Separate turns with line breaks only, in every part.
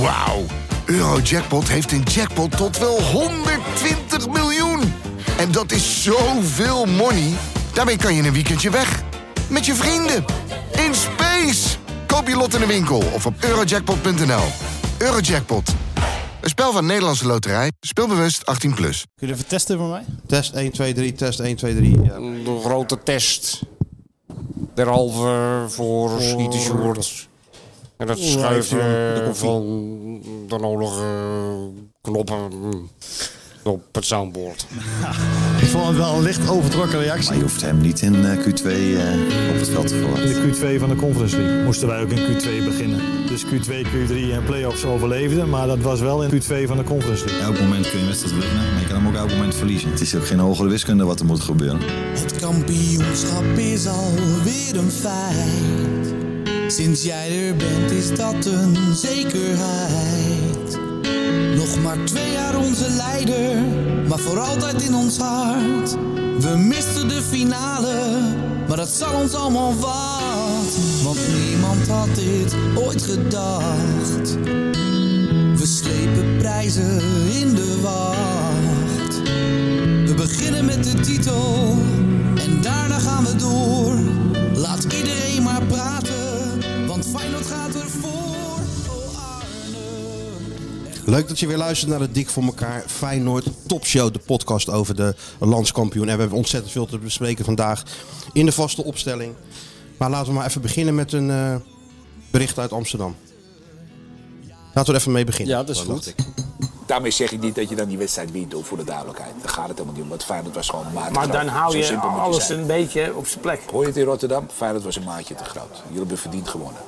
Wauw. Eurojackpot heeft een jackpot tot wel 120 miljoen. En dat is zoveel money. Daarmee kan je in een weekendje weg. Met je vrienden. In space. Koop je lot in de winkel of op eurojackpot.nl. Eurojackpot. Een spel van Nederlandse Loterij. Speelbewust 18+. Plus.
Kun je even testen voor mij?
Test 1, 2, 3, test 1, 2, 3. Ja.
De grote test. Derhalve voor Schietensjoerd. En het schuiven eh, van de nodige eh, knoppen hm, op het soundboard.
Ik vond het wel een licht overtrokken reactie.
Maar je hoeft hem niet in eh, Q2 eh, op het veld te verwachten.
De Q2 van de Conference League moesten wij ook in Q2 beginnen. Dus Q2, Q3 en playoffs overleefden, maar dat was wel in Q2 van de Conference League.
Elk moment kun je een wedstrijd winnen, maar je kan hem ook elk moment verliezen. Het is ook geen hogere wiskunde wat er moet gebeuren.
Het kampioenschap is alweer een feit. Sinds jij er bent is dat een zekerheid. Nog maar twee jaar onze leider, maar voor altijd in ons hart. We misten de finale, maar dat zal ons allemaal wat. Want niemand had dit ooit gedacht. We slepen prijzen in de wacht. We beginnen met de titel en daarna gaan we door. Laat iedereen maar praten, want Feyenoord gaat ervoor. Oh Arne.
Leuk dat je weer luistert naar de Dik voor elkaar Feyenoord Topshow, de podcast over de landskampioen. En we hebben ontzettend veel te bespreken vandaag in de vaste opstelling. Maar laten we maar even beginnen met een eh, bericht uit Amsterdam. Laten we er even mee beginnen.
Ja, dat is
Gewoon,
goed.
dacht ik.
Daarmee zeg ik niet dat je dan die wedstrijd wint, hoor, voor de duidelijkheid. Daar gaat het helemaal niet om, want Feyenoord was gewoon een maatje
Maar
groot.
dan hou
Zo
je
simpel moet
alles
zijn.
een beetje op zijn plek.
Hoor je het in Rotterdam? Feyenoord was een maatje te groot. Jullie hebben verdiend gewonnen.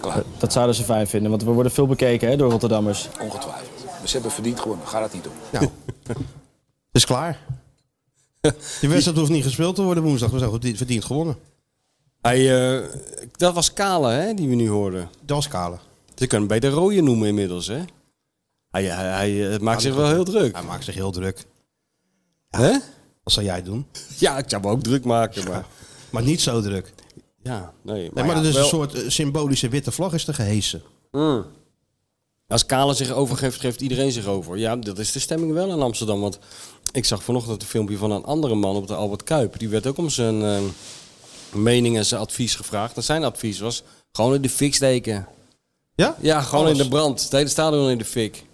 Klaar,
Dat zouden ze fijn vinden, want we worden veel bekeken hè, door Rotterdammers.
ongetwijfeld. Maar ze hebben verdiend gewonnen, gaat het niet om.
Nou, het is klaar. Die wedstrijd hoeft niet gespeeld te worden woensdag. We zijn goed verdiend gewonnen.
Hij, eh, dat was Kale, hè, die we nu hoorden.
Dat was Kale.
Ze kunnen hem bij de rode noemen inmiddels, hè? Hij, hij, hij, eh, maakt zich wel heel druk.
Hij maakt zich heel druk.
Hè?
Wat zou jij doen?
Ja, ik zou me ook druk maken, maar...
Maar niet zo druk.
Ja, nee. Maar,
Nee, maar
Nou ja,
dat is
wel-
een soort eh, symbolische witte vlag is er gehesen.
Als Kale zich overgeeft, geeft iedereen zich over. Ja, dat is de stemming wel in Amsterdam. Want ik zag vanochtend een filmpje van een andere man op de Albert Kuip. Die werd ook om zijn eh, mening en zijn advies gevraagd. En zijn advies was gewoon in de fik steken.
Ja?
Ja, gewoon
Alles.
in de brand. Het hele stadion in de fik.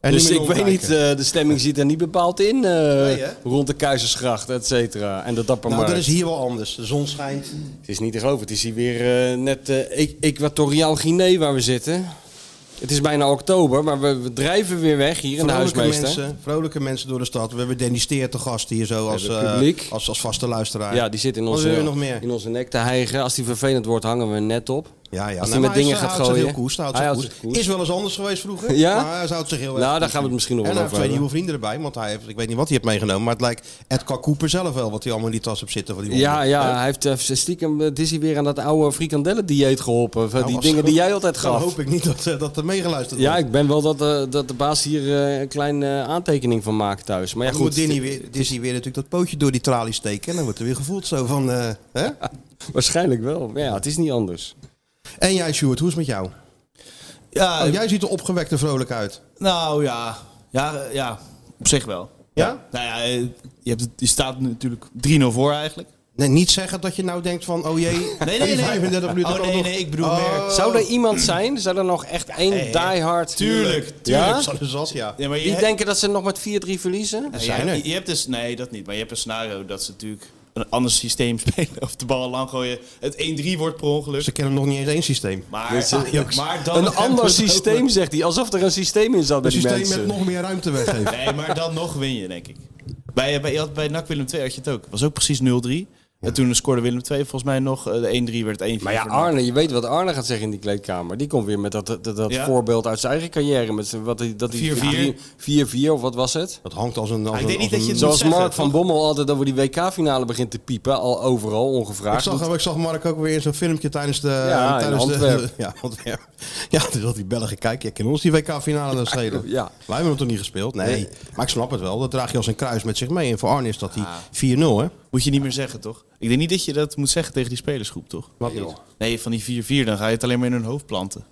En
dus
niet meer
ik weet
omkijken.
niet, eh, de stemming zit er niet bepaald in. eh,
hè?
rond de Keizersgracht, et cetera. En de
Nou,
Dappermarkt.
dat is hier wel anders. De zon schijnt.
Het is niet te geloven. Het is hier weer eh, net eh, E- Equatoriaal Guinea waar we zitten. Het is bijna oktober, maar we, we drijven weer weg hier in de
Vrolijke
huismeester.
mensen, vrolijke mensen door de stad. We hebben Danny Steer te gast hier zo als,
hebben
eh,
publiek.
als, als vaste luisteraar.
Ja, die zit in
Wat
onze,
wil je nog meer?
in onze nek te hijgen. Als die vervelend wordt, hangen we hem net op.
Ja, ja.
Als
Nou,
hij met
maar
dingen
is-
gaat
houdt zich
gooien.
heel koers, hij houdt
Hij
zich
houdt
koers.
zich koers.
Is wel eens anders geweest vroeger.
Ja?
Maar hij houdt zich heel erg
Nou, daar
koers.
gaan we het misschien nog
En
wel
hij
over
heeft twee
hebben.
nieuwe vrienden erbij. Want hij heeft, ik weet niet wat hij heeft meegenomen. Maar het lijkt Edgar Cooper zelf wel. Wat hij allemaal in die tas op zitten. Van die
Ja,
honden.
ja, hij heeft eh, stiekem, het is hij weer aan dat oude frikandellen-dieet geholpen. Van
Nou,
die
als-
dingen die jij
Dan
altijd gaf.
hoop ik niet dat, eh, dat er meegeluisterd
Ja,
wordt.
ik ben wel dat, eh, dat de baas hier eh, een kleine aantekening van maakt thuis. Maar ja,
Dan moet
goed.
Disney weer, Disney weer natuurlijk dat pootje door die tralies steken. En dan wordt er weer gevoeld zo van... eh, hè?
Waarschijnlijk wel. Maar ja, het is niet anders.
En jij, Sjoerd, hoe is het met jou?
Ja,
Oh, jij ziet er opgewekt en vrolijk uit.
nou ja. ja. Ja, op zich wel.
Ja?
Nou ja, eh, je, hebt het, je staat natuurlijk 3-0 voor eigenlijk.
Nee, niet zeggen dat je nou denkt van, oh jee,
Nee, nee,
in
nee.
35 minuten
Oh,
kan
nee,
nog-
nee, ik bedoel meer-
Zou er iemand zijn? Zou er nog echt één
nee,
diehard...
Oh. tuurlijk,
Ja?
Dat is zat, ja.
Ja, maar je,
Die
hebt-
denken dat ze nog met 4-3 verliezen?
ja,
zijn
je,
er.
je hebt dus, nee, dat niet. Maar je hebt een scenario dat ze natuurlijk een ander systeem spelen. Of de bal lang gooien. Het 1-3 wordt per ongeluk.
Ze kennen nog niet eens één systeem.
Maar,
Dit is-
maar dan
Dus, eh, Een ander systeem, zegt hij. Alsof er een systeem in zat bij
Een
die
systeem
mensen.
met nog meer ruimte weggeven.
Nee, maar dan nog win je, denk ik. Bij, bij, je had- bij NAC Willem 2 had je het ook. was ook precies 0-3. En toen scoorde Willem 2 volgens mij nog. eh, De 1-3 werd 1
Maar ja, Arne, je weet wat Arne gaat zeggen in die kleedkamer. Die komt weer met dat, dat, dat
Ja.
voorbeeld uit zijn eigen carrière. Met zijn- wat hij- dat hij-
4-4.
4-4 of wat was het? Mm,
Dat hangt als een... Als
ik denk
een- als
niet dat je
een-
het
Zoals
moet zeggen,
Mark van
toch?
Bommel altijd over die WK-finale begint te piepen. Al overal, ongevraagd.
Ik zag, ik zag Mark ook weer in zo'n filmpje tijdens de...
Ja, in
tijdens
Antwerpen.
De, ja, Antwerpen. Ja, dus dat die Belgen kijken. Ja, kunnen ons die WK-finale dan schelen?
Ja.
Wij hebben hem toch niet gespeeld? Nee.
Nee.
Maar ik snap het wel. Dat draag je als een kruis met zich mee. En voor Arne is dat die 4-0, hè?
Moet je niet meer zeggen, toch? Ik denk niet dat je dat moet zeggen tegen die spelersgroep, toch?
Wat niet?
Nee, van die 4-4, dan ga je het alleen maar in hun hoofd planten.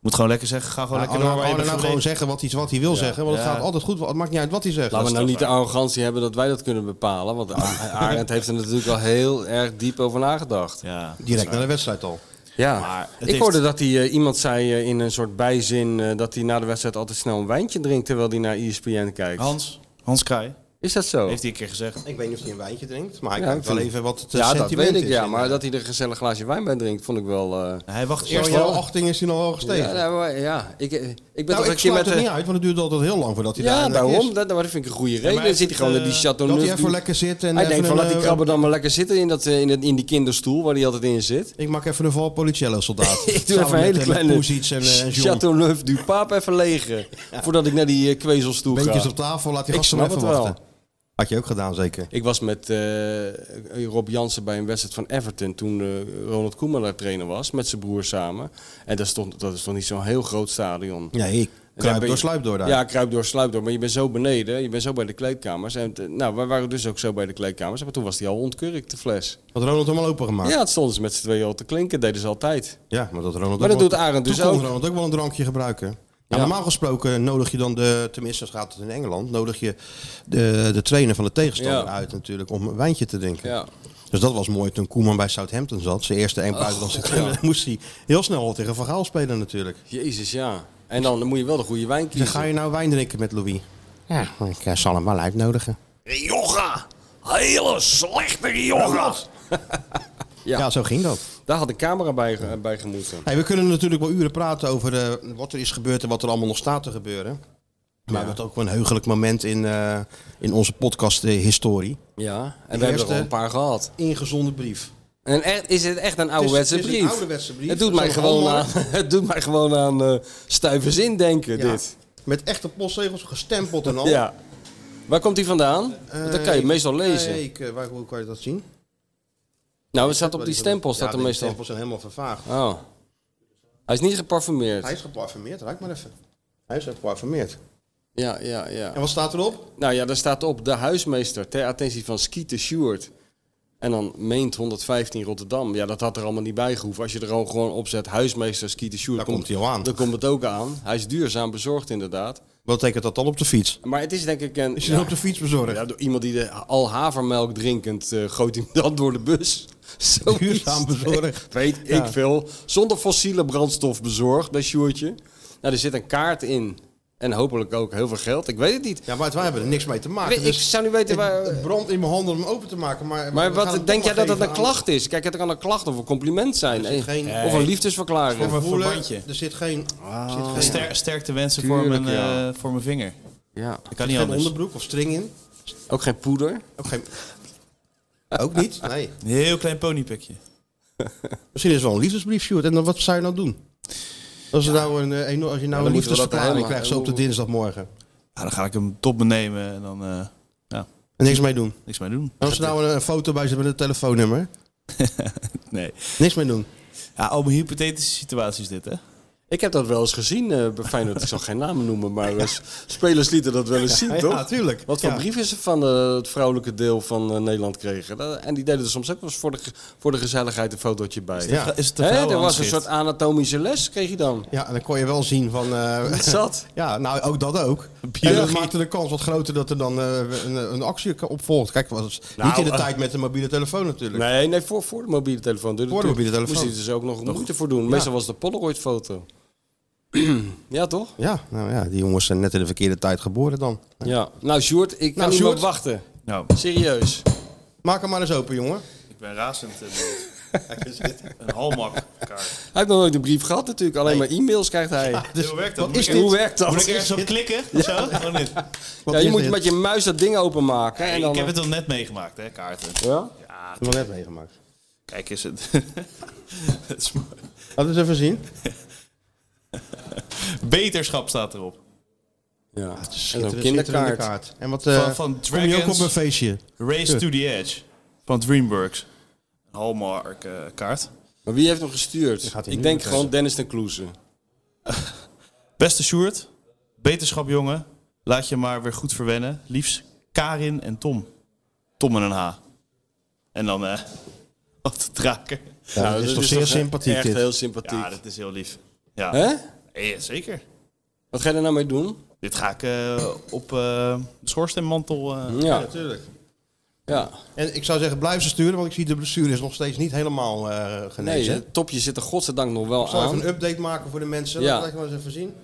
Moet gewoon lekker zeggen, ga gewoon
Ja,
lekker
Arne
door waar je
Arne
bent
nou gewoon
gebleven.
zeggen wat hij, wat hij wil zeggen. Want het
Ja.
gaat altijd goed. Het maakt niet uit wat hij zegt.
Laten we
Dat
nou
is
niet de arrogantie hebben dat wij dat kunnen bepalen. Want A- Arend heeft er natuurlijk al heel erg diep over nagedacht.
Ja.
Direct naar de wedstrijd al.
Ja,
Maar het
ik
heeft-
hoorde dat hij, eh, iemand zei eh, in een soort bijzin eh, dat hij na de wedstrijd altijd snel een wijntje drinkt terwijl hij naar E ESPN kijkt.
Hans, Hans Kraai,
Is dat zo?
heeft hij een keer gezegd.
Ik weet niet of hij een wijntje drinkt. Maar
Ja,
ik
ik
weet wel
vind-
even wat het eh,
ja, dat
sentiment
weet ik,
is. eh,
ja. Maar dat hij er een gezellig glaasje wijn bij drinkt, vond ik wel... eh,
Hij wacht
Zo
eerst
in jouw
wel.
achting is hij nog wel gestegen.
ja, nou, maar ja, ik, eh, ik ben
Nou,
toch een
ik
keer
sluit
met...
het
de-
niet uit, want het duurt altijd heel lang voordat hij
ja,
daar
daarom.
is.
Dat, dat vind ik een goede reden.
maar
Dan
hij
zit hij gewoon in
heeft,
die
eh,
Chateau
Dat hij
Neuf
even
doet.
lekker zit. En
Hij
even
denkt van
een,
laat die
eh,
krabber dan maar lekker zitten in, dat, eh, in, dat- in die kinderstoel waar hij altijd in zit.
Ik maak even een Valpolicello soldaat.
Ik doe even een hele kleine
Poesiets eh, en eh, en John.
Chateau Neuf du Pape even legen. Voordat ik naar die eh, kwezelstoel
Beentjes
ga.
op tafel, laat die
Ik
gasten maar
snap
even
het wel.
wachten. Had je ook gedaan, zeker.
Ik was met eh, Rob Jansen bij een wedstrijd van Everton toen eh, Ronald Koeman daar trainer was, met zijn broer samen. En dat, stond, dat is toch niet zo'n heel groot stadion.
Ja, ik
En daar
kruip
ben
door,
je-
sluip door daar.
Ja, kruip door, sluip door. Maar je bent zo beneden, je bent zo bij de kleedkamers. En eh, nou, wij waren dus ook zo bij de kleedkamers. Maar toen was die al ontkurkt, de fles.
Had Ronald hem al opengemaakt?
Ja, het stonden ze met z'n tweeën al te klinken, deden ze altijd.
Ja, maar dat Ronald
Maar
ook
dat
wel-
doet Arend
Toen
dus
kon
ook.
Ronald ook wel een drankje gebruiken. Ja,
Ja.
Normaal gesproken nodig je dan de, tenminste als gaat het in Engeland, nodig je de, de trainer van de tegenstander
Ja.
uit natuurlijk om een wijntje te drinken.
Ja.
Dus dat was mooi toen Koeman bij Southampton zat, zijn eerste en
Oh.
buitenlandse trainer, moest hij heel snel al tegen Van Gaal spelen natuurlijk.
Jezus, ja. En dan, dan moet je wel de goede wijn
Dan
kiezen.
ga je nou wijn drinken met Louis? Ja, ik eh, zal hem wel uitnodigen.
Jocha, hele slechte jocha.
Ja,
Ja.
zo ging dat.
Daar had een camera bij, ge- bij gemoeten.
Hey, we kunnen natuurlijk wel uren praten over eh, wat er is gebeurd en wat er allemaal nog staat te gebeuren. Maar we hebben ook wel een heugelijk moment in, eh, in onze podcast-historie.
Ja, en
eerste-
we hebben er al een paar gehad.
Ingezonden brief.
En echt, is het echt een ouderwetse
het is een
brief?
ouderwetse brief.
Het doet,
Zo'n
mij gewoon aan,
handmark.
het doet mij gewoon aan eh, stuive zin denken,
Ja.
dit.
Met echte postzegels, gestempeld en al.
Ja. Waar komt die vandaan? Want dat kan je
Eh,
meestal lezen.
Nee, ik, eh, waar, hoe kan je dat zien?
nou, het staat op die stempel, staat
ja,
er
die
meestal.
stempels zijn helemaal vervaagd.
Oh. Hij is niet geparfumeerd.
Hij is geparfumeerd, ruik maar even. Hij is geparfumeerd.
Ja, ja, ja.
En wat staat erop?
Nou ja, daar staat op de huismeester ter attentie van Skeeter Stewart. En dan meent 115 Rotterdam. Ja, dat had er allemaal niet bij gehoeven. Als je er gewoon, gewoon opzet, huismeester Skeeter Stewart.
Daar komt hij al aan.
Dan komt het ook aan. Hij is duurzaam bezorgd inderdaad.
Wat betekent dat dan op de fiets?
Maar het is denk ik een...
Is je dan op de fiets bezorgd?
Ja, door iemand die de al havermelk drinkend eh gooit hem dan door de bus. Zo
Duurzaam bezorgd.
Weet ik veel. Zonder fossiele brandstof bezorgd bij Sjoertje. Nou, er zit een kaart in. En hopelijk ook heel veel geld. Ik weet het niet.
Ja, maar het- wij hebben er niks mee te maken. Dus
Weet- ik zou niet weten
het-
waar-
Het brandt in mijn handen om hem open te maken. Maar,
Maar
we gaan
wat
het
denk jij dat
allemaal
dat een
geven aan-
klacht is? Kijk, het kan een klacht of een compliment zijn.
zit
Eh,
geen-
Of een Ah. liefdesverklaring.
Voor voelen,
verbandje.
Er zit geen, er zit geen,
Ster, sterkte wensen voor
Tuurlijk,
mijn,
ja.
eh, voor mijn vinger.
Ja.
Ik kan niet
geen
anders.
onderbroek of string in.
Ook geen poeder.
Ook, geen, ook niet. Nee.
Een heel klein ponypikje.
Misschien is het wel een liefdesbrief, Sjoerd. En dan wat zou je nou doen? Als, er nou een, eh, eno- als je nou een
moeten we dat
liefdesverklaring
helemaal-
krijgt, zo op de dinsdagmorgen.
Ja, dan ga ik hem top benemen en dan eh, ja,
En niks mee doen.
niks mee doen.
Oh.
En als er nou een, een foto bij zit met een telefoonnummer.
Nee.
Niks mee doen.
Ja, allemaal hypothetische situaties dit, hè?
Ik heb dat wel eens gezien eh, bij Feyenoord. Ik zal geen namen noemen, maar eh, s- spelers lieten dat wel eens zien, toch?
tuurlijk.
Wat voor
Ja.
brief is er van eh, het vrouwelijke deel van eh, Nederland kregen? Dat- en die deden er soms ook wel eens voor de, ge- voor de gezelligheid een fotootje bij.
Ja.
Is het de
Hè, er was een
vrouwenhandschrift?
soort anatomische les, kreeg je dan.
Ja, en dan kon je wel zien van... eh,
Zat.
Ja, nou ook dat ook. En dat
Biologie.
maakte de kans wat groter dat er dan eh, een, een actie opvolgt. Kijk, was
Nou,
niet in de
eh,
tijd met de mobiele telefoon natuurlijk.
Nee, nee voor, voor de mobiele telefoon.
Voor de mobiele telefoon.
Moest je er dus ook nog moeite voor doen. Meestal was het een Polaroid-foto. ja, toch?
Ja, nou ja, die jongens zijn net in de verkeerde tijd geboren dan.
Ja. Nou, Sjoerd, ik kan
Nou,
niet
Sjoerd.
meer wachten.
Nou,
Serieus.
Maak hem maar eens open, jongen.
ik ben razend. eh, een halmak kaart.
Hij heeft nog nooit een brief gehad natuurlijk. Alleen maar e-mails krijgt hij.
hoe werkt dat?
Dus Wat is dit? Hoe werkt dat?
Moet ik ergens op klikken? Of zo? Of niet?
Ja, je
is
moet
dit?
met je muis dat ding openmaken. En dan, eh,
ik heb het al net meegemaakt, hè, kaarten.
Ja?
Dat hebben we net meegemaakt.
Kijk eens het. het is mooi.
Laten we eens even zien.
Beterschap staat erop.
Ja. en
Schitterend,
een
schitterende
kinderkaart. dus
kaart. En wat, eh
Van- van
kom je ook
Dragons.
op een feestje?
Race to the Edge van DreamWorks. Een Hallmark eh, kaart.
Maar wie heeft hem gestuurd?
gaat hij
Ik
nu eh,
denk
weer
gewoon Dennis ten Kloeze.
Beste Sjoerd, beterschap jongen. Laat je maar weer goed verwennen. Liefst Karin en Tom. Tom en een H. En dan eh wat de draker.
Ja, Nou, dat is toch zeer
toch
sympathiek
Echt
dit.
heel sympathiek.
Ja, dat is heel lief. Ja.
Hè?
Ja, zeker.
Wat ga je er nou mee doen?
Dit ga ik eh, op eh, de schoorsteenmantel. eh,
Ja.
natuurlijk.
Ja.
En ik zou zeggen, blijf ze sturen, want ik zie de blessure is nog steeds niet helemaal eh,
Nee,
genezen.
het topje zit er godzijdank nog wel
ik zal even
aan.
een update maken voor de mensen.
Ja.
Laat ik maar eens even zien.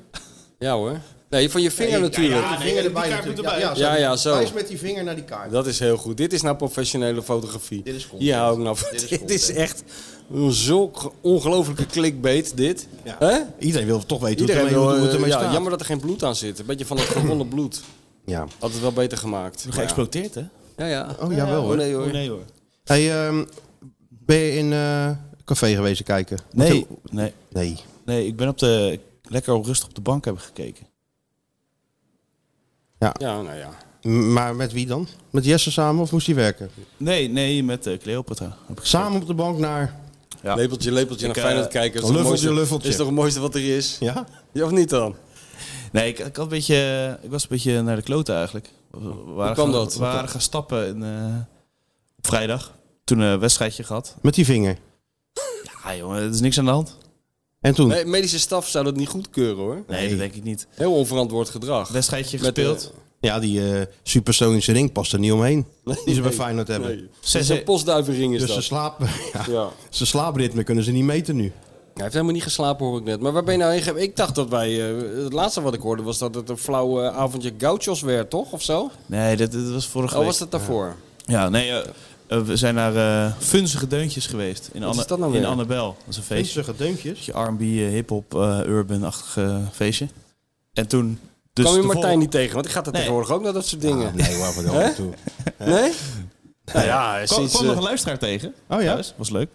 Ja hoor. Nee, van je vinger natuurlijk.
Ja,
nee, die kaart moet
natuurlijk.
erbij.
Ja,
Ja, ja,
die-
zo.
Wijs met die vinger naar die kaart.
Dat is heel goed. Dit is nou professionele fotografie.
Dit is content.
Hier hou ik nou van.
Dit is
Dit, is
content.
echt een zulk ongelofelijke clickbait, dit.
Ja.
Hè?
Iedereen wil toch weten
Iedereen
hoe het ermee,
wil,
hoe het
eh,
ermee
ja,
staat.
Jammer dat er geen bloed aan zit. Een beetje van het gewonnen bloed.
Ja.
Had het wel beter gemaakt. Maar ja.
Geëxplodeerd, hè?
Ja, ja.
Oh, jawel, hoor.
Nee,
Oh,
hoor.
nee hoor.
Hey, ehm, ben je in eh café geweest kijken?
Nee, nee,
Nee.
nee, ik ben op de, lekker op rustig op de bank hebben gekeken.
Ja, nou ja.
M- Maar met wie dan? Met Jesse samen of moest hij werken?
Nee, nee, met eh, Cleopatra. Heb ik
Samen op de bank naar...
Ja.
Lepeltje, lepeltje naar
eh,
Feyenoord kijken. Dat is,
luffeltje,
het mooiste,
luffeltje.
is toch het mooiste wat er is?
Ja?
Ja, of niet dan?
Nee, ik, ik, had een beetje, ik was een beetje naar de klote eigenlijk. We waren
kwam
gaan-
dat?
We waren gaan stappen in, eh, op vrijdag. Toen een wedstrijdje gehad.
Met die vinger.
Ja jongen, er is niks aan de hand.
En toen?
Nee, medische staf zou dat niet goedkeuren hoor.
Nee, dat denk ik niet.
Heel onverantwoord gedrag.
Wedstrijdje
Met de-
gespeeld.
Ja, die eh, supersonische ring past er niet omheen. die ze bij Feyenoord hebben.
Nee. Dat is een postduivenring is
Dus ze
dat.
slapen... Ja.
Ja.
Ze slaapritme kunnen ze niet meten nu.
Hij heeft helemaal niet geslapen, hoor ik net. Maar waar ben je nou heen gegaan? Ik dacht dat wij... eh, het laatste wat ik hoorde was dat het een flauw eh, avondje gauchos werd, toch? Of zo?
Nee, dat, dat was vorige
Oh,
week.
was dat daarvoor?
Ja, nee, eh, eh, we zijn naar eh funzige deuntjes geweest. In,
Wat
Anne-
is dat nou
in
weer?
Annabel. Dat is een feestje.
Feestige deuntjes.
beetje R&B, eh, hip-hop, eh, urban-achtig eh, feestje. En toen... Dus
Kwam je
de
Martijn
volgende-
niet tegen? Want ik ga er
Nee.
tegenwoordig ook naar dat soort dingen.
Nee, waarvoor dan
Hè?
ook toe.
Nee? Nou ja,
kwam,
sinds...
kwam
eh,
nog een luisteraar tegen.
Oh ja?
Thuis. Was leuk.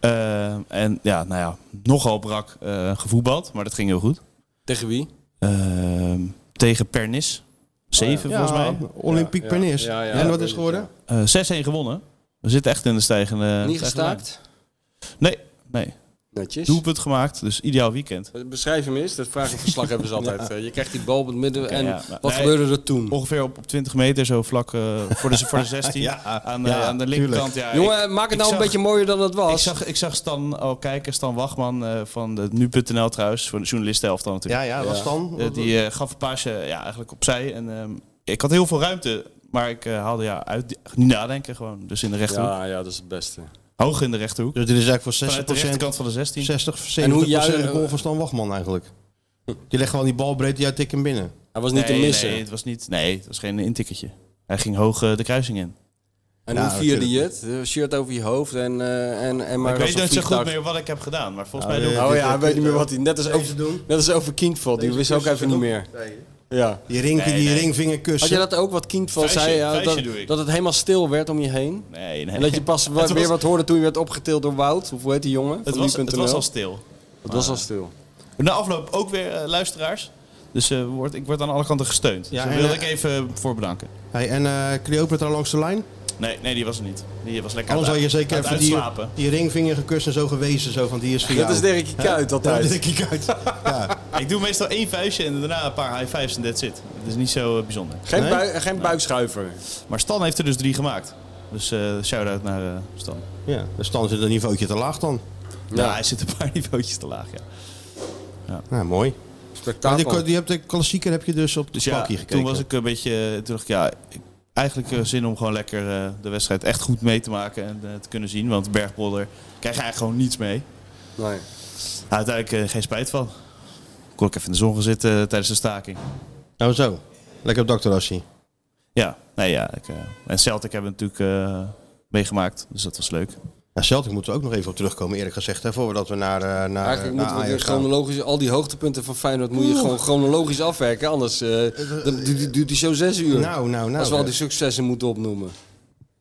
Eh, en ja, nou ja, nogal brak eh, gevoetbald, maar dat ging heel goed.
tegen wie?
Eh, tegen Pernis. 7
Oh, Ja,
volgens mij.
Olympiek
Ja,
Pernis.
ja, ja,
en
ja,
wat
dat
is
is
het geworden?
Eh 6-1 gewonnen. We zitten echt in de stijgende...
niet
stijgende lijn.
gestaakt?
Nee, nee.
Netjes.
Doelpunt gemaakt, dus ideaal weekend.
Beschrijf hem eens. Dat vragen verslaggevers altijd. Eh, Je krijgt die bal op het midden en
ja, maar-
wat
Nee.
gebeurde er toen?
Ongeveer op, op 20 meter, zo vlak eh, voor, de, voor de 16. aan, de-
ja,
aan de
tuurlijk.
linkerkant. Ja,
Jongen,
ik-
maak het
ik
nou een
zag-
beetje mooier dan het was.
Ik zag, ik zag Stan al kijken, Stan Wachman eh, van de nu.nl trouwens, voor de journalistenhelft dan natuurlijk.
Ja, ja, dat was dan.
Eh, die eh, gaf een paasje ja, eigenlijk opzij. En, ehm, ik had heel veel ruimte, maar ik eh, haalde ja, uit, niet nadenken gewoon. Dus in de rechterhoek.
Ja, ja, dat is het beste.
Hoog in de rechterhoek.
dus dit is eigenlijk voor 60%.
Vanuit de rechterkant van de 16.
60, 70
En hoe jij-
de goal van Stan Wachman eigenlijk. Die legt gewoon die bal breed, die uit tik hem binnen.
Hij was niet
nee,
te missen.
Nee, het was, niet, nee, het was geen intikketje. Hij ging hoog eh, de kruising in.
En
Ja,
hoe vierde je het? Eh, Shirt over je hoofd en, eh, en, en maar
Nou, ik
als
weet
een
niet zo goed
vliegtuig.
meer wat ik heb gedaan, maar volgens mij...
nee.
doe ik-
Oh ja, hij weet niet meer wat hij... Net als
Deze
over,
doen.
net als over Kindval, die wist ook even niet meer. Ja.
Die, ring,
Nee,
die
nee.
ringvinger
Had je
kussen.
dat ook, wat Kindval
Vuistje-
zei? ja,
vuistje
dat,
doe ik.
dat het helemaal stil werd om je heen?
Nee, nee.
En dat je pas wa-
Het was-
weer wat hoorde toen je werd opgetild door Wout? Of hoe heet die jongen?
Het
van
was, het
nu.nl?
was al stil.
Het was al stil.
Na afloop ook weer eh, luisteraars. Dus eh, wordt, ik word aan alle kanten gesteund.
Ja,
dus daar
en,
wilde
eh,
ik even voor bedanken.
Hey, en eh Cleopatra langs de lijn.
Nee, nee, die was er niet. Die was lekker
Anders
aan
had je
het-
zeker
aan het
even die,
uitslapen.
die ringvinger gekust en zo gewezen. Zo van, die is voor
Dat
jou.
is Dirkje Kuyt
Ja,
altijd.
dat denk ik uit. Ja.
Ik doe meestal één vuistje en daarna een paar high fives en that's it. Het is niet zo eh, bijzonder.
Geen, bui- geen buikschuiver.
Maar Stan heeft er dus drie gemaakt. Dus eh shout-out naar eh, Stan.
ja, de stand zit een niveautje te laag dan.
Ja. hij zit een paar niveautjes te laag, ja.
Ja, Nou, mooi. Maar die, die hebt de klassieker heb je dus op de
Dus
dus
ja,
gekeken.
toen was ik een beetje... eh, Toen dacht ik, ja, ik- eigenlijk eh, zin om gewoon lekker eh, de wedstrijd echt goed mee te maken en eh, te kunnen zien. Want Bergpolder krijgt eigenlijk gewoon niets mee.
Nee.
Nou, uiteindelijk eh, geen spijt van. Kon ik even in de zon gaan zitten eh, tijdens de staking.
Oh zo. Lekker op dakterrassie.
Ja, nee, ja. Ik, eh, en Celtic hebben we natuurlijk eh, meegemaakt, dus dat was leuk.
Ja, Celtic moeten we ook nog even op terugkomen, eerlijk gezegd. Hè, voordat we naar, eh, naar,
Eigenlijk
naar
moeten we
Ajax
dus
gaan.
chronologisch, al die hoogtepunten van Feyenoord moet je gewoon chronologisch afwerken. Anders eh, dan du- duurt die show zes uur.
Nou, nou, nou.
Als we al die successen moeten opnoemen.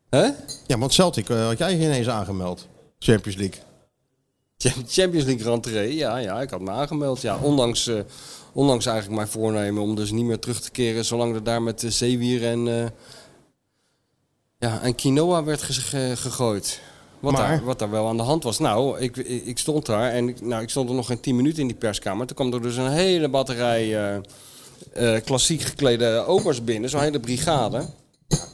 Hè?
Ja, want Celtic eh, had jij ineens aangemeld. Champions League.
Champ- Champions League rentree, ja, ja, ik had me aangemeld. Ja, ondanks, eh, ondanks eigenlijk mijn voornemen om dus niet meer terug te keren... zolang er daar met eh, zeewier en, eh, ja, en quinoa werd ge- ge- gegooid. Wat,
Maar-
daar, wat daar wel aan de hand was. Nou, ik, ik, ik stond daar en ik, nou, ik stond er nog geen 10 minuten in die perskamer. Toen kwam er dus een hele batterij eh, eh, klassiek geklede obers binnen, zo'n hele brigade...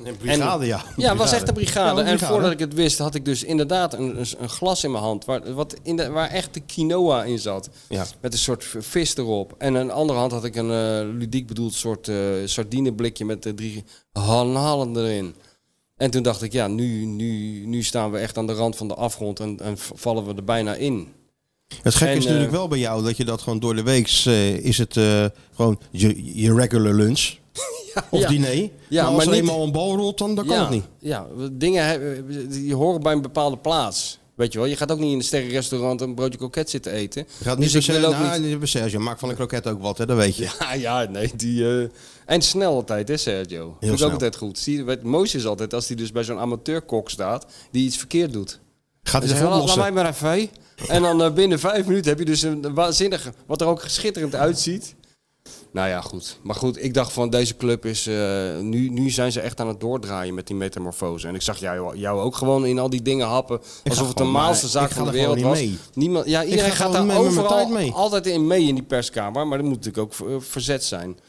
Een brigade, ja.
Ja, het was echt een brigade.
Ja, een
En voordat ik het wist, had ik dus inderdaad een, een- een glas in mijn hand. Waar, wat in de, waar echt de quinoa in zat.
Ja.
Met een soort v- vis erop. En aan de andere hand had ik een eh, ludiek bedoeld soort eh sardineblikje met eh, drie hanhalen erin. En toen dacht ik, ja, nu, nu, nu staan we echt aan de rand van de afgrond en, en v- vallen we er bijna in.
Het gekke
En,
is natuurlijk
eh,
wel bij jou dat je dat gewoon door de week eh, is het eh, gewoon je, je regular lunch of
ja.
diner. maar als er
maar niet-
eenmaal een bal rolt, dan, dan kan
ja,
het niet.
Ja, dingen hebben- die horen bij een bepaalde plaats. Weet je wel, je gaat ook niet in een sterrenrestaurant een broodje kroket zitten eten.
Je gaat niet
Dus
per
ik
se,
wil ook
nou,
niet-
niet per se. Als je maakt van een kroket ook wat, hè, dat weet je.
Ja, ja, nee, die... eh, En snel altijd, hè, Sergio. Heel Vind ik
snel.
ook altijd goed. Zie, je, het mooiste is altijd als hij dus bij zo'n amateurkok staat... die iets verkeerd doet.
Gaat
Dus Hij
het
zegt,
even
laat, laat mij
oplossen.
maar even. hé." En dan eh, binnen vijf minuten heb je dus een waanzinnige... wat er ook schitterend uitziet. Nou ja, goed. Maar goed, ik dacht van deze club is... eh, nu, nu zijn ze echt aan het doordraaien met die metamorfose. En ik zag jou, jou ook gewoon in al die dingen happen... alsof het de
gewoon, maar
maalste
ik
zaak
ga
van de
er gewoon
wereld was.
niet
Niemand, ja, iedereen
ga
gaat
gewoon
daar
mee met mijn
overal
tijd mee.
altijd in mee in die perskamer, maar dat moet natuurlijk ook eh, verzet zijn.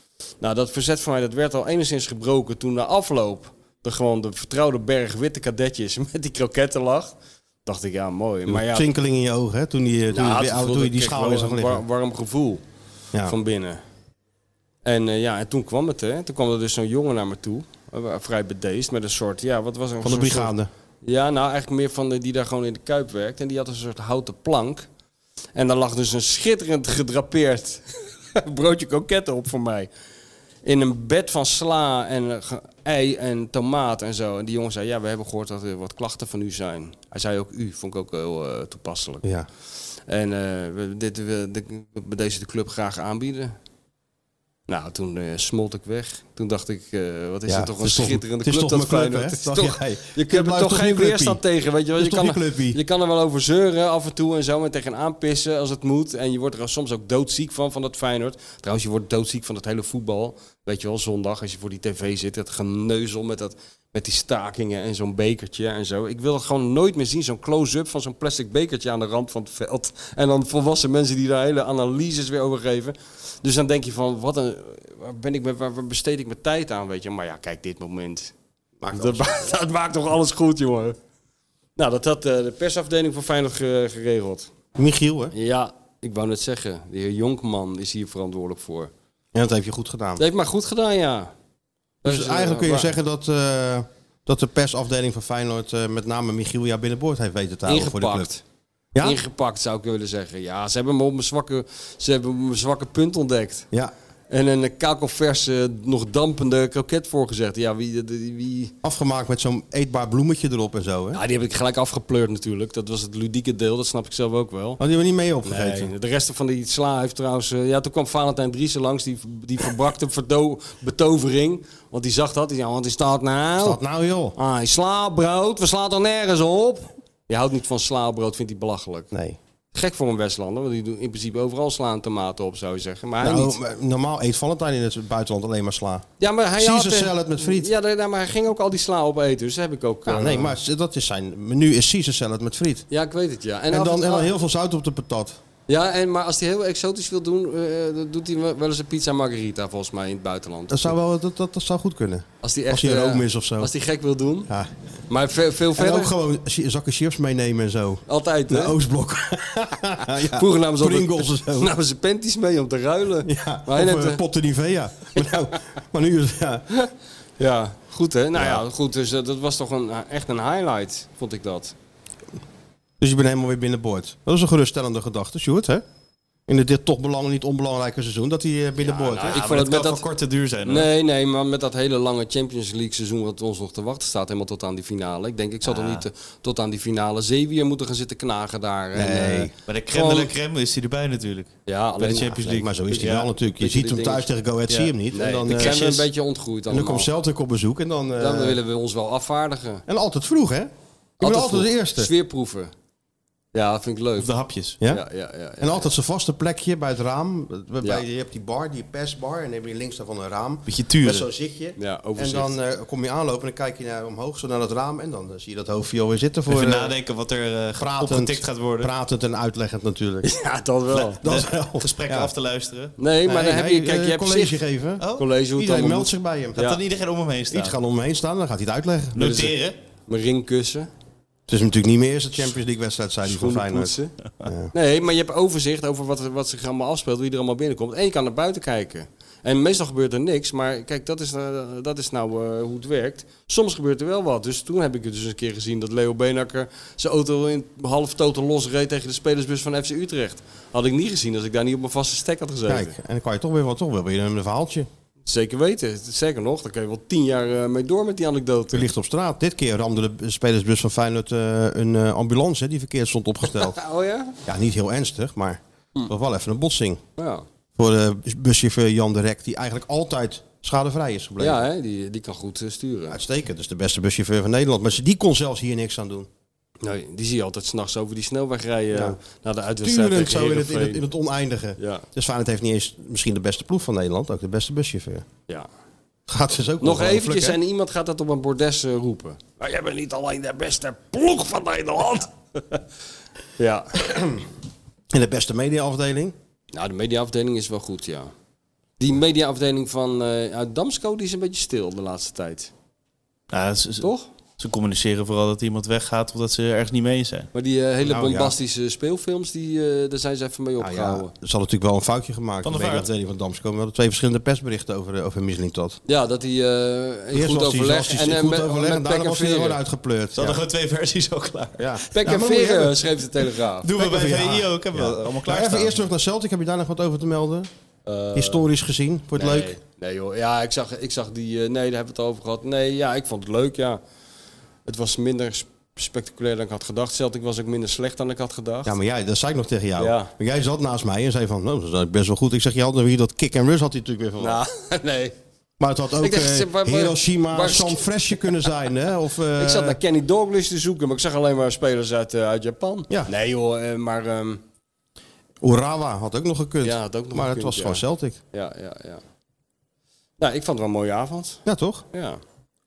Nou, dat verzet van mij dat werd al enigszins gebroken toen na afloop de gewoon de vertrouwde berg witte kadetjes met die kroketten lag. Dacht ik, ja, mooi. Maar ja,
Twinkeling in je ogen, hè, toen, die, eh, toen,
nou,
je,
toen
weer-
voelde
toen je
ik
die
echt
schaal
wel
is gaan
een
liggen.
war- warm gevoel
Ja.
van binnen. En eh, ja, en toen kwam het, hè. Toen kwam er dus zo'n jongen naar me toe, eh, vrij bedeesd, met een soort, ja, wat was er?
Van de
Zo'n soort-
brigade.
ja, nou eigenlijk meer van de, die daar gewoon in de kuip werkt. En die had een soort houten plank. En daar lag dus een schitterend gedrapeerd broodje kroketten op voor mij. In een bed van sla en eh, ge- ei en tomaat en zo. En die jongen zei, ja, we hebben gehoord dat er wat klachten van u zijn. Hij zei ook u, vond ik ook heel eh, toepasselijk.
Ja.
En eh, we, dit, we, de, we deze de club graag aanbieden. Nou, toen eh, smolt ik weg. Toen dacht ik, eh, wat is
Ja,
het toch
het
een
is toch-
schitterende
het is
club,
toch
dat
mijn club,
Feyenoord.
hè?
Het is
Dacht
toch-
jij.
Je
Je
kunt er
blijft
toch
toch
geen
je clubpie.
weerstand tegen, weet je
Dat
wel. Je
is toch
kan,
je
er,
clubpie.
je kan er wel over zeuren af en toe en zo, en tegenaan pissen als het moet. En je wordt er soms ook doodziek van, van dat Feyenoord. Trouwens, je wordt doodziek van dat hele voetbal. Weet je wel, zondag als je voor die tv zit, dat geneuzel met, dat, met die stakingen en zo'n bekertje en zo. Ik wil dat gewoon nooit meer zien, zo'n close-up van zo'n plastic bekertje aan de rand van het veld. En dan volwassen mensen die daar hele analyses weer over geven. Dus dan denk je van, wat een, waar, ben ik, met- waar waar besteed ik mijn tijd aan, weet je. Maar ja, kijk dit moment. dat, maakt- dat maakt toch alles goed, jongen. Nou, dat had eh, de persafdeling van Feyenoord ge- geregeld.
Michiel, hè?
Ja, ik wou net zeggen, de heer Jonkman is hier verantwoordelijk voor.
Ja, dat heb je goed gedaan.
Dat heeft maar goed gedaan, ja. Dat
Dus
is,
eigenlijk
eh,
kun je
waar.
zeggen dat, eh, dat de persafdeling van Feyenoord eh, met name Michiel ja binnenboord heeft weten te houden voor de club.
Ingepakt.
Ja?
Ingepakt zou ik willen zeggen. Ja, ze hebben me op mijn zwakke, ze hebben mijn zwakke punt ontdekt.
Ja,
En een eh, kakelverse, nog dampende kroket voorgezegd. Ja, wie, wie, wie,
afgemaakt met zo'n eetbaar bloemetje erop en zo. Hè?
Ja, die heb ik gelijk afgepleurd natuurlijk. Dat was het ludieke deel, dat snap ik zelf ook wel.
Oh, die hebben we niet mee opgegeten.
Nee, de rest van die sla heeft trouwens... eh, ja, toen kwam Valentijn Driessen langs, die, die verbrak de verdo- betovering. Want die zag dat, die zei, wat is dat nou?
Wat nou joh?
Ah, slaapbrood, we slaan toch nergens op? Je houdt niet van slaapbrood, vindt hij belachelijk.
Nee.
Gek voor een Westlander, want die doen in principe overal slaan tomaten op, zou je zeggen. Maar hij
Nou,
niet.
maar normaal eet Valentijn in het buitenland alleen maar sla.
Ja, maar hij
Caesar
had... eh,
salad met friet.
Ja, daar- daar- maar hij ging ook al die sla opeten, dus dat heb ik ook...
Ja,
eh,
nee, maar ze- dat is zijn menu is Caesar salad met friet.
Ja, ik weet het, ja.
En
af
dan, en dan
toe-
heel veel zout op de patat.
Ja, en, maar als hij heel exotisch wil doen, eh, dan doet hij wel wel eens een pizza margarita volgens mij in het buitenland.
Dat zou, wel, dat, dat, dat zou goed kunnen.
als hij
als hij in
eh,
Rome is of zo.
Als hij gek wil doen.
Ja.
Maar ve- veel
En
verder.
ook gewoon chi- zakken chips meenemen en zo.
Altijd, hè?
De Oostblok. ja.
Vroeger namen ze,
Pringles
altijd,
of zo.
namen ze panties mee om te ruilen.
Ja,
maar hij
of
neemt,
eh,
eh,
pot de Nivea. Maar, nou, maar nu is ja.
ja, goed hè? Nou ja, goed. Dus eh, dat was toch een, echt een highlight, vond ik dat.
Dus je bent helemaal weer binnenboord. Dat is een geruststellende gedachte, Sjoerd, hè? In dit- dit toch belang, niet onbelangrijke seizoen, dat hij eh, binnenboord
nou,
is.
ik
ik
vond het
het
met
kan
dat-
dat... van korte duur zijn. hoor.
Nee, nee, maar met dat hele lange Champions League seizoen wat ons nog te wachten staat, helemaal tot aan die finale. Ik denk, ik zal toch niet eh, tot aan die finale zeewier moeten gaan zitten knagen daar. Nee.
Nee.
Maar de crème de la
Gewoon-
crème is hij erbij natuurlijk.
ja,
Bij de
alleen,
Champions
Nee,
League.
maar zo is hij
Ja.
wel natuurlijk. Je
Beetje
ziet
die
hem thuis
dingen.
tegen Go Ahead, zie je hem niet.
Nee,
en dan,
de
eh,
crème
en
een beetje ontgroeid
dan
allemaal.
komt Celtic op bezoek en dan... eh,
Dan willen we ons wel afvaardigen.
En altijd vroeg, hè? Ik ben altijd
vroeg.
de eerste.
Sfeerproeven. Ja, dat vind ik leuk.
Of de hapjes.
Ja?
Ja, ja, ja,
En altijd zijn vaste plekje bij het raam. Waarbij
Ja.
Je hebt die bar, die persbar. En dan heb je links daarvan een raam.
Beetje turen.
Met zo'n zitje.
Ja,
en
overzicht.
dan eh, kom je aanlopen en dan kijk je naar, omhoog zo naar dat raam. En dan eh, zie je dat hoofdje alweer zitten voor...
Even
eh,
nadenken wat er eh
Pratend,
opgetikt gaat worden.
pratend en uitleggend natuurlijk.
Ja, dat wel.
De
Dat wel.
Gesprekken
Ja.
af te luisteren.
Nee, maar dan
Nee,
heb je,
nee,
kijk,
eh,
je hebt
college
zicht.
geven.
Oh,
College hoe het
Iedereen
allemaal
meldt
moet.
zich bij hem.
Dat
Ja.
dan iedereen om hem heen
Iets
staat.
gaan om hem heen staan, dan gaat hij het uitleggen. Dus
Noteren.
Mijn ringkussen,
Het is natuurlijk niet meer eerst de Champions League wedstrijd zijn die van
schoenen
Feyenoord.
poetsen. Nee, maar je hebt overzicht over wat, wat zich allemaal afspeelt, wie er allemaal binnenkomt. En je kan naar buiten kijken. En meestal gebeurt er niks, maar kijk, dat is, eh, dat is nou eh, hoe het werkt. Soms gebeurt er wel wat. Dus toen heb ik het dus een keer gezien dat Leo Beenakker zijn auto in half toten losreed tegen de spelersbus van FC Utrecht. Had ik niet gezien als ik daar niet op mijn vaste stek had gezeten.
Kijk, en dan kan je toch weer wat, toch wel weer een verhaaltje.
Zeker weten. Zeker nog, daar kun je wel tien jaar eh, mee door met die anekdote.
Er ligt op straat. Dit keer ramde de spelersbus van Feyenoord eh, een eh, ambulance hè, die verkeerd stond opgesteld.
Oh ja?
ja, niet heel ernstig, maar
Hm.
toch wel even een botsing.
Ja,
Voor de buschauffeur Jan de Rek, die eigenlijk altijd schadevrij is gebleven.
ja hè? Die, die kan goed eh, sturen.
Uitstekend, dus de beste buschauffeur van Nederland. Maar die kon zelfs hier niks aan doen.
Nee, die zie je altijd s'nachts over die snelweg rijden
Ja.
eh, naar de uitwedstrijd
Turend
tegen
zo in het, in, het,
Heerenveen.
in het oneindige.
Ja.
Dus Feyenoord heeft niet eens misschien de beste ploeg van Nederland, ook de beste buschauffeur.
Ja.
Gaat dus ook
Nog
wel
eventjes
hè?
en iemand gaat dat op een bordes eh, roepen. Maar jij bent niet alleen de beste ploeg van Nederland. ja.
En de beste mediaafdeling.
Nou, de mediaafdeling is wel goed, ja. Die mediaafdeling van eh, uit Damsko die is een beetje stil de laatste tijd.
Ja, ze, ze-
Toch?
ze communiceren vooral dat iemand weggaat of dat ze ergens niet mee eens zijn.
Maar die eh, hele
Nou, ja.
bombastische speelfilms, die, eh, daar zijn ze even mee
Nou ja,
opgehouden.
er zal natuurlijk wel een foutje gemaakt.
Van
Van
der
de
Vaart.
mediaafdeling van Damsko. We hadden twee verschillende persberichten over, eh, over Mislintat.
Ja, dat hij eh, in goed
was die-
overleg
was die
en eh,
goed
met,
overleg en
met
daarna
pek en
was hij er gewoon
veren.
uitgepleurd.
Ze hadden gewoon twee versies al klaar.
Ja.
Pek
Ja,
en
maar moet je
veren,
hebben.
schreef de Telegraaf.
Doen we bij
Lekker
VI
VI.
ook. Hebben we allemaal
Maar
klaar
even eerst terug naar Celtic. Heb je daar nog wat over te melden? Historisch gezien. Wordt
Eh, Nee,
leuk.
Nee joh, ja, ik zag, ik zag die... eh, nee, daar hebben we het over gehad. Nee, ja, ik vond het leuk, ja. Het was minder sp- spectaculair dan ik had gedacht. Celtic was ook minder slecht dan ik had gedacht.
Ja, maar jij, dat zei ik nog tegen jou.
Ja.
Maar jij zat naast mij en zei van, nou, dat is best wel goed. Ik zeg, je had nog hier dat kick en rush had hij natuurlijk weer van.
Nou, nee.
Maar het had ook
Ik dacht,
eh,
ze- waar- waar-
Hiroshima,
waar-
San Fresje kunnen zijn. Hè? Of, eh,
ik zat naar Kenny Douglas te zoeken, maar ik zag alleen maar spelers uit, eh, uit Japan.
Ja.
Nee joh, eh, maar... ehm,
Urawa had ook nog gekund.
Ja, had ook nog
maar het
gekund,
was
ja.
gewoon Celtic.
ja, ja, ja. Nou, ik vond het wel een mooie avond.
Ja, toch?
Ja,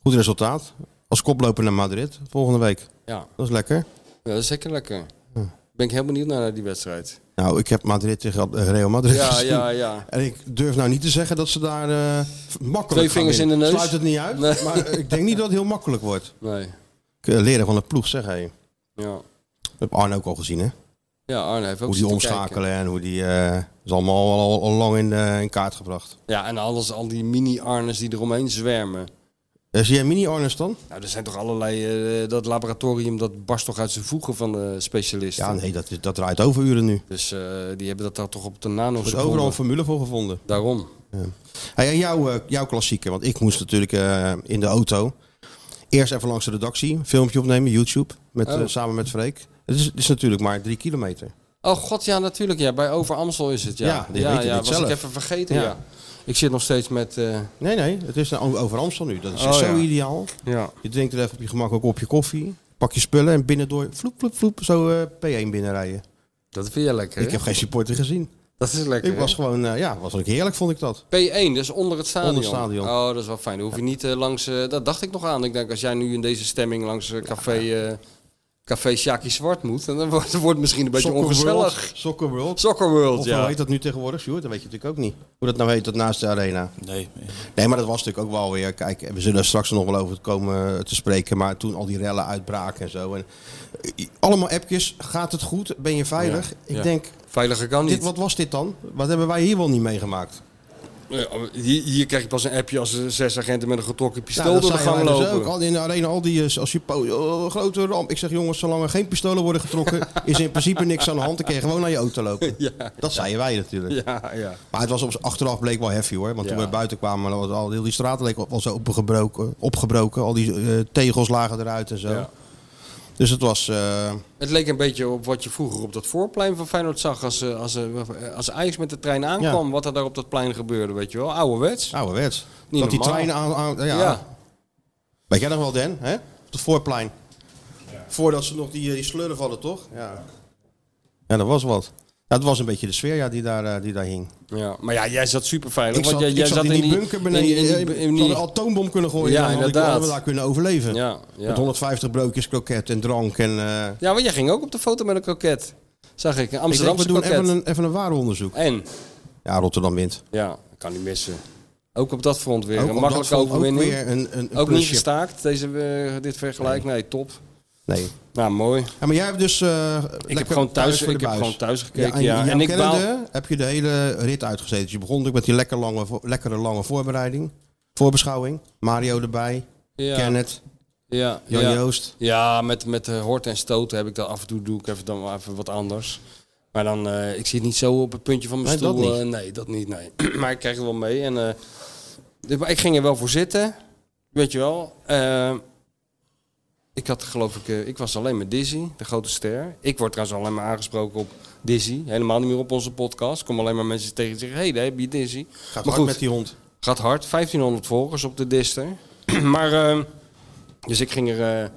Goed resultaat. Als koploper naar Madrid volgende week.
ja.
Dat is lekker.
Ja, dat is zeker lekker.
Hm.
Ben ik heel benieuwd naar die wedstrijd.
Nou, ik heb Madrid tegen eh, Real Madrid
Ja,
gezien.
ja, ja.
En ik durf nou niet te zeggen dat ze daar eh, makkelijk
Twee
gaan
vingers
winnen.
in de neus?
Sluit het niet uit,
Nee.
maar eh, ik denk niet dat het heel makkelijk wordt.
Nee.
Ik, eh, Leren van de ploeg, zeg hé.
Ja,
Dat heb Arne ook al gezien, hè?
ja Arne heeft ook
Hoe die
zitten kijken.
omschakelen en hoe die... eh is allemaal al, al- al lang in, eh, in kaart gebracht.
Ja, en alles, al die mini-Arnes die eromheen zwermen.
Eh, zie jij mini-Arnes dan?
Nou, er zijn toch allerlei... eh, dat laboratorium, dat barst toch uit zijn voegen van de specialisten.
Ja, nee, dat, is- dat draait overuren nu.
Dus eh, die hebben dat daar toch op de
Er is
nano's
overal een formule voor gevonden.
Daarom.
Hey, en jouw, eh, jouw klassieker, want ik moest natuurlijk eh, in de auto. Eerst even langs de redactie, een filmpje opnemen, YouTube, met,
Oh.
eh, samen met Freek. Het is, het is natuurlijk maar drie kilometer.
Oh god, ja, natuurlijk. Ja, bij Over Amstel is het, ja.
Ja, die
ja,
weten
ja,
dit
was
zelf.
ik even vergeten, ja.
Ja.
Ik zit nog steeds met... eh,
Nee, nee, het is nou over Amstel nu. Dat is
Oh,
zo
ja.
ideaal.
ja.
Je drinkt er even op je gemak ook op je koffie. Pak je spullen en binnendoor, vloep, vloep, vloep, zo eh, P1 binnenrijden.
Dat vind je lekker,
Ik heb geen supporter gezien.
Dat is lekker,
Ik was gewoon, eh, ja, was ook heerlijk vond ik dat.
P1, dus onder het stadion.
Onder het stadion.
Oh, dat is wel fijn. Dan hoef je niet eh, langs... eh, dat dacht ik nog aan. Ik denk, als jij nu in deze stemming langs eh, café... eh, Café Sjaki Zwart moet, dan eh, wordt dan wordt het misschien een beetje ongezellig.
World, Soccer World.
Soccer World,
Of hoe
ja.
heet dat nu tegenwoordig, Sjoerd? Dat weet je natuurlijk ook niet. Hoe dat nou heet, dat naast de arena.
Nee.
Nee, maar dat was natuurlijk ook wel weer. Kijk, we zullen er straks nog wel over komen eh, te spreken. Maar toen al die rellen uitbraken en zo. En, eh, allemaal appjes. Gaat het goed? Ben je veilig? Ik
ja.
denk,
Veiliger kan
dit,
niet.
wat was dit dan? Wat hebben wij hier wel niet meegemaakt?
Ja, oh, hier, hier krijg je pas een appje als er zes agenten met een getrokken pistool
Nou, dat
door de
zeiden
gang
wij dus
lopen.
ook. Al in de arena, al die eh, als je po- oh, grote ramp. Ik zeg jongens, zolang er geen pistolen worden getrokken, is in principe niks aan de hand. Dan kun je gewoon naar je auto lopen. dat zeiden wij natuurlijk.
Ja, ja.
Maar het was op, achteraf bleek wel heavy hoor. Want
Ja.
toen we buiten kwamen, dan was al heel die straat leek al zo opengebroken, opgebroken. Al die eh, tegels lagen eruit en zo.
Ja.
Dus het was. eh,
Het leek een beetje op wat je vroeger op dat voorplein van Feyenoord zag. Als, eh, als, eh, als Ajax met de trein aankwam, wat er daar op dat plein gebeurde, weet je wel. Ouderwets.
Ouderwets.
Niet
dat die
normaal.
treinen aan... aan- ja.
Ja.
Weet jij nog wel, Den? Hè? Op het voorplein. Voordat ze nog die, eh, die slurren hadden, toch? Ja. Ja, dat was wat. Ja, het was een beetje de sfeer ja, die, daar, eh, die daar hing.
Ja, maar ja, jij zat super veilig.
Ik
want
zat,
jij,
ik
jij
zat in die bunker beneden.
in die-
eh,
in
ik had
die-
een atoombom kunnen gooien.
Ja,
Ja, dan
inderdaad.
hadden we daar kunnen overleven.
Ja, ja.
Met 150 broodjes kroket en drank. En, eh,
ja, want jij ging ook op de foto met een kroket. Zag ik, een
ik denk, we
Amsterdamse
doen
kroket.
even een, even een waardeonderzoek.
En,
Ja, Rotterdam wint.
ja, kan niet missen. Ook op dat front weer.
Ook
een
op
makkelijke
dat vond ik
overwinning.
Ook weer een, een, een
ook niet
plusje.
gestaakt, deze, eh, dit vergelijk. Nee, top.
Nee.
Nou, mooi.
Ja, maar jij hebt dus. eh,
Ik heb
lekker
gewoon thuis,
voor de
ik heb
buis.
gewoon thuis gekeken.
en,
Ja,
jouw
En ik
kennende
baal,
heb je de hele rit uitgezeten. Dus je begon natuurlijk met die lekker lange, vo- lekkere lange voorbereiding. Voorbeschouwing. Mario erbij.
Ja.
Kenneth.
ja,
Jan
ja.
Joost.
Ja, met, met eh, horten en stoten heb ik dat af en toe doe ik even, dan wel even wat anders. Maar dan, eh, ik zit niet zo op het puntje van mijn
Nee, dat
stoel.
niet.
eh, nee, dat niet, nee. maar ik krijg er wel mee. En, eh, dit- maar ik ging er wel voor zitten, weet je wel. Eh, ik had geloof ik, eh, ik was alleen met Dizzy, de grote ster. Ik word trouwens alleen maar aangesproken op Dizzy. Helemaal niet meer op onze podcast. Kom alleen maar mensen tegen die zeggen, hé, hey, daar heb je Dizzy.
Gaat
Maar
hard
goed.
met die hond.
Gaat hard, 1500 volgers op de Dister. maar, ehm, dus ik ging er, eh,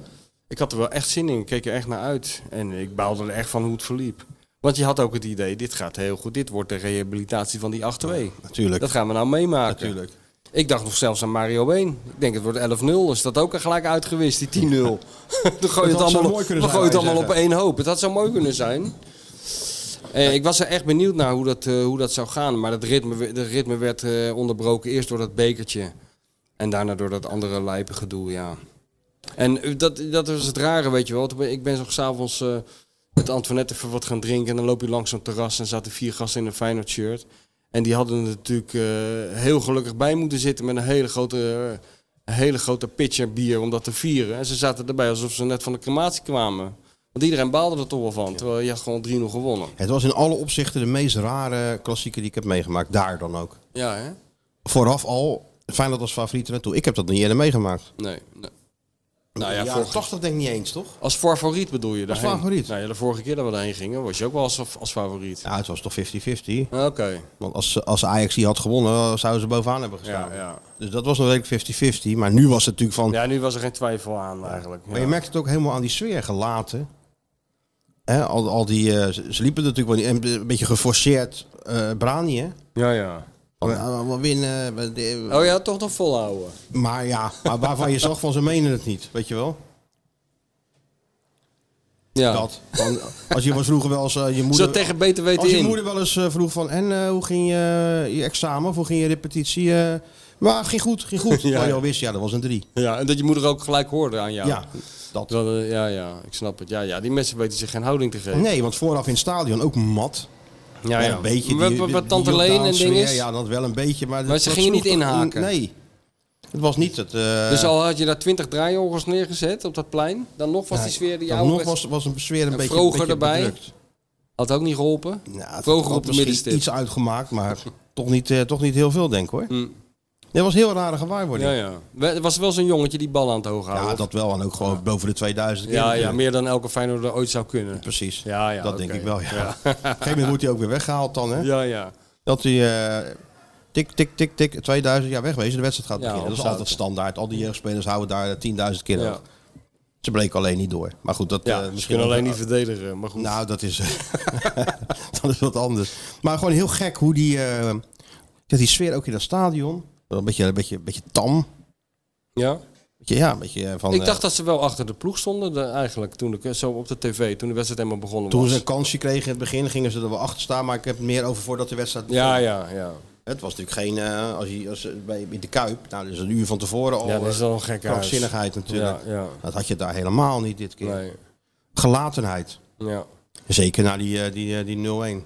ik had er wel echt zin in, ik keek er echt naar uit. En ik baalde er echt van hoe het verliep. Want je had ook het idee, dit gaat heel goed, dit wordt de rehabilitatie van die 8-2.
Natuurlijk.
Dat gaan we nou meemaken.
Natuurlijk.
Ik dacht nog zelfs aan Mario Been. Ik denk het wordt 11-0. Is dat ook gelijk uitgewist, die 10-0? Dan gooi je
had
het
zo
allemaal,
mooi
op-
kunnen
we
zijn,
gooien het
wou je
allemaal op
zeggen.
één hoop. Het had zo mooi kunnen zijn. Eh, ik was er echt benieuwd naar hoe dat, eh, hoe dat zou gaan. Maar het ritme, we- de ritme werd eh, onderbroken. Eerst door dat bekertje. En daarna door dat andere lijpe gedoe, ja. En eh, dat, dat was het rare, weet je wel. Toen ben- Ik ben nog s'avonds eh met Antoinette even wat gaan drinken. En dan loop je langs zo'n terras en zaten vier gasten in een Feyenoord shirt. En die hadden er natuurlijk eh, heel gelukkig bij moeten zitten met een hele grote, eh, een hele grote pitcher bier om dat te vieren. En ze zaten erbij alsof ze net van de crematie kwamen. Want iedereen baalde er toch wel van, terwijl je had gewoon 3-0 gewonnen.
Het was in alle opzichten de meest rare klassieker die ik heb meegemaakt. Daar dan ook.
Ja, hè?
Vooraf al. Feyenoord als favoriet naartoe. Ik heb dat niet eerder meegemaakt.
Nee. nee. Nou ja,
In de jaren
volgens-
80 denk ik niet eens, toch?
Als favoriet bedoel je daarheen?
favoriet.
Nou ja, de vorige keer dat we daarheen gingen, was je ook wel als, als favoriet. Ah,
Ja, het was toch 50-50.
Oké.
Want als, als Ajax die had gewonnen, zouden ze bovenaan hebben gestaan.
Ja, ja.
Dus dat was nog redelijk 50-50. Maar nu was het natuurlijk van...
ja, nu was er geen twijfel aan eigenlijk.
Maar je
Ja.
merkt het ook helemaal aan die sfeer gelaten. Hè, al, al die, eh, ze ze liepen natuurlijk wel niet. En een beetje geforceerd eh Brani, hè?
Ja, ja.
We- we- we winnen. we- de-
Oh ja, toch nog volhouden.
Maar ja, maar waarvan je zag van ze menen het niet, weet je wel?
Oh. Ja.
Dat. Van, als je was vroeger wel eens eh, je moeder...
Zo tegen beter weten
Als je
in.
moeder wel eens eh, vroeg van, en eh, hoe ging je, je examen of hoe ging je repetitie? eh, maar ging goed, ging goed.
Ja.
Maar je al wist, ja, dat was een drie.
Ja, en dat je moeder ook gelijk hoorde aan
Ja,
jou.
dat.
Dat, eh, ja, ja, ik snap het. Ja, ja, die mensen weten zich geen houding te geven.
Nee, want vooraf in het stadion ook mat.
Ja,
Ja,
ja.
een beetje.
Wat-
die-
wat- wat
die
Tante Leen en
Jordaanse
ding
sfeer,
is.
Ja, dat wel een beetje. Maar,
Maar
dat-
ze
dat
gingen
sloeg
niet
toch-
inhaken.
Nee. Het was niet het... eh,
Dus al had je daar twintig draaiorgels neergezet op dat plein, dan nog was die sfeer die
dan
oude
nog was, was een sfeer een
En
beetje,
Vroger
beetje
erbij.
bedrukt.
had ook niet geholpen.
Ja, het
Vroger
had
op de
misschien
middenstip.
iets uitgemaakt, maar toch, niet, eh, toch niet heel veel, denk ik hoor. Dat was een heel rare gewaarwording.
Mm. Ja,
Ja,
ja. We- Er was wel zo'n jongetje die bal aan het hoog houden.
dat wel. En ook gewoon boven de 2000 keer.
ja, ja,
natuurlijk.
meer dan elke Feyenoorder ooit zou kunnen.
Precies.
Ja, ja,
dat
oké.
denk ik wel, ja.
Ja.
Op een gegeven moment wordt hij ook weer weggehaald dan, hè.
Ja, ja.
Dat hij... eh, Tik, tik, tik, tik, 2000 jaar wegwezen, de wedstrijd gaat
Ja,
beginnen. Dat is
opzouten.
altijd standaard. Al die jeugdspelers houden daar 10.000 keer
Ja.
aan. Ze bleken alleen niet door. Maar goed, dat...
ja
eh,
ze kunnen alleen
ook-
niet verdedigen, maar goed.
Nou, dat is, dat is wat anders. Maar gewoon heel gek hoe die, eh, ja, die sfeer ook in dat stadion. Wel Een beetje, een beetje, een beetje tam.
ja?
Beetje, ja, een beetje eh, van.
Ik
eh,
dacht dat ze wel achter de ploeg stonden de- eigenlijk, toen ik, eh, zo op de tv, toen de wedstrijd helemaal begonnen
toen
was.
ze een kansje kregen in het begin, gingen ze er wel achter staan. Maar ik heb het meer over voordat de wedstrijd.
Ja, ja, ja.
Het was natuurlijk geen. eh, als je, als, je bij, in de kuip, nou, dus een uur van tevoren al.
Ja, dat is
eh,
wel een gekke
krankzinnigheid natuurlijk.
Ja, ja.
Dat had je daar helemaal niet dit keer.
Nee.
Gelatenheid.
Ja.
Zeker na die, eh, die, eh, die 0-1.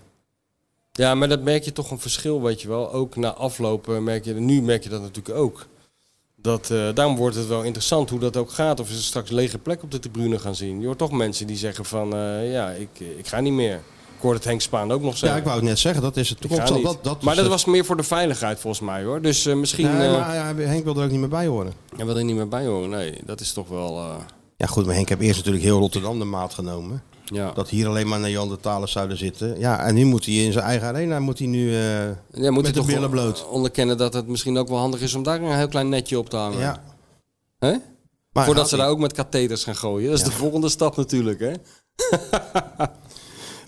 ja, maar dat merk je toch een verschil, weet je wel. Ook na aflopen merk je, nu merk je dat natuurlijk ook. Dat, eh, daarom wordt het wel interessant hoe dat ook gaat. Of ze straks lege plek op de tribune gaan zien. Je hoort toch mensen die zeggen van, eh, ja, ik, ik ga niet meer. Ik hoor het Henk Spaan ook nog
Ja,
zeggen.
ik wou het net zeggen, dat is het.
Ik
Klopt,
ga
dat,
niet.
dat, dat
maar
is
dat
het.
was meer voor de veiligheid volgens mij hoor. Dus eh, misschien...
Nee,
eh,
maar ja, Henk wil er ook niet meer bij horen.
Hij wil er niet meer bij horen. Nee, dat is toch wel. eh,
Ja, goed, maar Henk heb eerst natuurlijk heel Rotterdam de maat genomen.
ja.
Dat hier alleen maar Neandertalers zouden zitten. Ja, en nu moet hij in zijn eigen arena, moet hij nu eh,
Ja, moet
met
je
de
toch
billen
wel
bloot.
onderkennen dat het misschien ook wel handig is om daar een heel klein netje op te hangen.
Ja.
Hè?
Maar
Voordat
gaat
ze
hij.
daar ook met katheters gaan gooien. Dat is de volgende stap natuurlijk. Hè?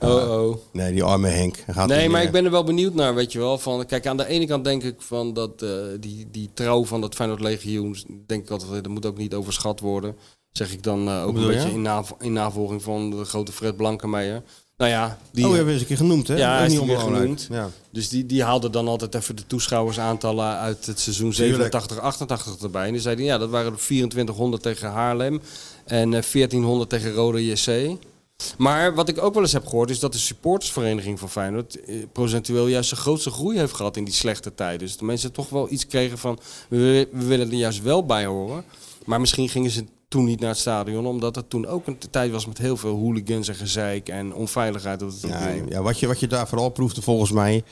Oh, oh.
Nee, die arme Henk. Hij Gaat
Nee,
Ah, niet
maar
meer.
ik ben er wel benieuwd naar, weet je wel. Van, kijk, aan de ene kant denk ik van dat eh, die, die trouw van dat Feyenoord Legioen, denk ik altijd, dat moet ook niet overschat worden. Zeg ik dan eh, ook een
bedoel je?
beetje in, navo- in navolging van de grote Fred Blankenmeijer. Nou ja, die,
Oh, we hebben eens een keer genoemd, hè?
Ja, hij
Ook
is
niet
niet meer
onbelangrijk.
genoemd.
Ja.
Dus die, die haalde dan altijd even de toeschouwersaantallen uit het seizoen
Tuurlijk.
87, 88 erbij. En die zeiden, ja, dat waren er 2400 tegen Haarlem en eh, 1400 tegen Rode JC. Maar wat ik ook wel eens heb gehoord is dat de supportersvereniging van Feyenoord eh, procentueel juist de grootste groei heeft gehad in die slechte tijd. Dus de mensen toch wel iets kregen van, we, we willen er juist wel bij horen. Maar misschien gingen ze toen niet naar het stadion, omdat het toen ook een tijd was met heel veel hooligans en gezeik en onveiligheid op het
Ja,
tribune.
ja, wat, je, wat je daar vooral proefde volgens mij,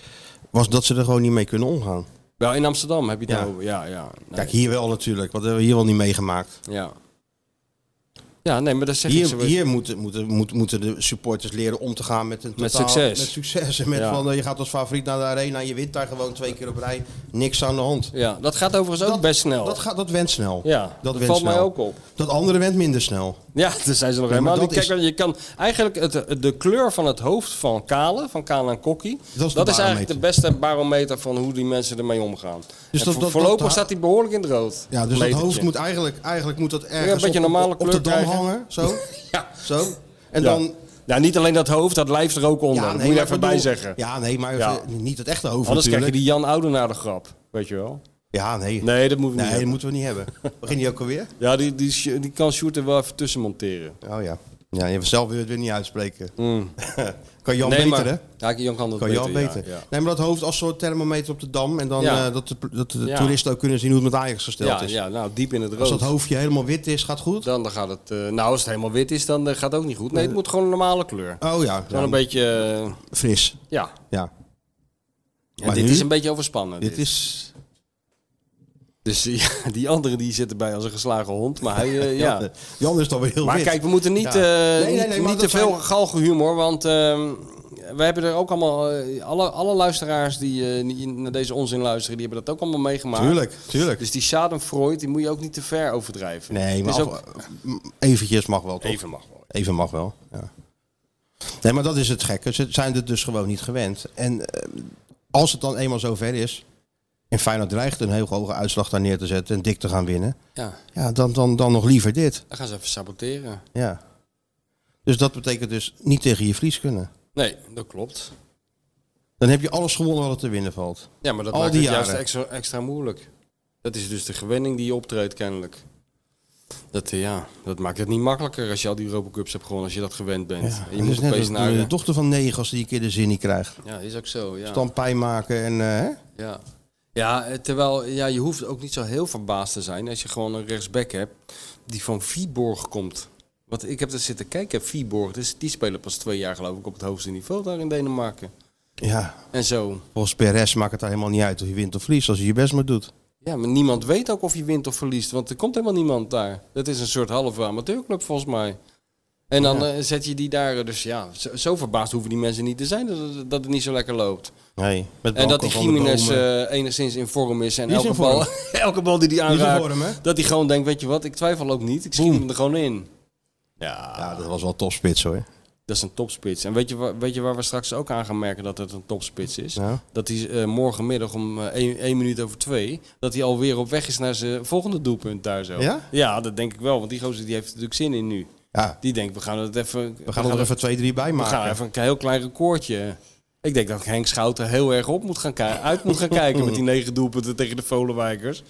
was dat ze er gewoon niet mee kunnen omgaan.
Wel, in Amsterdam heb je het
Ja.
over. Ja, ja. Nee,
Kijk, hier wel natuurlijk. Wat hebben we hier wel niet meegemaakt?
Ja. ja, nee, maar dat zeg ik zo.
Hier, hier moeten, moeten, moeten, moeten de supporters leren om te gaan met een
Met
totaal-
succes.
Met succes. En met
Ja.
van, eh, je gaat als favoriet naar de arena en je wint daar gewoon twee keer op rij. Niks aan de hand.
Ja, dat gaat overigens ook
Dat-
best snel.
Dat, gaat, dat went snel.
Ja, dat
went
valt
snel.
mij ook op.
Dat andere went minder snel. dus
Ja, daar zijn ze nog
Ja, maar
helemaal niet.
dat
Kijk, je kan eigenlijk het, de kleur van het hoofd van Kale, van Kale en Kokkie,
Dat is de
eigenlijk de beste barometer van hoe die mensen ermee omgaan. Dus
dat- dat-
voorlopig
dat-
staat hij behoorlijk in het rood.
Ja, dus dat
Metertje.
hoofd moet eigenlijk, eigenlijk moet dat ergens
een beetje
op,
normale
op, op de
kleur
dam
krijgen.
hangen. Zo.
Ja.
zo. En
Ja.
dan...
Ja, niet alleen dat hoofd, dat lijf er ook onder.
nee,
dat moet je
maar
er even
ik bedoel-
bij zeggen.
Ja, nee, maar
Ja.
eh, niet het echte hoofd
Anders krijg je
natuurlijk.
die Jan Oudenaar de grap, weet je wel.
Ja, nee.
Nee, dat moeten we
Nee,
niet
dat
hebben.
moeten we niet hebben. Begin die ook alweer?
Ja, die, die, Sj- die kan Sjoerd er wel even tussen monteren.
Oh ja. Ja, je zelf wil je het weer niet uitspreken. kan Jan
Mm. nee,
beter,
maar,
hè?
Ja, Jan kan dat
Kan
beter.
Jan
ja,
beter.
Ja,
Nee, maar dat hoofd als soort thermometer op de dam. En dan
Ja.
eh, dat de, dat de
Ja.
toeristen ook kunnen zien hoe het met Ajax gesteld
ja,
is.
ja, nou, diep in het rood.
Als dat hoofdje helemaal wit is, gaat goed.
Dan, dan gaat het... eh, nou, als het helemaal wit is, dan eh, gaat het ook niet goed. Nee, het moet gewoon een normale kleur.
Oh ja,
Gewoon
ja,
een beetje... eh,
fris.
ja.
Ja.
En
Maar
dit
nu?
is een beetje overspannen.
Dit is...
Dus die- die anderen die zitten bij als een geslagen hond. Maar hij... eh, ja.
Jan is dan weer heel
Maar
wit.
kijk, we moeten
Ja.
niet, eh,
Nee, nee,
niet-
nee, maar
niet,
dat
te veel
zijn-
galgenhumor, want ehm, we hebben er ook allemaal... eh, alle, alle luisteraars die eh, die naar deze onzin luisteren, die hebben dat ook allemaal meegemaakt.
Tuurlijk, tuurlijk.
Dus die schadenfreude, die moet je ook niet te ver overdrijven.
Nee,
Het
maar
is ook-
af- eventjes mag wel, toch?
Even mag wel.
Even mag wel, ja. Nee, maar dat is het gekke. Ze zijn het dus gewoon niet gewend. En eh, als het dan eenmaal zover is... en Feyenoord dreigt een heel hoge uitslag daar neer te zetten... en dik te gaan winnen...
Ja,
ja, dan, dan, dan nog liever dit.
dan gaan ze even saboteren.
Ja. Dus dat betekent dus niet tegen je vlies kunnen.
Nee, dat klopt.
Dan heb je alles gewonnen wat er te winnen valt.
Ja, maar dat
Al
maakt
die
het
jaren.
juist extra, extra moeilijk. Dat is dus de gewenning die je optreedt kennelijk. Dat, eh, ja, dat maakt het niet makkelijker als je al die Europa Cups hebt gewonnen, als je dat gewend bent. En je
dat
moet
is net
opeens
als
naar...
de
de-
dochter van Negels die een keer de zin niet krijgt.
Ja, is ook zo, ja.
Dan pijn maken en... eh, hè?
Ja, ja eh, terwijl ja, je hoeft ook niet zo heel verbaasd te zijn als je gewoon een rechtsback hebt die van Viborg komt. Want ik heb er zitten kijken, Viborg, dus die spelen pas twee jaar geloof ik op het hoogste niveau daar in Denemarken.
ja,
En zo.
volgens Perez maakt het daar helemaal niet uit of je wint of verliest... als je je best maar doet.
Ja, maar niemand weet ook of je wint of verliest, want er komt helemaal niemand daar. Dat is een soort halve amateurclub volgens mij. En dan eh, zet je die daar, eh, dus ja, zo, zo verbaasd hoeven die mensen niet te zijn dat, het- dat het niet zo lekker loopt.
Nee, met
En dat
Branco
die
van de
Jiménez
Bomen.
eh, enigszins in vorm is. En
Die is
elke,
in vorm.
bal, elke bal die hij
in
aanraakt,
vorm, hè?
dat hij gewoon denkt, weet je wat, ik twijfel ook niet. Ik schiet hem er gewoon in. Ja,
Ja, dat was wel topspits hoor.
dat is een topspits. En weet je, waar, weet je waar we straks ook aan gaan merken dat het een topspits is?
Ja.
Dat hij eh, morgenmiddag om eh, één 1 minuut over twee, dat hij alweer op weg is naar zijn volgende doelpunt daar zo.
Ja?
ja, dat denk ik wel, want die gozer die heeft er natuurlijk zin in nu.
Ja,
Die denkt, we gaan het even...
we gaan er even twee, drie bij
We
maken.
gaan even een heel klein recordje. Ik denk dat Henk Schouten heel erg op moet gaan ki- uit moet gaan kijken met die negen doelpunten tegen de Volenwijkers.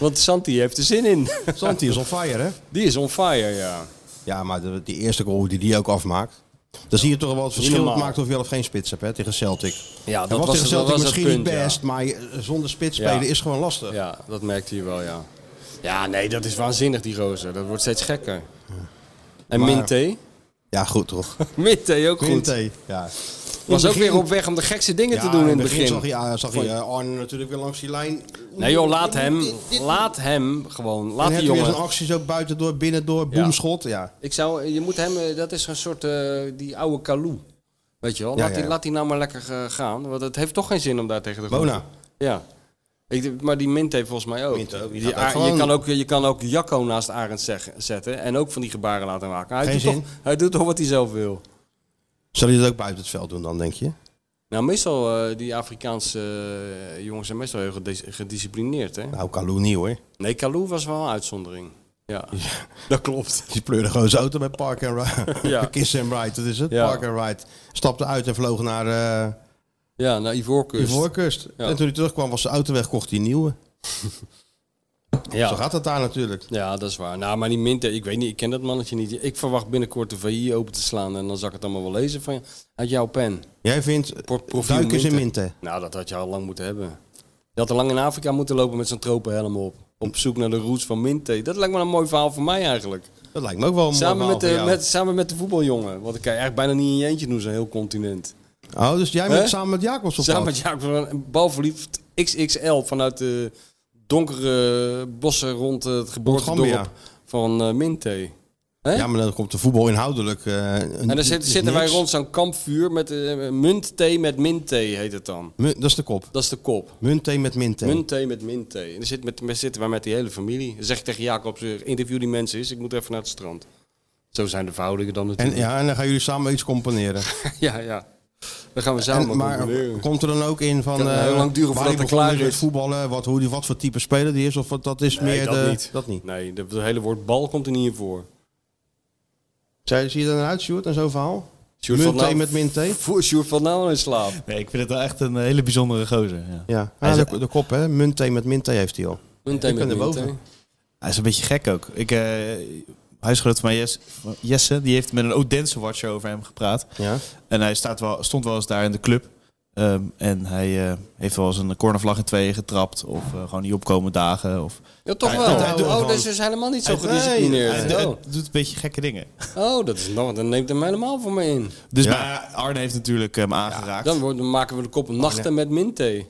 Want Santi heeft er zin in.
Santi is on fire, hè?
Die is on fire, ja.
Ja, maar de, die eerste goal die die ook afmaakt. Dan zie je toch wel het verschil
normaal.
het maakt of je wel of geen spits hebt hè, tegen Celtic.
Ja,
Hij
dat was-
tegen
dat
Celtic
was het
misschien
punt,
niet
ja.
best, maar je- zonder spits
Ja.
spelen is gewoon lastig.
Ja, dat merkte je wel, ja. Ja, nee, dat is waanzinnig, die roze. Dat wordt steeds gekker. En
Maar-
Minté?
Ja, goed toch?
Minté ook goed.
Quinte, ja.
Was ook
begin-
weer op weg om de gekste dingen
Ja,
te doen in het
begin
begin.
zag je, ja, zag je eh, Arne natuurlijk weer langs die lijn.
Nee joh, laat hem.
Dit- dit-
Laat hem gewoon.
En
Laat
heb
die
je weer
jongen.
zo'n actie zo buitendoor, binnendoor, boemschot. Ja.
Ik zou, je moet hem, eh, dat is een soort, eh, die oude Kalou. Weet je wel,
Ja,
laat,
ja,
Die,
ja.
laat die nou maar lekker eh, gaan. Want het heeft toch geen zin om daar tegen de
Bona.
Ja. Ik, maar die Mint heeft volgens mij ook.
Mint ook, die
Die
gaat ook
Ar- je,
gewoon-
kan ook je kan ook Jacco naast Arend zeg- zetten en ook van die gebaren laten maken. Hij,
Geen
doet,
zin.
Toch, hij doet toch wat hij zelf wil.
Zal je dat ook buiten het veld doen dan, denk je?
Nou, meestal, eh, die Afrikaanse eh, jongens zijn meestal heel gedis- gedisciplineerd, hè?
Nou, Kalou niet hoor.
Nee, Kalou was wel een uitzondering. Ja, dat klopt.
Die pleurde gewoon zijn auto bij Park and Ride.
Ja.
Kiss and Ride, dat is het.
Ja.
Park and Ride. Stapte uit en vloog naar eh
Ja, naar Ivoorkust.
Ivoorkust.
Ja.
En toen hij terugkwam was zijn auto weg, kocht hij een nieuwe. Zo
Ja.
gaat het daar natuurlijk.
ja, dat is waar. Nou, maar die Minter, ik weet niet, ik ken dat mannetje niet. Ik verwacht binnenkort de VI open te slaan en dan zal ik het allemaal wel lezen van, uit jouw pen.
Jij vindt
Pro- profiel
duikers in
Minte.
Minte.
Nou, dat had je al lang moeten hebben. Je had al lang in Afrika moeten lopen met zo'n tropenhelm op. Op zoek naar de roots van Minte. Dat lijkt me een mooi verhaal voor mij eigenlijk.
Dat lijkt me ook wel een mooi
Samen
verhaal
met,
voor
de,
jou.
met, samen met de voetbaljongen. Want ik kan je eigenlijk bijna niet in je eentje doen, zo'n heel continent.
Oh, dus jij bent
Hè?
samen met Jacobs op
samen
pad?
met Jacob van Balverliefd XXL vanuit de donkere bossen rond het geboortedorp
Gambia.
van eh, Minte. Hè?
Ja, maar dan komt de voetbal inhoudelijk. eh, een-
en dan
is
zit- zitten wij
niks.
rond zo'n kampvuur met eh, muntthee met minthee heet het dan.
Mu- dat is de kop.
Dat is de kop.
Munthee met Minte.
Munthee met minthee. En dan zit met, met- zitten wij met die hele familie. Dan zeg ik tegen Jacob, zeg, interview die mensen eens, ik moet even naar het strand. Zo zijn de verhoudingen dan
en,
natuurlijk.
ja, en dan gaan jullie samen iets componeren.
ja, ja. Dan gaan we samen
En, maar
concluderen.
komt er dan ook in van
Kan heel
eh,
lang duren
waar
voordat
hij
het klaar
begonnen
is.
met voetballen, wat, hoe die, wat voor type speler die is, of wat, dat is
Nee,
meer
dat
de...
niet.
Dat niet.
Nee, de- het hele woord bal komt er niet in voor.
Zij, zie je er dan uit, Sjoerd, en zo'n verhaal?
Sjoerd
Munthee
van Nauw-
met Minte?
Voor Sjoerd van Nauwen in slaap.
Nee, ik vind het wel echt een hele bijzondere gozer. Ja.
Ja,
Hij
Ah,
is-
de, de kop hè, Munthee met Minte heeft hij al.
Munthee
Ik
met
ben er
Munthee.
boven.
Hij is een beetje gek ook. Ik, eh huisgenoot van mij, Jess- van Jesse, die heeft met een Odense watcher over hem gepraat.
Ja.
En hij staat wel, stond wel eens daar in de club. Ehm, en hij eh, heeft wel eens een cornervlag in tweeën getrapt. Of eh, gewoon niet opkomen dagen. Of,
Ja, toch
Hij-
wel.
hij doet
oh,
gewoon-
dat is dus helemaal niet zo
Hij- hij,
gedisciplineerd.
hij
oh.
doet een beetje gekke dingen.
Oh, dat is nog, dan neemt hem helemaal voor me in.
Dus
Ja.
maar Arne heeft natuurlijk hem aangeraakt.
Dan, wordt- dan maken we de kop nachten met minthee.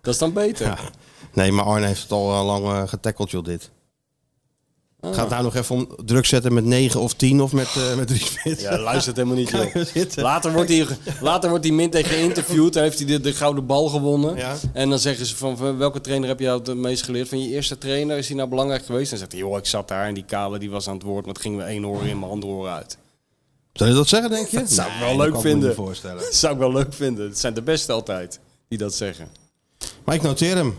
Dat is dan beter.
Nee, maar Arne heeft het al eh, lang eh, getackeld, joh, dit.
Ah.
Gaat nou nog even om druk zetten met 9 of 10 of met, eh met 3 spits?
Ja, luistert helemaal niet,
Kijk
joh.
hem zitten.
Later wordt, hij, later wordt die Minte geïnterviewd. Dan heeft hij de, de gouden bal gewonnen.
Ja.
En dan zeggen ze van, van welke trainer heb je nou het meest geleerd? Van je eerste trainer, is die nou belangrijk geweest? Dan zegt hij, joh, ik zat daar en die kale die was aan het woord. Maar het ging me één oor in, mijn andere oor uit.
Zou je dat zeggen, denk je?
Dat zou ik
Nee,
wel
dat
leuk
kan me
vinden.
niet voorstellen.
Dat zou ik wel leuk vinden. Het zijn de beste altijd die dat zeggen.
Maar ik noteer hem.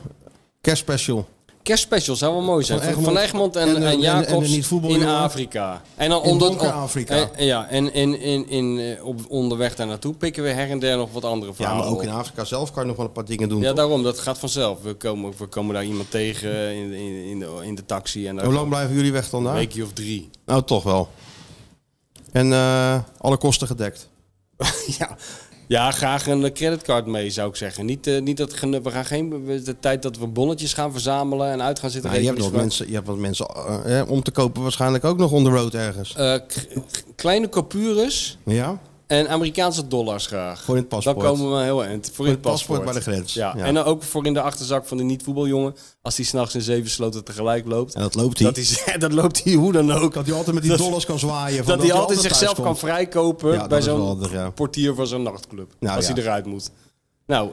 Kerstspecial.
Kerstspecial zou wel mooi zijn.
Van Egmond
Van, Egmond
en
en,
de-
en,
en de- en de
Jacobs in
niet-voetbaljongen.
Afrika. En dan
In
onder-
donker Afrika.
en- en ja, en, en, en, en, eh, op, onderweg daar naartoe pikken we her en der nog wat andere
Ja,
verhalen
maar ook
op.
in Afrika zelf kan je nog wel een paar dingen doen.
Nou. Ja,
toch?
daarom. Dat gaat vanzelf. We komen, we komen daar iemand tegen in, in, in, de, in de taxi. En daar
Hoe lang blijven jullie weg dan
Een
daar?
weekje of drie.
Nou, toch wel. En eh, alle kosten gedekt.
ja. ja, graag een eh, creditcard mee, zou ik zeggen. Niet, eh, niet dat gene- we gaan geen we- de tijd dat we bonnetjes gaan verzamelen en uit gaan zitten.
Nou, je, hebt
rekening
nog
voor-
mensen, je hebt wat mensen eh, eh, om te kopen waarschijnlijk ook nog on the road ergens.
Eh, k- k- kleine capures
Ja?
en Amerikaanse dollars graag.
Voor in het paspoort.
Dan komen we heel eind. Voor, in
het paspoort bij de grens.
Ja.
Ja.
En dan ook voor in de achterzak van de niet-voetbaljongen. Als die s'nachts in zeven sloten tegelijk loopt.
En dat loopt hij.
Dat, is, dat loopt hij hoe dan ook.
Dat hij altijd met die
Dat-
dollars kan zwaaien. van
dat hij altijd
thuis
zichzelf
komt.
kan vrijkopen
Ja, dat
bij
is wel
zo'n
handig, ja.
portier van zo'n nachtclub.
Nou,
als
ja.
hij eruit moet. Nou,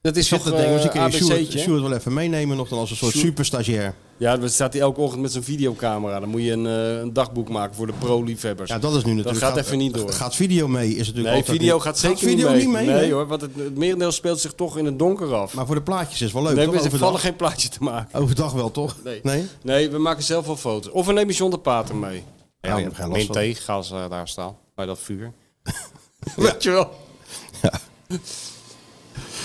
dat is
Ik
toch eh,
zat te denken,
een
misschien kun je Sjoerd,
ABC'tje. hè?
Sjoerd wel even meenemen nog dan als een soort
Sjoerd-
superstagiair.
Ja, dan staat hij elke ochtend met zijn videocamera. Dan moet je een, eh, een dagboek maken voor de pro-liefhebbers.
Ja, dat is nu natuurlijk...
gaat even niet door.
Gaat video mee is natuurlijk
nee,
altijd
video
niet-
gaat zeker
video
niet mee.
Nee,
nee hoor, want het, het merendeel speelt zich toch in het donker af.
Maar voor de plaatjes is wel leuk,
nee,
toch?
we vallen
Overdag.
geen plaatje te maken.
Overdag wel, toch?
Nee.
Nee?
Nee, we maken zelf wel foto's. Of we nemen John de Pater mee.
Ja, ik heb geen last
Min
van.
thee, gaan ze eh, daar staan, bij dat vuur. Weet je wel.
Ja.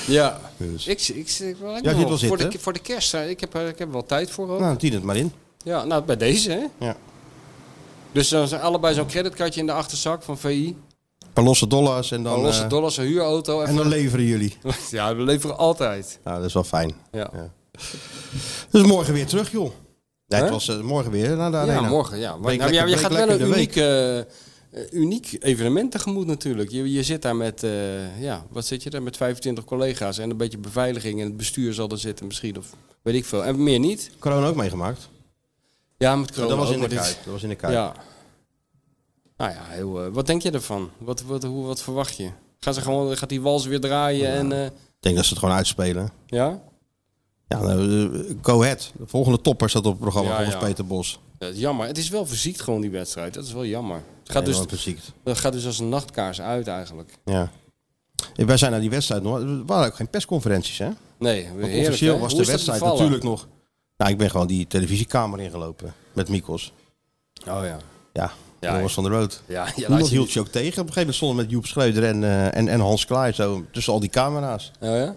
Ja,
Dus.
ik, ik, ik, ik,
Ja, je hebt wel
voor,
zitten,
de,
hè?
voor de kerst, eh, ik heb, er- ik heb er wel tijd voor. Ook.
Nou, tien het maar in.
Ja, nou, bij deze, hè.
Ja.
Dus dan zijn allebei zo'n creditkaartje in de achterzak van VI.
Een paar losse dollars en dan...
Dan losse
eh,
dollars, een huurauto.
En
Even.
dan leveren jullie.
Ja, we leveren altijd.
Nou, dat is wel fijn.
Ja,
Ja. Dus morgen weer terug, joh. Ja,
Hè?
het was eh, morgen weer naar de
ja,
arena.
morgen, ja. Maar,
Week
nou, ja,
lekker-
je
week
gaat wel
lekker
een
in de
uniek, eh, eh, uniek evenement tegemoet natuurlijk. Je, je zit daar met, eh, ja, wat zit je daar? Met 25 collega's en een beetje beveiliging. En het bestuur zal er zitten misschien, of weet ik veel. En meer niet.
Corona ook meegemaakt.
Ja, met corona
Dat was
ook,
in de
maar dit-
kuip. Dat was in de kuip.
Ja. Nou ja, heel, eh, wat denk je ervan? Wat, wat, hoe, wat verwacht je? Gaan ze gewoon, gaat die wals weer draaien en... eh,
Ik denk dat ze het gewoon uitspelen.
ja?
Ja, nou, eh, go ahead. De volgende topper staat op het programma
Ja,
volgens
ja.
Peter Bos.
Ja, het is jammer. Het is wel verziekt gewoon die wedstrijd. Dat is wel jammer. Het gaat, dus,
Helemaal beziekt.
het gaat dus als een nachtkaars uit eigenlijk.
Ja. Eh, Wij zijn naar die wedstrijd nog. Er waren ook geen persconferenties, hè?
Nee, heerlijk,
Want
hè?
officieel
Hoe
was
is
de
dat
wedstrijd
bevallen?
natuurlijk nog. Nou, ik ben gewoon die televisiekamer ingelopen met Mikos.
Oh ja.
Ja,
Ja,
Jongens van de Road.
Ja, ja, laat
Niemand
je
hield
niet-
je ook tegen. Op een gegeven moment stonden we met Joep Schreuder en, eh, en, en Hans Klaai zo tussen al die camera's.
Oh ja?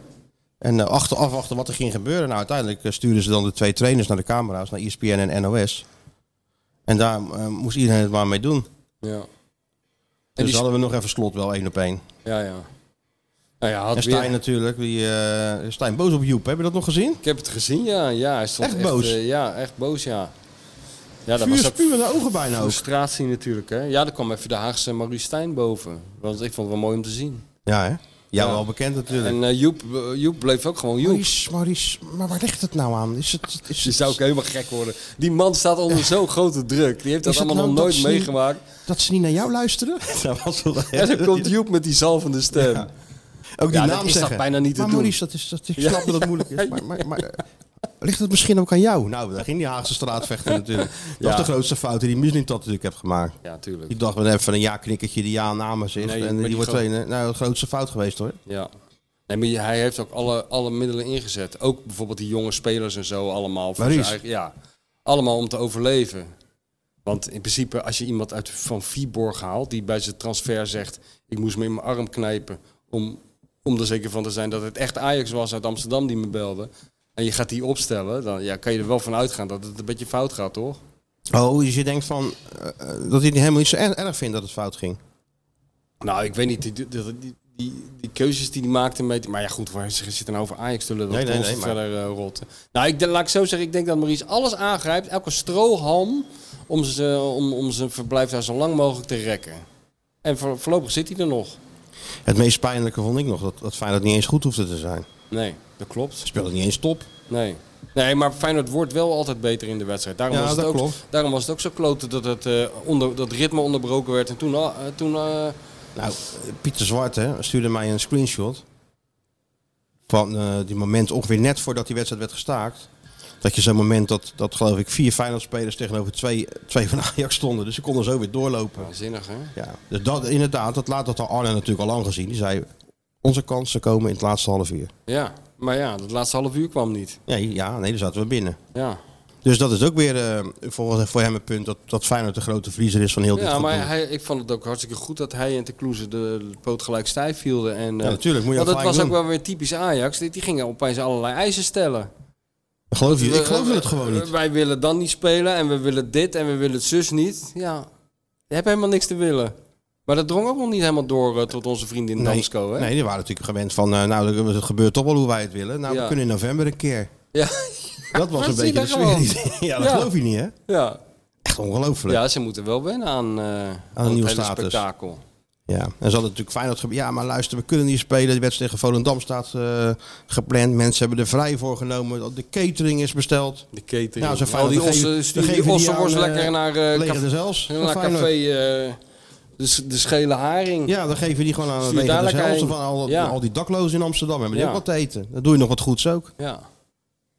En eh, achter, afwachten wat er ging gebeuren. Nou, uiteindelijk eh, stuurden ze dan de twee trainers naar de camera's, naar E ESPN en NOS. En daar eh, moest iedereen het maar mee doen.
Ja.
Dus
die-
hadden we nog even slot wel één op één.
Ja, ja. Nou ja,
En
had
Stijn
weer-
natuurlijk, die, eh, Stijn boos op Joep. Heb je dat nog gezien?
Ik heb het gezien, ja. ja hij stond
Echt
echt,
boos?
eh, ja, echt boos, ja. Ja, dat
Vuur
was ook
spuwen de ogen bijna ook.
frustratie natuurlijk, hè. Ja, daar kwam even de Haagse Maurice Stijn boven. Want ik vond het wel mooi om te zien.
Ja, hè? Ja, wel bekend natuurlijk.
En eh, Joep, eh, Joep bleef ook gewoon Joep.
Maurice, Maurice, maar waar ligt het nou aan? Is het, is
Die
het,
zou ook helemaal gek worden. Die man staat onder zo'n grote druk. Die heeft dat
Is het
allemaal
nou
nog nooit
dat ze-
meegemaakt.
dat ze niet naar jou luisteren? dat was wel
En dan komt Joep met die zalvende stem. Ja,
Ook die
Ja, dat
naam
is
zeggen.
toch bijna niet te
maar
doen.
Maurice, dat is, dat, ik
Ja,
snap dat het moeilijk is. Maar, maar, maar, eh, ligt het misschien ook aan jou? Nou, daar ging die Haagse straatvechter natuurlijk. Dat
Ja.
is de grootste fout die Muslim dat natuurlijk heeft gemaakt.
tuurlijk.
Die dacht wel even een ja-knikkertje die ja namens is.
Nee, maar
en die,
die
wordt
gro-
trainen. Nou, de grootste fout geweest hoor.
Ja. Nee, maar je- hij heeft ook alle, alle middelen ingezet. Ook bijvoorbeeld die jonge spelers en zo allemaal. Voor
Maurice.
zijn eigen- ja. Allemaal om te overleven. Want in principe, als je iemand uit van Viborg haalt, die bij zijn transfer zegt: Ik moest me in mijn arm knijpen. Om, om er zeker van te zijn dat het echt Ajax was uit Amsterdam die me belde. En je gaat die opstellen, dan ja, kan je er wel van uitgaan dat het een beetje fout gaat, toch?
Oh, dus je denkt van eh, eh, dat hij het helemaal niet zo erg, erg vindt dat het fout ging.
Nou, ik weet niet. Die, die, die, die, die keuzes die hij maakte met... Maar ja, goed, waar zit het nou over Ajax te lullen?
Nee,
Dat
nee,
kan
nee,
ons
maar-
verder eh, rotten. Nou, ik, denk- laat ik zo zeggen. Ik denk dat Maurice alles aangrijpt. Elke strohalm om, ze, om, om zijn verblijf daar zo lang mogelijk te rekken. En voor, voorlopig zit hij er nog.
Het meest pijnlijke vond ik nog dat, dat Feyenoord niet eens goed hoefde te zijn.
Nee, dat klopt.
Speelde niet eens top.
Nee. Nee, maar Feyenoord wordt wel altijd beter in de wedstrijd. Daarom,
Ja,
was, het
dat
ook,
klopt.
daarom was het ook zo kloten dat het eh, onder, dat ritme onderbroken werd. En toen... ah, eh, toen eh,
Nou, Pieter Zwart hè, stuurde mij een screenshot van eh, die moment ongeveer net voordat die wedstrijd werd gestaakt. Dat je zo'n moment dat, dat geloof ik vier Feyenoord-spelers tegenover twee, twee van Ajax stonden. Dus ze konden zo weer doorlopen.
waanzinnig, hè?
Ja, dus dat inderdaad, dat laat dat al Arne natuurlijk al lang gezien. Die zei, onze kansen komen in het laatste half uur.
Ja, maar ja, dat laatste half uur kwam niet.
Nee, ja, nee, daar zaten we binnen.
Ja.
Dus dat is ook weer eh, voor, voor hem een punt dat, dat Feyenoord de grote verliezer is van heel dit
Ja,
gedoe.
maar hij, ik vond het ook hartstikke goed dat hij en de Kloeze de poot gelijk stijf hielden. En,
Ja,
eh,
natuurlijk, moet je
Want
dat
dat was
gelijk
ook wel weer typisch Ajax. Die, die gingen opeens allerlei eisen stellen. Eh,
Geloof je? Ik geloof in het gewoon niet.
Wij willen dan niet spelen en we willen dit en we willen het zus niet. Ja, je hebt helemaal niks te willen. Maar dat drong ook nog niet helemaal door eh, tot onze vrienden in Damsko, hè?
nee, die waren natuurlijk gewend van, eh, nou, het gebeurt toch wel hoe wij het willen. Nou, we
Ja.
kunnen in november een keer.
Ja.
Dat was een beetje de
Wat zie je daar
sfeer. die- ja, dat
Ja.
geloof je niet, hè?
Ja.
Echt ongelooflijk. Ja.
ja, ze moeten wel wennen aan, eh, aan
nieuwe
het hele
status.
spektakel.
En ze hadden natuurlijk Feyenoord gebe- Ja, maar luister, we kunnen niet spelen. De wedstrijd tegen Volendam staat eh, gepland. Mensen hebben er vrij voor genomen. De catering is besteld.
De catering.
Nou, ze
Al die
dan geven-
ossen,
dan
sturen
geven
die
die
ossenworst
aan, eh,
lekker naar, eh,
Leger
caf-
de Zels. van
naar
Feyenoord.
café... eh, de, s- de schele haring.
Ja, dan geven die gewoon aan het
Stuur
leger de
daar lekker
Zels.
heen.
Van al,
Ja.
al die daklozen in Amsterdam hebben die
Ja.
ook wat te eten. Dan doe je nog wat goeds ook.
Ja.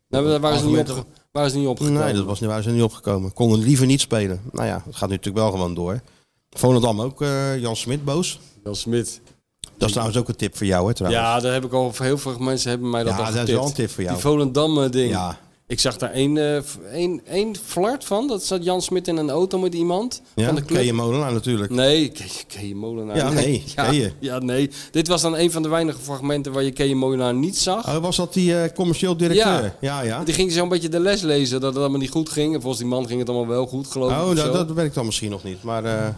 Nou, daar waren ze niet
Argumenten-
op, waren ze niet opgekomen.
Nee, dat was niet, waar ze niet opgekomen. Konden liever niet spelen. Nou ja, het gaat nu natuurlijk wel gewoon door. Volendam ook, eh, Jan Smit boos.
Jan Smit.
Dat is trouwens ook een tip voor jou, hè, trouwens.
Ja, daar heb ik al heel veel mensen hebben mij dat
Ja,
al
dat is
getipt.
wel een tip voor jou.
Die Volendam eh, ding.
Ja.
Ik zag daar één, eh, v- één, één flart van. Dat zat Jan Smit in een auto met iemand
Ja,
van de club.
Ken je Molenaar natuurlijk.
Nee, Ke- Keje Molenaar.
Ja, nee,
ja,
Keje.
ja, nee. Dit was dan een van de weinige fragmenten waar je Keje Molenaar niet zag.
Oh, was dat die eh, commercieel directeur?
Ja.
ja. ja.
Die ging zo'n beetje de les lezen dat het allemaal niet goed ging. En volgens die man ging het allemaal wel goed, geloof ik.
Oh,
of
dat,
zo.
dat weet ik dan misschien nog niet. Maar, eh, nou, Jan,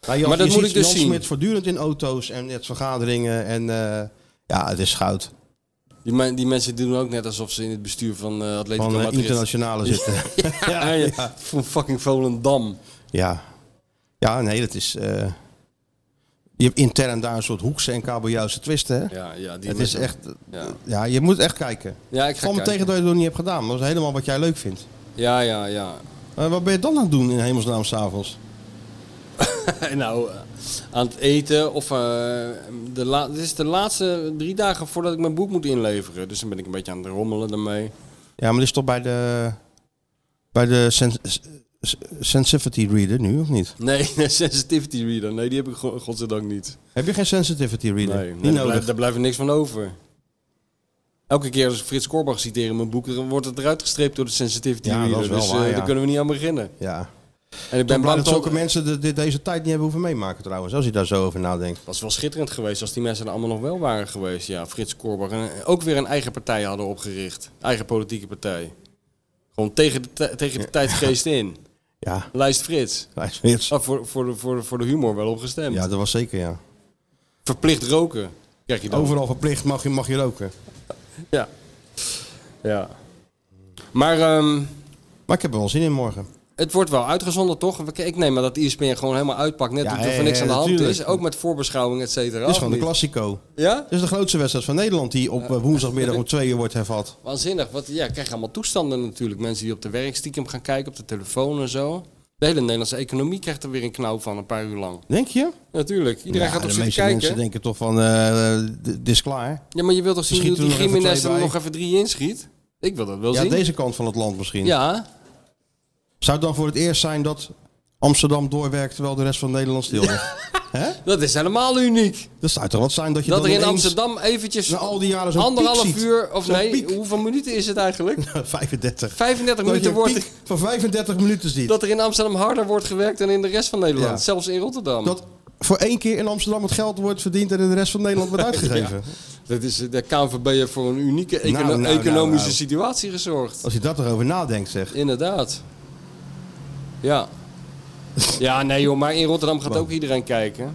Maar
je
dat moet
ziet
ik dus
Jan
zien.
Smit voortdurend in auto's en net vergaderingen. En eh, ja, het is goud.
Die, men- die mensen doen ook net alsof ze in het bestuur van eh Atletico
Van eh,
Madrid
internationale zitten.
ja, ja, Van fucking Volendam.
Ja. Ja, nee, dat is... eh, je hebt intern daar een soort hoekse en kabeljauwse twisten, hè?
Ja, ja, die
het is
mensen-
echt...
Ja.
Ja, je moet echt kijken.
Ja, ik ga
Val me
kijken.
tegen dat je het nog niet hebt gedaan. Dat is helemaal wat jij leuk vindt.
Ja, ja, ja.
Eh, wat ben je dan aan het doen in hemelsnaam s'avonds?
nou, eh, aan het eten of... eh, de la- dit is de laatste drie dagen voordat ik mijn boek moet inleveren. Dus dan ben ik een beetje aan het rommelen daarmee.
Ja, maar dit is toch bij de... Bij de sen- s- sensitivity reader nu, of niet?
Nee, nee, sensitivity reader. Nee, die heb ik go- godzijdank niet.
Heb je geen sensitivity reader?
Nee,
niet
nee, daar,
nodig.
blijft, daar blijft niks van over. Elke keer als ik Frits Korbach citeer in mijn boek, dan wordt het eruit gestreept door de sensitivity
Ja, dat
reader.
is wel
dus eh,
waar, ja.
daar kunnen we niet aan beginnen.
Ja.
En
Ben
ik ben
blij
bang
dat
dat,
zulke mensen de- de- deze tijd niet hebben hoeven meemaken trouwens, als je daar zo over nadenkt.
was wel schitterend geweest als die mensen er allemaal nog wel waren geweest. Ja, Frits Korbach. En ook weer een eigen partij hadden opgericht. Eigen politieke partij. Gewoon tegen de, ti- tegen de tijdgeest in.
Ja,
Lijst Frits.
wijsweers.
Ah, voor, voor, de, voor, de, voor de humor wel opgestemd.
Ja, dat was zeker, ja.
Verplicht roken. Krijg je dan.
Overal verplicht mag je, mag je roken.
Ja. Ja. Maar ehm,
Maar ik heb er wel zin in morgen.
het wordt wel uitgezonden, toch? Ik- Ik neem maar dat E ESPN gewoon helemaal uitpakt. Net
Ja,
doet alsof
ja,
er niks
ja,
aan de hand
natuurlijk.
is. Ook met voorbeschouwing, et cetera.
Dit is
of
gewoon de
niet?
Classico.
Ja?
Dit is de grootste wedstrijd van Nederland die op eh, woensdagmiddag om twee uur wordt hervat.
Waanzinnig. Want ja, krijg je allemaal toestanden natuurlijk. Mensen die op de werk stiekem gaan kijken, op de telefoon en zo. De hele Nederlandse economie krijgt er weer een knauw van, een paar uur lang.
Denk je?
Natuurlijk. Iedereen
Ja,
gaat op
de
zitten
meeste
kijken.
mensen denken toch van, eh, eh, d- dit is klaar.
Ja, maar je wilt toch zien hoe
Schieten
die
er nog even
Jiménez
twee
er
bij.
nog even drie inschiet? Ik wil dat wel
Ja,
zien.
deze kant van het land misschien.
Ja,
Zou het dan voor het eerst zijn dat Amsterdam doorwerkt terwijl de rest van Nederland stil ligt?
dat is helemaal uniek.
Dat zou toch wat zijn dat je
Dat
dan
er in
ineens
Amsterdam eventjes
na al die jaren zo'n piek
anderhalf
ziet.
uur, of
Zo'n
nee,
piek.
hoeveel minuten is het eigenlijk?
35.
35
Dat je
minuten
een
wordt
piek van 35 minuten ziet. Dat,
dat er in Amsterdam harder wordt gewerkt dan in de rest van Nederland.
Ja.
Zelfs in Rotterdam. Dat,
voor één keer in Amsterdam het geld wordt verdiend en in de rest van Nederland wordt uitgegeven.
is de KNVB heeft voor een unieke econo-
Nou, nou, nou,
economische
nou.
situatie gezorgd.
Als je dat erover nadenkt, zeg.
Inderdaad. Ja. Ja, nee joh, maar in Rotterdam gaat ook iedereen kijken.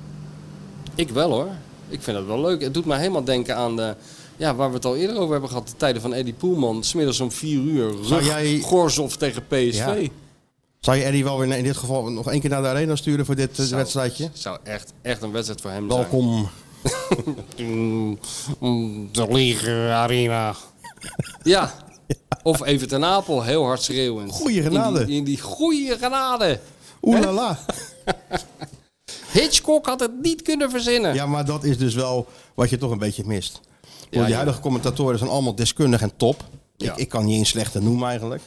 Ik wel hoor. Ik vind dat wel leuk. Het doet me helemaal denken aan de, ja, waar we het al eerder over hebben gehad. De tijden van Eddie Poelman. Smiddags om vier uur.
Zou
Rug,
jij-
Gorzof tegen PSV.
Ja. Zou je Eddie wel weer in dit geval nog één keer naar de arena sturen voor dit eh,
Zou-
wedstrijdje?
Zou echt, echt een wedstrijd voor hem
Welkom.
zijn. Welkom. De Ligue Arena. Ja. Of even ten Apel, heel hard schreeuwend.
Goeie genade.
In die, in die goeie genade.
Oeh la la.
Hitchcock had het niet kunnen verzinnen.
Ja, maar dat is dus wel wat je toch een beetje mist.
Ja,
Want
ja.
die huidige commentatoren zijn allemaal deskundig en top.
Ja.
Ik, ik kan niet eens slechter noemen eigenlijk.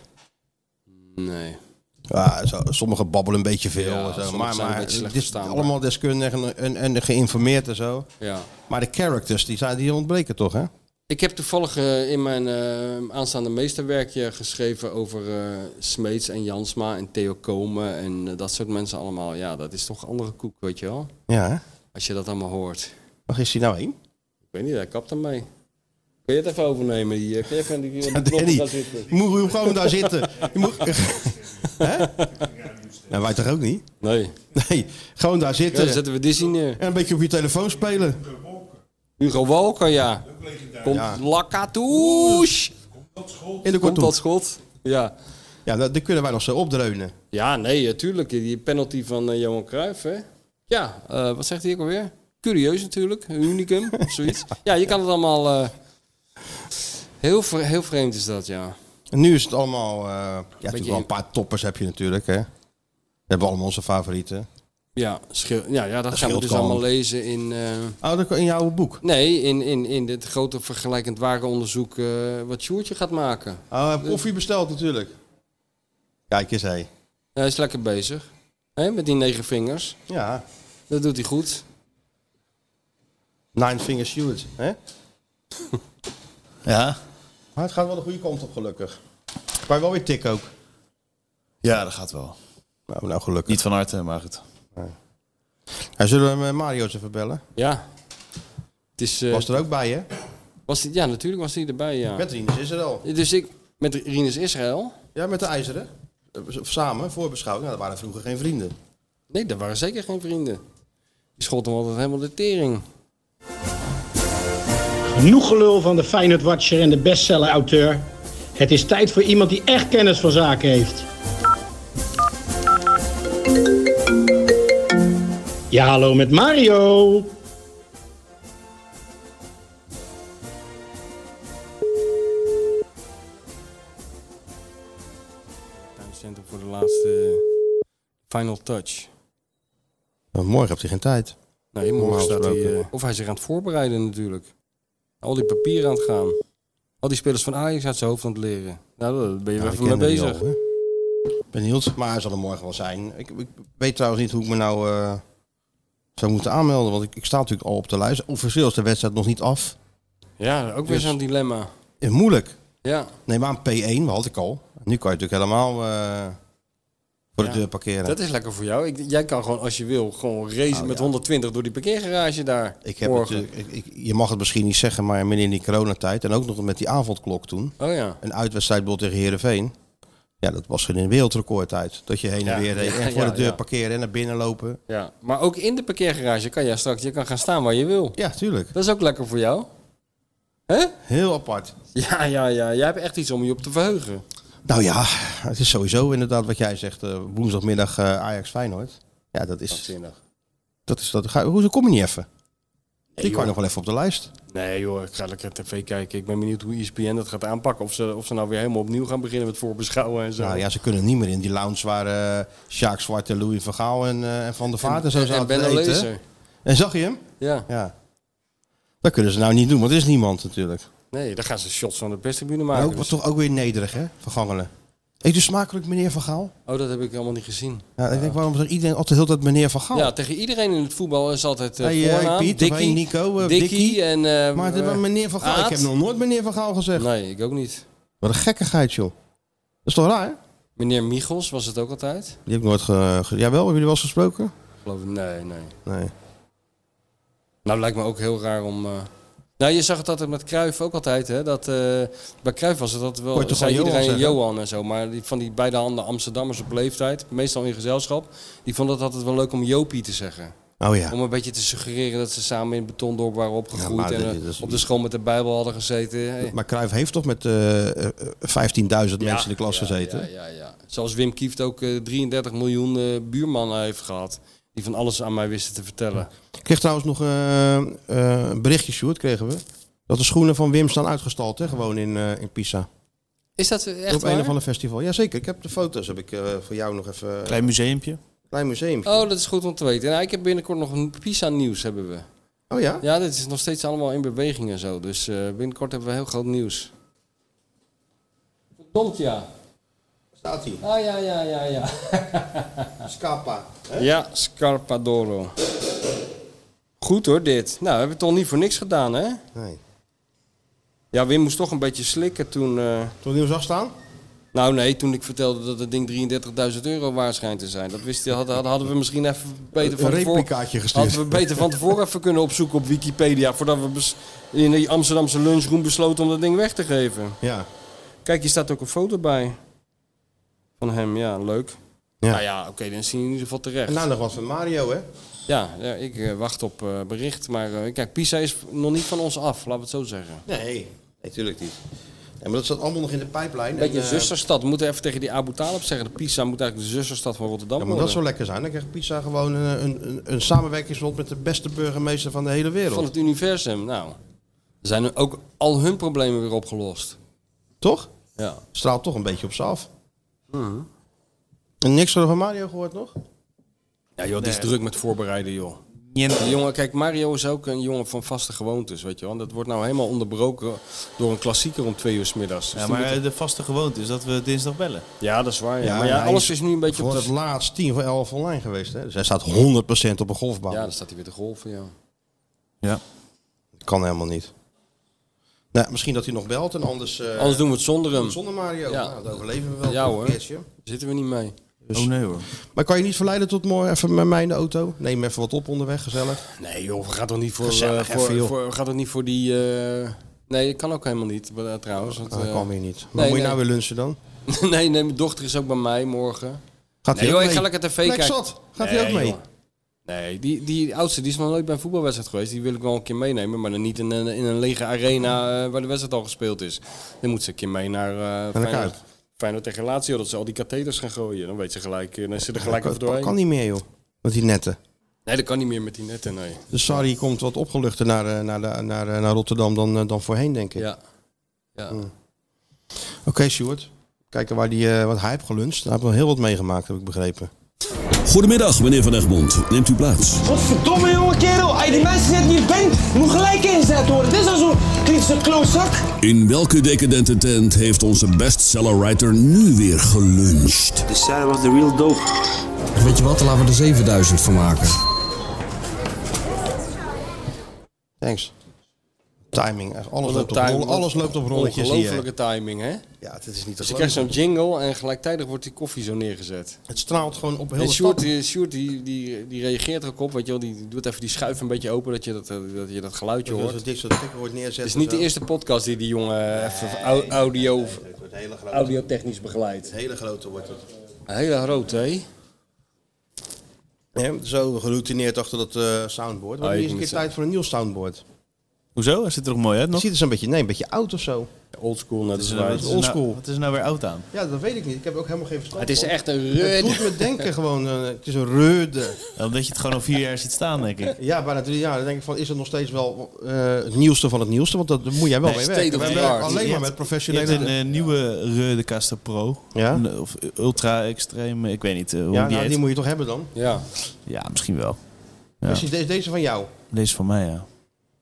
Nee.
Ja, zo, sommigen babbelen een beetje veel.
Ja,
en zo,
sommigen
maar
zijn een
maar
beetje slecht
het is
verstaanbaar.
allemaal deskundig en, en, en geïnformeerd en zo.
Ja.
Maar de characters, die, zijn, die ontbreken toch, hè?
Ik heb toevallig eh, in mijn eh, aanstaande meesterwerkje geschreven over eh, Smeets en Jansma en Theo Komen en eh, dat soort mensen allemaal. Ja, dat is toch andere koek, weet je wel?
Ja, hè?
Als je dat allemaal hoort.
Waar is hij nou heen?
Ik weet niet, hij kapt ermee. Kun je het even overnemen hier? Kun je even die, die
Danny,
daar zitten?
je moet je gewoon daar zitten. Je moet... Hè? Nou, wij toch ook niet?
Nee.
Nee, gewoon daar
Ja, dan
zitten.
zetten we Disney neer.
En een beetje op je telefoon spelen.
Hugo Walker, ja. Komt
Ja.
Lakatouche.
In de
Komt
kortom.
dat schot? Ja.
Ja, dat, dat kunnen wij nog zo opdreunen.
Ja, nee, natuurlijk. Die penalty van eh, Johan Cruijff, hè? Ja, eh, wat zegt hij ook alweer? Curieus natuurlijk, een unicum of zoiets. Ja, je kan het allemaal... eh, heel, vre- heel vreemd is dat, ja.
En nu is het allemaal... eh, ja, natuurlijk wel een paar toppers heb je natuurlijk, hè? We hebben allemaal onze favorieten.
Ja, schil- ja, ja dat, gaan we
scheelt
dus
gewoon.
allemaal lezen in... eh,
Oh, dat kan in jouw boek.
nee, in, in, in dit grote vergelijkend warenonderzoek eh, wat Sjoertje gaat maken.
Oh, heb koffie besteld natuurlijk. Kijk eens, hé.
Hij is lekker bezig. Hè, met die negen vingers.
Ja,
Dat doet hij goed.
Nine Finger Stewart, hè?
Ja?
Maar het gaat wel de goede kant op, gelukkig. Maar wel weer tik ook.
Ja, dat gaat wel.
Nou, nou gelukkig.
Niet van harte, maar goed.
Ja, zullen we hem, eh, Mario eens even bellen?
Ja. Het is... eh,
Was er ook bij, hè?
was die, ja, natuurlijk was hij erbij, ja.
Met Rinus is er al.
Dus ik, met Rinus Israël.
Ja, met de ijzeren. Eh, Of samen, voorbeschouwing. Nou, dat waren vroeger geen vrienden.
Nee, dat waren zeker geen vrienden. Die schotten hem altijd helemaal de tering.
Genoeg gelul van de Feyenoord Watcher en de bestseller-auteur. Het is tijd voor iemand die echt kennis van zaken heeft. Ja, hallo met Mario.
Tuincentrum voor de laatste eh, final touch. Nou,
Maar Eh, morgen heeft hij geen tijd.
Nee, morgen
Normaal
staat hij...
gesproken.
eh, of hij is zich aan het voorbereiden natuurlijk. Al die papieren aan het gaan. Al die spelers van Ajax uit zijn hoofd aan het leren. Nou, daar ben je wel
Ja,
even
die
mee
kennen die
bezig.
al, hè? Benieuwd. Maar hij zal er morgen wel zijn. Ik, ik weet trouwens niet hoe ik me nou eh, zou moeten aanmelden. Want ik, ik sta natuurlijk al op de lijst. Officieel is de wedstrijd nog niet af.
Ja, ook weer
Dus-
zo'n dilemma.
Eh, moeilijk.
Ja.
Neem aan P1, wat had ik al. Nu kan je natuurlijk helemaal eh, voor de
Ja.
deur parkeren.
Dat is lekker voor jou. Ik, jij kan gewoon, als je wil, gewoon racen met 120 door die parkeergarage daar.
Oh, Ik heb
morgen.
natuurlijk- ik, ik- je mag het misschien niet zeggen, maar midden in die coronatijd en ook nog met die avondklok toen.
Oh ja.
Een uitwedstrijd bijvoorbeeld tegen Heerenveen. Ja, dat was geen wereldrecordtijd. Dat je heen en
Ja,
weer reed
ja,
en voor
ja,
de deur
ja.
parkeren en naar binnen lopen.
Ja, maar ook in de parkeergarage kan jij straks, je kan gaan staan waar je wil.
Ja, tuurlijk.
Dat is ook lekker voor jou. Hè?
Heel apart.
Ja, ja, ja. Jij hebt echt iets om je op te verheugen.
Nou ja, het is sowieso inderdaad wat jij zegt. eh, woensdagmiddag eh, Ajax Feyenoord. Ja, dat is... Dat is dat, ga, hoezo kom je niet even? Die kan
joh.
nog wel even op de lijst.
Nee joh, ik ga lekker tv kijken. Ik ben benieuwd hoe E ESPN dat gaat aanpakken. Of ze, of ze nou weer helemaal opnieuw gaan beginnen met voorbeschouwen en zo.
Nou ja, ze kunnen niet meer in die lounge waar eh Sjaak Zwart en Louis van Gaal en, eh, en Van der Vaart en zo
en
zaten
Ben
te eten.
Lezer.
En zag je hem?
Ja.
Ja. Dat kunnen ze nou niet doen, want er is niemand natuurlijk.
Nee, daar gaan ze shots van de perstribune
Maar
maken.
ook,
Dus-
toch ook weer nederig, hè? Vergangenen. Eet u smakelijk, meneer Van Gaal?
Oh, dat heb ik allemaal niet gezien.
Ja, Ik denk, waarom zegt iedereen altijd heel dat meneer Van Gaal?
Ja, tegen iedereen in het voetbal is altijd eh
Oh. Hey, eh,
voornaam.
Piet, of
Dikkie,
hey, Nico, eh,
Dikkie
Dikkie.
en... eh,
maar het- maar meneer Van Gaal,
Aad?
ik heb nog nooit meneer Van Gaal gezegd.
Nee, ik ook niet.
Wat een gekkigheid, joh. Dat is toch raar? hè?
Meneer Michels was het ook altijd?
Die heb ik nooit ge... ge- Jawel, hebben jullie wel eens gesproken?
Geloof ik, nee, nee.
Nee.
Nou, lijkt me ook heel raar om... eh, Nou, je zag het altijd met Cruijff ook altijd, hè? Dat, eh, bij Cruijff was het altijd
Kon
wel...
je toch
zei
gewoon Johan
iedereen
zeggen?
Johan en zo. Maar die, van die beide handen Amsterdammers op leeftijd, meestal in gezelschap... die vonden het altijd wel leuk om Jopie te zeggen.
Oh ja.
Om een beetje te suggereren dat ze samen in het betondorp waren opgegroeid...
maar
en
dat-
eh,
dat is-
op de school met de bijbel hadden gezeten. Hey.
Maar Cruijff heeft toch met eh, eh, 15.000 mensen in de klas gezeten?
Ja, ja, ja. Zoals Wim Kieft ook eh, 33 miljoen eh, buurmannen heeft gehad. Die van alles aan mij wisten te vertellen.
Ik kreeg trouwens nog eh, eh, een berichtje, Sjoerd, kregen we. Dat de schoenen van Wim staan uitgestald, hè? Gewoon in, eh, in Pisa.
Is dat echt
op
waar?
een of ander festival. Jazeker, ik heb de foto's heb ik, eh, voor jou nog even. eh,
Klein museumpje.
Klein museum. Oh.
Oh, dat is goed om te weten. Nou, ik heb binnenkort nog een PISA-nieuws hebben we.
Oh ja?
Oh. Ja, dit is nog steeds allemaal in beweging en zo. Dus eh, binnenkort hebben we heel groot nieuws. Verdomd ja.
Staat hij.
Ah ja, ja, ja, ja.
Scapa.
Ja, Scarpadoro. Goed hoor, dit. Nou, we hebben het toch niet voor niks gedaan, hè?
Nee.
Ja, Wim moest toch een beetje slikken toen... eh,
Toen nieuws zag staan?
Nou nee, toen ik vertelde dat het ding 33.000 euro waard schijnt te zijn. Dat wist je, hadden, hadden- hadden we misschien even beter van
Een
tevoren...
replicaatje gestuurd.
Hadden we beter van tevoren even kunnen opzoeken op Wikipedia... voordat we bes- in die Amsterdamse lunchroom besloten om dat ding weg te geven.
Ja.
Kijk, hier staat ook een foto bij. Van hem, ja, leuk.
Ja.
Nou ja, oké, dan zien je in ieder geval terecht.
En nou nog wat van Mario, hè?
Ja, ja, ik eh, wacht op eh, bericht. Maar eh, kijk, Pisa is nog niet van ons af, laten we het zo zeggen.
Nee, natuurlijk niet. Nee, maar dat zat allemaal nog in de pijplijn.
Een beetje
En, eh,
zusterstad. We moeten even tegen die Abu Talib zeggen. De Pisa moet eigenlijk de zusterstad van Rotterdam
Ja, maar
worden.
dat zou lekker zijn. Dan krijgt Pisa gewoon een, een, een, een samenwerkingsverband met de beste burgemeester van de hele wereld.
van het universum. Nou, zijn er ook al hun problemen weer opgelost.
Toch?
Ja.
Straalt toch een beetje op ze af. En niks van Mario gehoord nog?
Ja, joh, die is druk met voorbereiden, joh.
Niente.
Die jongen, kijk, Mario is ook een jongen van vaste gewoontes, weet je wel. En Dat wordt nou helemaal onderbroken door een klassieker om twee uur 's middags. Dus
Ja,
die
maar
moeten-
eh, de vaste gewoonte is dat we dinsdag bellen.
ja, dat is waar. Ja.
Ja,
maar ja,
hij
alles
is
is nu een beetje op
Voor
de...
het laatst 10 voor 11 online geweest. Hè? Dus hij staat 100% op een golfbaan.
Ja, dan staat hij weer te golven, ja.
Ja.
Dat kan helemaal niet. Nou, misschien dat hij nog belt en anders... eh,
Anders doen we het zonder hem.
Zonder Mario.
Ja.
Nou, dat overleven we wel.
Ja,
toch een
hoor.
keertje.
Zitten we niet mee.
Oh nee hoor.
Maar kan je niet verleiden tot morgen even met mij in de auto? Neem even wat op onderweg, gezellig.
Nee, joh, we gaan toch niet voor...
Gezellig
eh, voor,
even, joh.
voor- we gaan toch niet voor die... eh, Nee, dat kan ook helemaal niet, eh, trouwens. Want,
Nou, dat
eh,
kan weer niet. Maar
nee,
moet je
nee.
nou weer lunchen dan?
nee, nee, mijn dochter is ook bij mij morgen.
Gaat
Nee,
hij ook
joh, ik
mee?
ga lekker tv
Lekker
kijken.
zat. Gaat hij ook mee?
jongen. Nee, die, die oudste die is nog nooit bij een voetbalwedstrijd geweest. Die wil ik wel een keer meenemen, maar dan niet in een, in een lege arena eh, waar de wedstrijd al gespeeld is. Dan moet ze een keer mee naar eh
de
Feyenoord,
Kuip.
Feyenoord tegen Lazio, dat ze al die katheters gaan gooien. Dan weet ze gelijk, eh, dan is ze er gelijk over
Dat kan,
doorheen.
kan niet meer, joh. Met die netten.
Nee, dat kan niet meer met die netten, nee.
Dus Sarri komt wat opgeluchter naar, eh, naar, de- naar, eh, naar Rotterdam dan, eh, dan voorheen, denk ik.
Ja. ja.
Oké, Stuart. Kijken waar die, eh, wat hij heeft geluncht. Hij heeft wel heel wat meegemaakt, heb ik begrepen.
Goedemiddag, meneer Van Egmond. Neemt u plaats.
Godverdomme jonge kerel, als je die mensen net niet bent, moet gelijk ingezet worden. Dit is al zo'n kritische klootzak.
In welke decadente tent heeft onze bestsellerwriter nu weer geluncht?
De cel was de real dope.
Weet je wat, laten we er 7000 van maken.
Thanks. Timing, echt. alles,
Wat
loopt op,
een
rol-
timing.
alles loopt op rolletjes hier.
Ongelofelijke timing, hè?
Ja, het is niet te
Dus je krijgt zo'n
geloven.
jingle en gelijktijdig wordt die koffie zo neergezet.
Het straalt gewoon op heel
En
de
Sjoerd,
stad.
die, Sjoerd die, die, die reageert er ook op, weet je wel. Die doet even die schuif een beetje open, dat je dat, eh, dat, je dat geluidje
Dus Dat
hoort.
is dit soort tikken wordt neerzetten. eh,
Het is niet de
zo.
eerste podcast die die jongen even au- audio, audiotechnisch begeleidt.
Hele grote wordt het.
Een hele grote, hè?
Hè, zo geroutineerd achter dat eh, soundboard. We
Ah,
hebben
je
eens
moet
een keer tijd voor een nieuw soundboard.
Hoezo? Hij ziet er nog mooi uit nog.
ziet er zo'n beetje, nee, een beetje oud of zo.
Oldschool, net als
waar.
nou-
Oldschool.
Wat is er nou weer oud aan?
Ja, dat weet ik niet. Ik heb ook helemaal geen verstand
Het is
van.
echt een
Nou, Het
reude.
doet me denken gewoon, eh, het is een reude.
Ja, Omdat je het gewoon al vier jaar ziet staan, denk ik.
Ja, bijna drie jaar. Dan denk ik van, is het nog steeds wel eh, het nieuwste van het nieuwste? Want dat daar moet jij wel mee werken. We hebben alleen maar met
Je
professionele...
hebt een eh, nieuwe Reude Casta Pro.
Ja?
Een- eh, Of ultra extreem, ik weet niet eh, hoe
ja,
die
nou,
heet.
die moet je toch hebben dan?
Ja.
Ja, misschien wel. Ja.
Precies, deze, deze van jou.
Deze van mij, ja.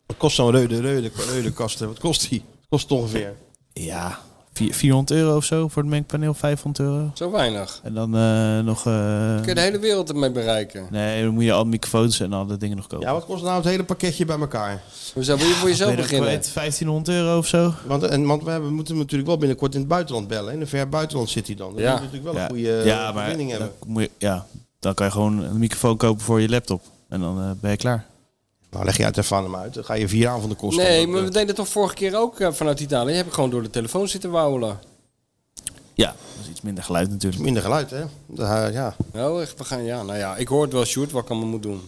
Wat kost zo'n reude, reude, reude kasten? Wat kost die? Wat kost het ongeveer?
Ja, vier- 400 euro of zo voor het mengpaneel, 500 euro.
Zo weinig.
En dan eh, nog... eh,
Kun je de hele wereld ermee bereiken.
Nee, dan moet je al microfoons en al dat dingen nog kopen.
Ja, wat kost nou het hele pakketje bij elkaar?
Hoe zou wil je voor jezelf
Ben je dat
beginnen?
kwijt? 1500 euro of zo?
Want, en, want we hebben, moeten hem natuurlijk wel binnenkort in het buitenland bellen. In een ver buitenland zit hij dan. Dan
Ja.
moet je natuurlijk wel een
ja.
goede
ja,
ja,
maar
verbinding
dan
hebben.
moet je- ja, dan kan je gewoon een microfoon kopen voor je laptop. En dan eh, ben je klaar.
Nou, leg je uit ervan hem uit. Dan ga je vier avonden kosten. eh,
Nee, maar we deden het toch vorige keer ook eh, vanuit Italië. Heb ik gewoon door de telefoon zitten wauwelen.
Ja, dat is iets minder geluid natuurlijk.
Minder geluid, hè? Da- ja.
Nou, echt, we gaan, ja, nou ja, ik hoor het wel, Sjoerd, wat ik allemaal moet doen.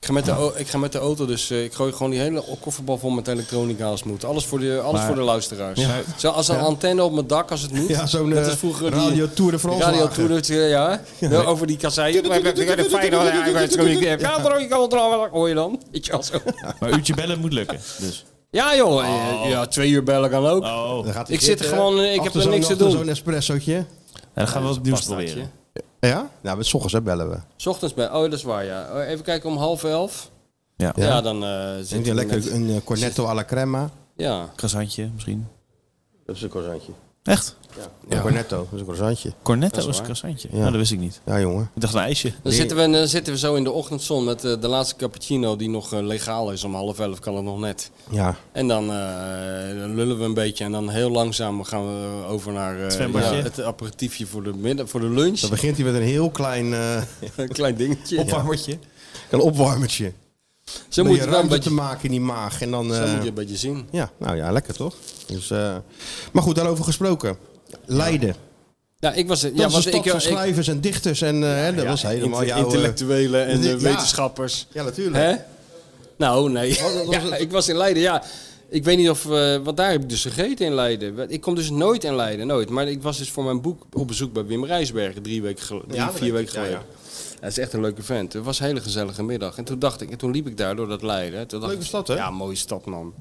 Ik ga met de, au- ik ga met de auto, dus eh, ik gooi gewoon die hele kofferbal vol met elektronica als het moet. Alles voor de, alles
Maar-
voor de luisteraars.
Ja.
Zo als een antenne op mijn dak als het moet.
Ja, zo'n,
Dat
eh,
is vroeger die-
Radio Tour de France
Radio
wagen.
Tour de France, ja. Nou, Over die kasseien. Ik heb de Feyenoord, ja, ik ben zo- ik heb- ja, droog, ik kan wel droog. Hoor je dan? Weet je wel zo.
Maar uurtje bellen moet lukken. Dus.
Ja joh,
Oh.
eh, ja, twee uur bellen kan ook.
Oh.
gaat hij
Ik zit er
zitten,
gewoon, eh, ik
achter
heb er
zo'n-
niks te
achter
doen.
zo'n espressootje.
En dan gaan we wat nieuws proberen.
Ja? Nou, met 's ochtends hè, bellen we.
S Ochtends bij, oh dat is waar ja. Oh, Even kijken om half elf.
Ja.
Ja, dan eh
Denk
zit
je
ik
lekker
net-
een eh, cornetto alla crema?
Ja.
Krasantje misschien.
Dat is een croissantje.
Echt?
Een cornetto, dat is een croissantje.
Cornetto
Dat is
was een
waar.
krasantje.
Ja.
Nou, dat wist ik niet.
Ja, jongen.
Ik dacht een ijsje.
Dan zitten, we, dan zitten we zo in de ochtendzon met eh, de laatste cappuccino die nog eh, legaal is. Om half elf kan het nog net.
Ja.
En dan, eh, dan lullen we een beetje en dan heel langzaam gaan we over naar eh,
zwembadje.
ja, het aperitiefje voor de, middag, voor de lunch.
Dan begint hij met een heel klein eh,
Een klein dingetje.
Opwarmertje.
een opwarmertje.
Zo,
Om
moet
je
je wel
ruimte
een beetje,
te maken in die maag. En dan,
zo
eh,
moet je een beetje zien.
Ja, nou ja, lekker toch? Dus, eh, maar goed, daarover gesproken. Leiden.
Ja, ik was,
Dat
ja,
is een
was
stad
ik, eh,
van
ik,
schrijvers en dichters en eh, hè, dat was helemaal
Inter-
jouw... eh,
Intellectuelen en
Ja.
eh, wetenschappers.
Ja, natuurlijk.
Hè? Nou, nee.
Wat- wat was
Ja,
het?
ik was in Leiden, ja. Ik weet niet of... eh wat daar heb ik dus gegeten in Leiden. Ik kom dus nooit in Leiden, nooit. Maar ik was dus voor mijn boek op bezoek bij Wim Rijsbergen drie, weken gel- drie
Ja, dat weet
vier weken
ik, ja,
geleden. Dat is echt een leuke vent. Het was een hele gezellige middag. En toen dacht ik, en toen liep ik daar door dat Leiden. Toen dacht
Leuke
ik,
stad, hè?
Ja, mooie stad, man.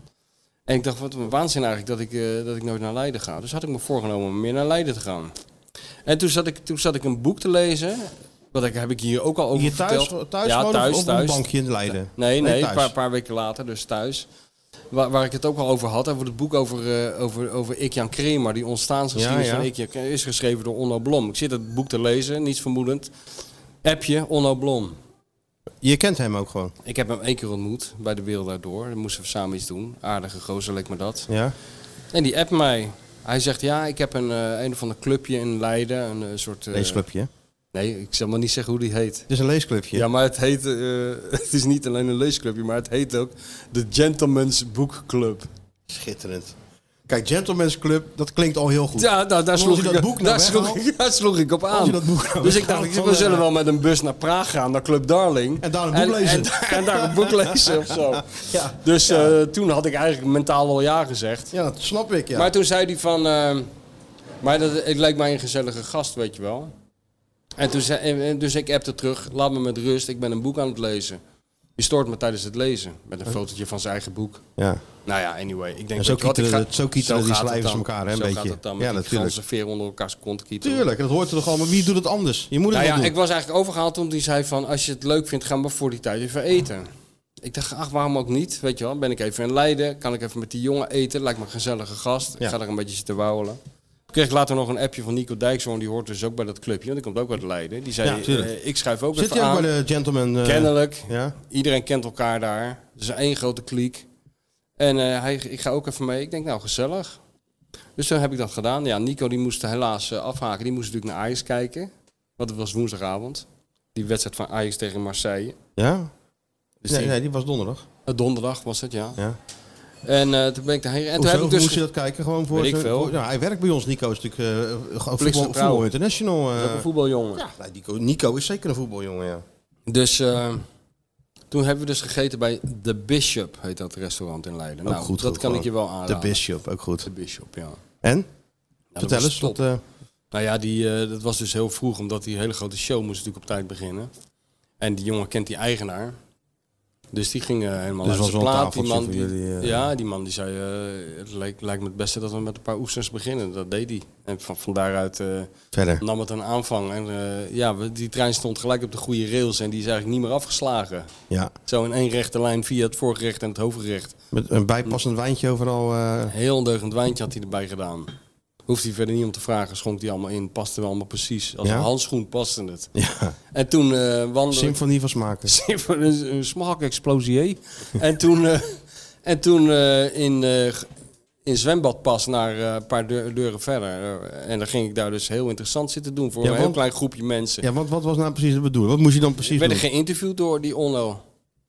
En ik dacht, wat een waanzin eigenlijk dat ik, eh, dat ik nooit naar Leiden ga. Dus had ik me voorgenomen om meer naar Leiden te gaan. En toen zat ik, toen zat ik een boek te lezen. Wat ik, heb ik hier ook al over
Hier thuis,
verteld.
thuis
ja,
gewoon
thuis,
of op
thuis.
een bankje in Leiden?
Nee, nee,
thuis.
een paar, paar weken later, dus thuis. Waar, waar ik het ook al over had, over het boek over, eh, over, over Ik-Jan Kremer. Die ontstaansgeschiedenis
Ja, ja.
van Ik-Jan Kremer is geschreven door Onno Blom. Ik zit het boek te lezen, niets vermoedend. Appje, Onno Blom.
Je kent hem ook gewoon.
Ik heb hem één keer ontmoet bij De Wereld Daardoor. Dan moesten we samen iets doen. Aardige gozer leek me dat.
Ja.
En die appt mij. Hij zegt, ja, ik heb een, eh, een of ander clubje in Leiden. Een eh, soort... eh,
Leesclubje. Het
Nee, ik zal maar niet zeggen hoe die heet.
is een leesclubje.
Ja, maar het heet, eh, het is niet alleen een leesclubje, maar het heet ook de Gentleman's Book Club.
Schitterend. Kijk, Gentleman's Club, dat klinkt al heel goed.
Ja, nou, daar,
als
sloeg
je
ik,
dat boek nou
daar, sloeg,
weghaalt-
ik- daar sloeg ik op aan.
je dat boek nou
dus ik
weghaalt,
dacht,
dan,
we
eh,
zullen wel met een bus naar Praag gaan, naar Club Darling.
En daar een boek lezen.
En, en daar een boek lezen of zo. Dus eh, toen had ik eigenlijk mentaal wel ja gezegd.
Ja, dat snap ik, ja.
Maar toen zei hij van... ehm, maar dat, het lijkt mij een gezellige gast, weet je wel. En toen zei, en- en dus ik appte terug, laat me met rust, ik ben een boek aan het lezen. Die stoort me tijdens het lezen. Met een fotootje van zijn eigen boek.
Ja.
Nou ja, anyway. Ik denk
En zo
dat wat ik
kietelen-
ga-
zo kietelen die
gaat het
slijvers
dan.
elkaar, hè, een
zo
beetje.
gaat het dan.
Ja,
Ja,
natuurlijk.
natuurlijk. veer onder elkaars kont kietelen.
Tuurlijk, dat hoort er toch al. Maar wie doet het anders? Je moet het
nou ja,
wel doen.
ik was eigenlijk overgehaald toen die zei van... als je het leuk vindt, gaan we voor die tijd even eten. Ik dacht, ach, waarom ook niet? Weet je wel, ben ik even in Leiden. Kan ik even met die jongen eten? Lijkt me een gezellige gast.
Ja.
Ik ga daar een beetje zitten wauwelen. Ik kreeg later nog een appje van Nico Dijkshoorn. Die hoort dus ook bij dat clubje. Want die komt ook uit Leiden. Die zei,
Ja, tuurlijk.
eh, ik schrijf ook
Zit
even
hij ook
aan.
bij de gentleman, eh,
Kennelijk.
ja?
Iedereen kent elkaar daar. Het is één grote kliek. En eh, hij, ik ga ook even mee. Ik denk, nou, gezellig. Dus toen heb ik dat gedaan. Ja, Nico die moest helaas eh, afhaken. Die moest natuurlijk naar Ajax kijken. Want het was woensdagavond. Die wedstrijd van Ajax tegen Marseille.
Ja?
Dus
nee,
die-
nee, die was donderdag.
Eh, donderdag was het, ja.
Ja.
En eh, toen ben ik daarheen. En toen
Hoezo?
heb ik
Hoe
dus...
moest je dat kijken? Gewoon voor
Weet ik
zijn-
veel.
voor- nou, hij werkt bij ons. Nico is natuurlijk eh, gewoon
Plicht
voetbal,
van trouw.
voetbal international. eh.
Ook een voetbaljongen.
Ja, nee, Nico, Nico is zeker een voetbaljongen, ja.
Dus eh, toen hebben we dus gegeten bij The Bishop, heet dat restaurant in Leiden.
Ook
nou,
goed,
dat
goed,
kan ik je
gewoon.
wel aanraden.
The Bishop, ook goed.
The Bishop, ja. Nou,
En?
dat
Vertel
was
eens.
top.
Wat, eh,
Nou ja, die, eh, dat was dus heel vroeg, omdat die hele grote show moest natuurlijk op tijd beginnen. En die jongen kent die eigenaar. Dus die ging eh, helemaal
Dus
uit
was
zijn
wel een
plaat. Die
tafeltje
man,
voor
die,
jullie, eh.
Ja, die man die zei, eh, het lijkt, lijkt me het beste dat we met een paar oesters beginnen. Dat deed hij. En van, van daaruit eh,
Verder.
nam het een aanvang. En eh, ja, we- die trein stond gelijk op de goede rails en die is eigenlijk niet meer afgeslagen.
Ja.
Zo in één rechte lijn via het voorgerecht en het hoofdgerecht.
Met een bijpassend wijntje overal. eh,
Heel ondeugend wijntje had hij erbij gedaan. Hoeft hij verder niet om te vragen, schonk hij allemaal in, paste wel allemaal precies. Als
Ja?
een handschoen paste het.
Ja.
En toen eh wandelde...
Symfonie van smaken.
Symfonie- een, een smaakexplosie. en toen, eh, en toen eh, in, eh, in zwembad pas naar eh, een paar deur- deuren verder. Eh, en dan ging ik daar dus heel interessant zitten doen voor
Ja,
een heel
want-
klein groepje mensen.
Ja, want wat was nou precies de bedoeling? Wat moest je dan precies
Ik werd
doen?
geïnterviewd door die Onno.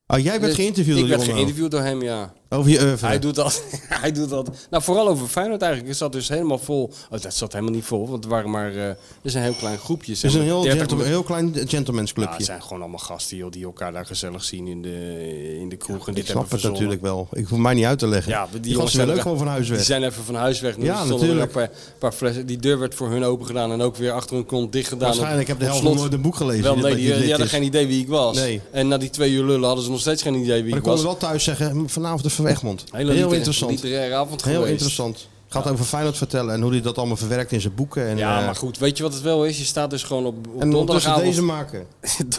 Oh, jij werd
Dus
geïnterviewd
Ik
door
werd
Onno?
geïnterviewd door hem, ja.
Over je oeuvre.
Hij doet dat. hij doet dat. Nou, vooral over Feyenoord eigenlijk. Het zat dus helemaal vol. Oh, dat zat helemaal niet vol, want het waren maar... eh dus een heel klein groepje.
Het is een heel,
30
gentleman- heel klein gentleman's
Ja,
clubje.
het zijn gewoon allemaal gasten joh, die elkaar daar gezellig zien in de, in de kroeg. en dit
ik snap
hebben
het
verzonnen.
natuurlijk wel. Ik hoef mij niet uit te leggen.
Ja,
die,
die jongens
gasten willen ook
zijn-
gewoon van huis weg.
Die zijn even van huis weg.
Ja,
Ja, natuurlijk. Een
natuurlijk.
paar, paar flessen. Die deur werd voor hun open gedaan en ook weer achter hun kont dicht gedaan.
Waarschijnlijk
Op-
heb de
op
helft
slot.
nog nooit een boek gelezen,
Wel,
die
nee,
dat
die,
dit- dit
die hadden
is.
geen idee wie ik was.
Nee.
En na die twee uur lullen hadden ze nog steeds geen idee wie
Maar
ik
ik kon
was.
we wel thuis zeggen, vanavond even van Egmond.
Hele
heel
liter-
interessant.
literaire avond
Heel
geweest.
interessant. Gaat over Feyenoord vertellen en hoe hij dat allemaal verwerkt in zijn boeken. En,
Ja,
eh,
maar goed, weet je wat het wel is? Je staat dus gewoon op, op
En ondertussen
donderdagavond.
deze maken.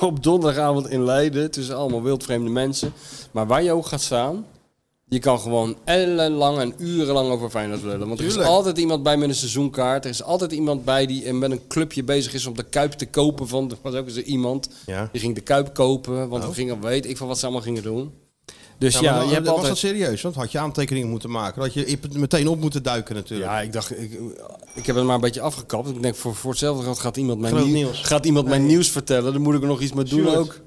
op donderdagavond in Leiden tussen allemaal wildvreemde mensen. Maar waar je ook gaat staan, je kan gewoon ellenlang en urenlang over Feyenoord lullen. Want er
Tuurlijk.
is altijd iemand bij met een seizoenkaart. Er is altijd iemand bij die eh, met een clubje bezig is om de Kuip te kopen. Van, er was ook eens iemand
Ja.
die ging de Kuip kopen, want
Oh.
we gingen, weet ik van wat ze allemaal gingen doen. Dus ja,
Ja, maar
je hebt
was
altijd...
dat serieus? Want had je aantekeningen moeten maken. Dat je meteen op moeten duiken natuurlijk.
Ja, ik dacht, ik, ik heb het maar een beetje afgekapt. Ik denk, voor, voor hetzelfde geld gaat iemand mijn,
Groot
nieuw-
nieuws.
Gaat iemand mijn
Nee.
nieuws vertellen. Dan moet ik er nog iets mee doen
Sjoerd.
ook.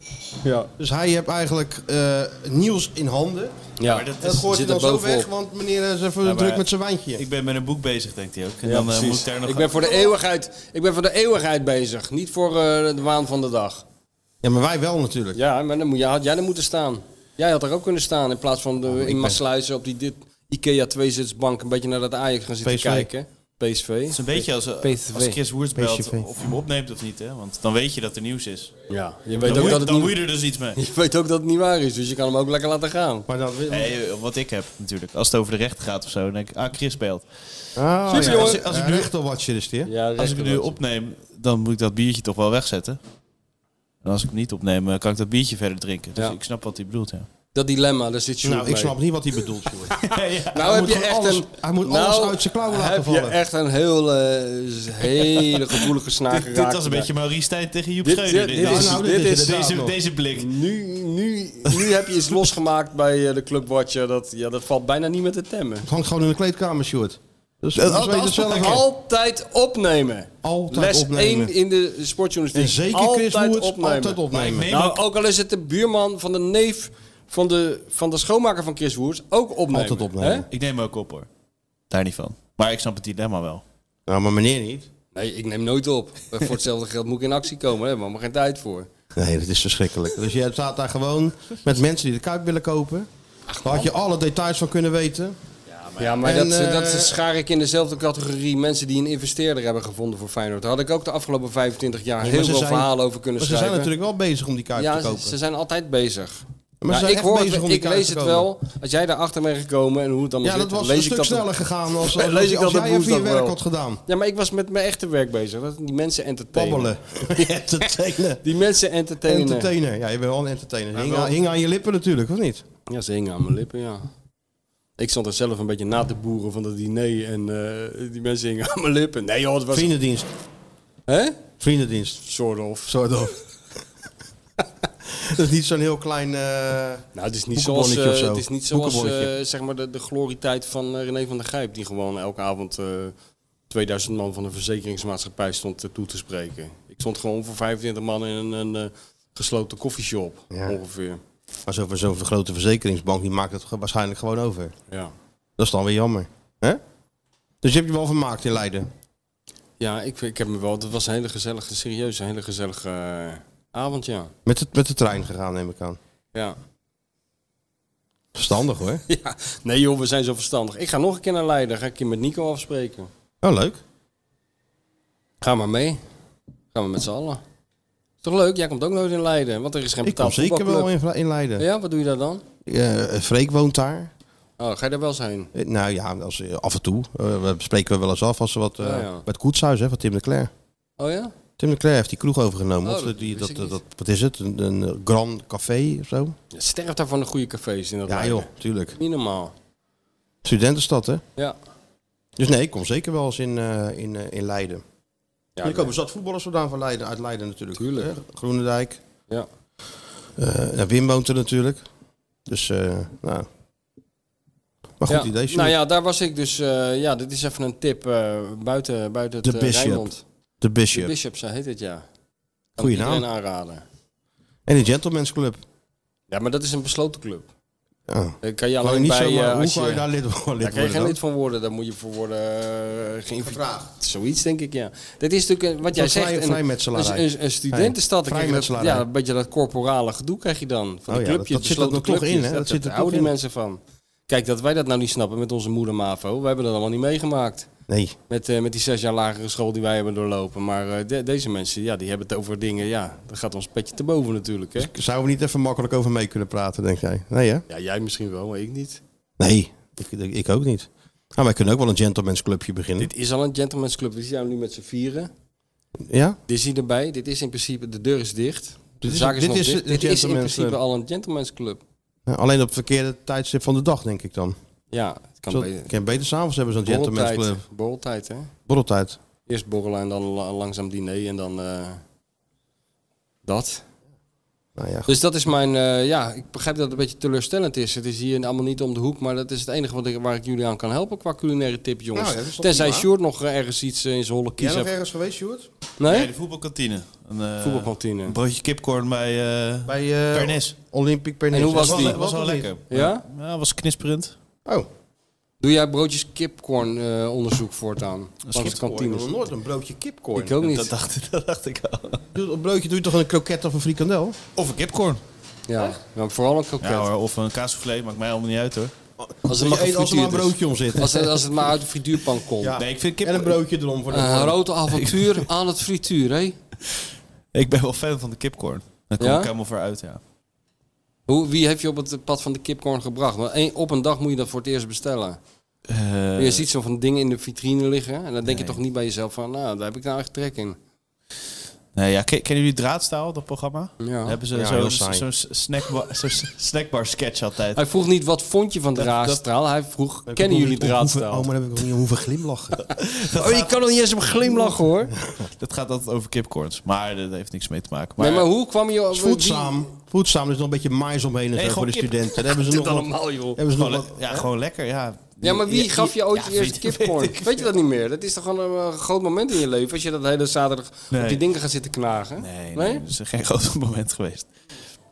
Ja.
Dus hij heeft eigenlijk eh, nieuws in handen.
Ja.
En
Maar
dat,
dat
is-
gooit
zit
hij dan
er
zo
bovenop.
weg, want meneer is even
Ja, maar
druk met zijn wijntje.
Ik ben met een boek bezig, denkt hij ook. En
Ja,
dan eh,
precies.
moet ik daar nog
ik, ben voor de eeuwigheid, ik ben voor de eeuwigheid bezig, niet voor eh, de waan van de dag.
Ja, maar wij wel natuurlijk.
Ja, maar dan moet, jij had jij er moeten staan. Jij had er ook kunnen staan in plaats van de,
Oh,
in Maassluizen op die dit Ikea tweezitsbank een beetje naar dat Ajax gaan zitten
PSV.
kijken. PSV. Het
is een beetje als, eh, als Chris Woerts belt of je hem opneemt of niet. Hè? Want dan weet je dat er nieuws is.
Ja, je weet
dan
ook
moet,
dat het
dan
niet-
moet je er dus iets mee.
Je weet ook dat het niet waar is, dus je kan hem ook lekker laten gaan.
Maar dat,
Nee, wat ik heb natuurlijk. Als het over de rechter gaat of zo, dan denk ik, ah, Chris belt.
Ah,
Super,
ja.
jongen.
Als, als ik nu echt al watcher is die, hè?
als ik het nu opneem, dan moet ik dat biertje toch wel wegzetten. En als ik hem niet opneem, eh, kan ik dat biertje verder drinken. Dus
Ja.
ik snap wat hij bedoelt, ja.
Dat dilemma, daar zit je
Nou, ik snap niet wat hij bedoelt. Sjoerd.
Nou
Hij
heb
moet
je echt
gewoon alles-
een...
hij moet
nou,
alles uit zijn klauwen laten vallen.
heb je echt een heel, eh, hele gevoelige snaar
Dit,
geraakt.
dit was een beetje Maurice Stijn tegen Joep
Dit-
Schreuder.
dit- dit is-
nou,
dit is-
deze,
nog.
deze blik.
Nu, nu, nu heb je iets losgemaakt bij eh, de Club Watcher. Dat, ja, dat valt bijna niet meer te temmen.
Het hangt gewoon in de kleedkamer, Sjoerd. Dus dat
Dat
weet je
altijd-
het zelf wel.
altijd opnemen.
Altijd
Les
opnemen.
1 in de
En
sportjournalistiek.
zeker Chris
altijd
Woerts,
opnemen.
altijd opnemen.
Maar ik neem
Nou,
ook-
ook al is het de buurman van de neef van de, van de schoonmaker van Chris Woerts. Ook opnemen.
Altijd opnemen.
hè?
Ik neem hem ook op, hoor. Daar niet van. Maar ik snap het dilemma wel.
Nou, maar meneer niet.
Nee, ik neem nooit op. Eh, Voor hetzelfde geld moet ik in actie komen. Daar hebben we maar geen tijd voor.
Nee, dat is verschrikkelijk. Dus je staat daar gewoon met mensen die de kuip willen kopen. Daar had je alle details van kunnen weten.
Ja, maar
En,
dat,
eh,
dat schaar ik in dezelfde categorie mensen die een investeerder hebben gevonden voor Feyenoord. Daar had ik ook de afgelopen 25 jaar
Nee, maar
heel
ze
veel
zijn-
verhalen over kunnen
maar ze
schrijven.
zijn natuurlijk wel bezig om die kuip
ja,
te
ze-
kopen.
ze zijn altijd bezig.
Maar ze
Nou,
zijn
ik
echt
hoor het,
bezig om die
ik
kaart
lees
te
het
komen.
wel. Als jij daarachter bent gekomen en hoe het dan
Ja,
zit,
dat was
lees
een
ik
stuk
dat op-
sneller gegaan als- als-
leens
als
ik dat
jij
op
even je
woensdag
werk
wel.
had gedaan.
Ja, maar ik was met mijn echte werk bezig. Dat die mensen entertainen.
Babbelen. entertainen.
Die mensen entertainen.
Entertainer. Ja, je bent wel een entertainer.
Ja,
Hing,
wel.
aan, hing aan je lippen natuurlijk, of niet?
Ja, ze hingen aan mijn lippen, ja. Ik stond er zelf een beetje na te boeren van dat diner en eh, die mensen hingen aan mijn lippen. Nee joh, het was...
Vriendendienst.
Hè?
Vriendendienst.
Sort of.
Sort of. dat is niet zo'n heel klein eh
Nou, het is niet zoals, eh,
of zo.
het is niet zoals eh,
Boekenbonnetje.
zeg maar de, de glorietijd van eh, René van der Gijp, die gewoon elke avond eh, 2000 man van de verzekeringsmaatschappij stond eh, toe te spreken. Ik stond gewoon voor 25 man in een, een, eh, gesloten koffieshop, ongeveer.
Maar zo'n zo'n grote verzekeringsbank die maakt het ge- waarschijnlijk gewoon over.
Ja.
Dat is dan weer jammer. Hè? Dus je hebt je wel vermaakt in Leiden.
Ja, ik, ik heb me wel. Het was een hele gezellige, serieus, een hele gezellige eh, avond, ja.
Met de, met de trein gegaan, neem ik aan.
ja.
Verstandig hoor.
Ja. Nee joh, we zijn zo verstandig. Ik ga nog een keer naar Leiden, ga ik een keer met Nico afspreken.
Oh, leuk.
Ga maar mee. Gaan we met z'n allen. Is toch leuk? Jij komt ook nooit in Leiden, want er is geen
Ik kom
betaald
zeker wel
voetbalclub.
in, in Leiden.
Ja, wat doe je daar dan?
Eh, Freek woont daar.
Oh, ga je daar wel eens heen?
Eh, Nou ja, als, eh, af en toe. Eh, we spreken we wel eens af als ze wat. eh
Ja, ja.
Met Koetshuis, hè, van Tim de Cler.
Oh ja?
Tim de Cler heeft die kroeg overgenomen.
Oh,
of
dat
die,
wist
dat,
ik niet.
dat, wat is het? Een, een eh, Grand Café of zo?
Je Sterft daar van de goede cafés in dat
Ja,
Leiden.
joh, tuurlijk.
Niet normaal.
Studentenstad, hè?
Ja.
Dus nee, ik kom zeker wel eens in, eh, in, eh, in Leiden. Ja, er
nee.
komen zat voetballers vandaan van Leiden, uit Leiden natuurlijk. Tuurlijk. Groenendijk.
Ja.
Eh, ja, Wim woont er natuurlijk. Dus, eh, nou. Maar goed
Ja.
idee, Sjoerd.
Nou ja, daar was ik dus. eh, ja, dit is even een tip eh, buiten, buiten het
De
eh,
Bishop.
Rijnmond.
De Bishop.
De Bishop, zo heet het ja. Kan
Goeie
ik iedereen
naam.
aanraden.
En de Gentleman's Club.
Ja, maar dat is een besloten club.
Ja.
Eh, Kan je
Kan je
alleen
niet
bij,
zomaar-
eh,
hoe
als
kan je daar lid- lid
Daar kan je
worden
geen
dan?
lid van worden, daar moet je voor worden eh, gevraagd. Zoiets denk ik, ja. Dat is natuurlijk, eh, wat jij
Een vrij-
zegt, een-
vrijmetselarij.
een, een, een studentenstad.
Nee,
dan krijg je dat-
vrijmetselarij.
ja, een beetje dat corporale gedoe krijg je dan. Van
Oh
die
ja,
clubjes,
dat- dat zit er
besloten
nog in, hè?
clubjes.
Dat
Dat,
zit er
dat houden
toch
die mensen van. Kijk, dat wij dat nou niet snappen met onze moeder MAVO, we hebben dat allemaal niet meegemaakt.
Nee.
Met, eh, met die zes jaar lagere school die wij hebben doorlopen. Maar eh, de- deze mensen, ja, die hebben het over dingen, ja, dat gaat ons petje te boven natuurlijk, hè.
Zouden we niet even makkelijk over mee kunnen praten, denk jij? Nee, hè?
Ja, jij misschien wel, maar ik niet.
Nee, ik, ik, ik ook niet. Nou, wij kunnen ook wel een Gentleman's Clubje beginnen.
Dit is al een gentleman's club, we zijn nu met z'n vieren.
Ja?
Dit is erbij. Dit is in principe, de deur is dicht. De
Dit is-
zaak is
dit
nog
is
dicht.
een
Dit is in
gentleman's
principe
club.
al een gentleman's club.
Ja, Nou, Alleen op het verkeerde tijdstip van de dag, denk ik dan.
Ja, het kan
Zo-
beter.
kan beter s'avonds hebben zo'n Gentleman's
Borreltijd,
Club.
borreltijd, hè?
Borreltijd.
Eerst borrelen en dan la- langzaam diner en dan eh, dat.
Nou ja,
Dus dat is mijn, eh, ja, ik begrijp dat het een beetje teleurstellend is. Het is hier allemaal niet om de hoek, maar dat is het enige wat ik, waar ik jullie aan kan helpen qua culinaire tip, jongens.
Nou ja, dat is toch
Tenzij
prima.
Sjoerd nog eh, ergens iets eh, in zijn holle kies
Jij nog
heeft.
ergens geweest, Sjoerd?
Nee?
de voetbalkantine. Een, eh,
Voetbalkantine.
Een broodje kipcorn bij, eh
Bij eh,
Pernis.
Olympic Pernis.
En hoe was
was
die?
Wel, was wel lekker.
eh,
Ja?
Ja, was knisperend.
Oh.
Doe jij broodjes kipcorn eh, onderzoek voortaan? Langs de
Kipcorn,
kantines.
ik nooit een broodje kipcorn.
Ik ook niet.
Dat dacht, dat dacht ik al.
Doe- Een broodje doe je toch een kroket of een frikandel?
Of een kipcorn.
Ja, maar vooral een kroket.
Ja, hoor, of een kaassoufflé, maakt mij allemaal niet uit hoor.
Als er,
Als
maar
je eet- als er maar
dus.
een
gefrituurd is.
broodje om zit.
Als het, als het maar uit de frituurpan komt.
Ja.
Ah. Nee, ik vind kip...
En een broodje erom voor de
Een
vorm.
groot avontuur aan het frituur, hè?
Ik ben wel fan van de kipcorn. Daar kom
Ja?
ik helemaal voor uit, ja.
Hoe, wie heeft je op het pad van de kipcorn gebracht? Want één- op een dag moet je dat voor het eerst bestellen.
Eh,
je ziet zo van dingen in de vitrine liggen. En dan denk je toch niet bij jezelf van, nou, daar heb ik nou echt trek in.
Nee, ja, ken- kennen jullie Draadstaal, dat programma?
Ja.
Daar hebben ze
Ja, heel
zo'n
saai. Oh,
zo'n snackbar, zo'n snackbar sketch altijd.
Hij vroeg niet, wat vond je van
Dat-
draadstraal? Hij vroeg, kennen jullie draadstraal?
Oh, maar dan heb ik nog niet hoeven glimlachen.
Oh, je kan nog niet eens om glimlachen, hoor.
Dat gaat altijd over kipcorns, maar dat heeft niks mee te maken.
nee, maar hoe kwam je...
Dat is voedzaam. Voedzaam, er is nog een beetje mais omheen en
Ah. Nee,
zo voor
gewoon
de
kip.
studenten. Daar hebben ze
Dit
nog wat-
allemaal, joh.
Hebben ze nog
Gewoon
wat...
le- Oh, ja, gewoon lekker, ja.
Ja, maar wie
Ja,
gaf je ooit
ja,
je eerste
weet-
kipcorn?
weet
Weet,
ik
je dat niet meer? Dat is toch gewoon een eh, groot moment in je leven als je dat hele zaterdag op
Nee.
die dingen gaat zitten knagen?
Nee, nee, dat is geen groot moment geweest.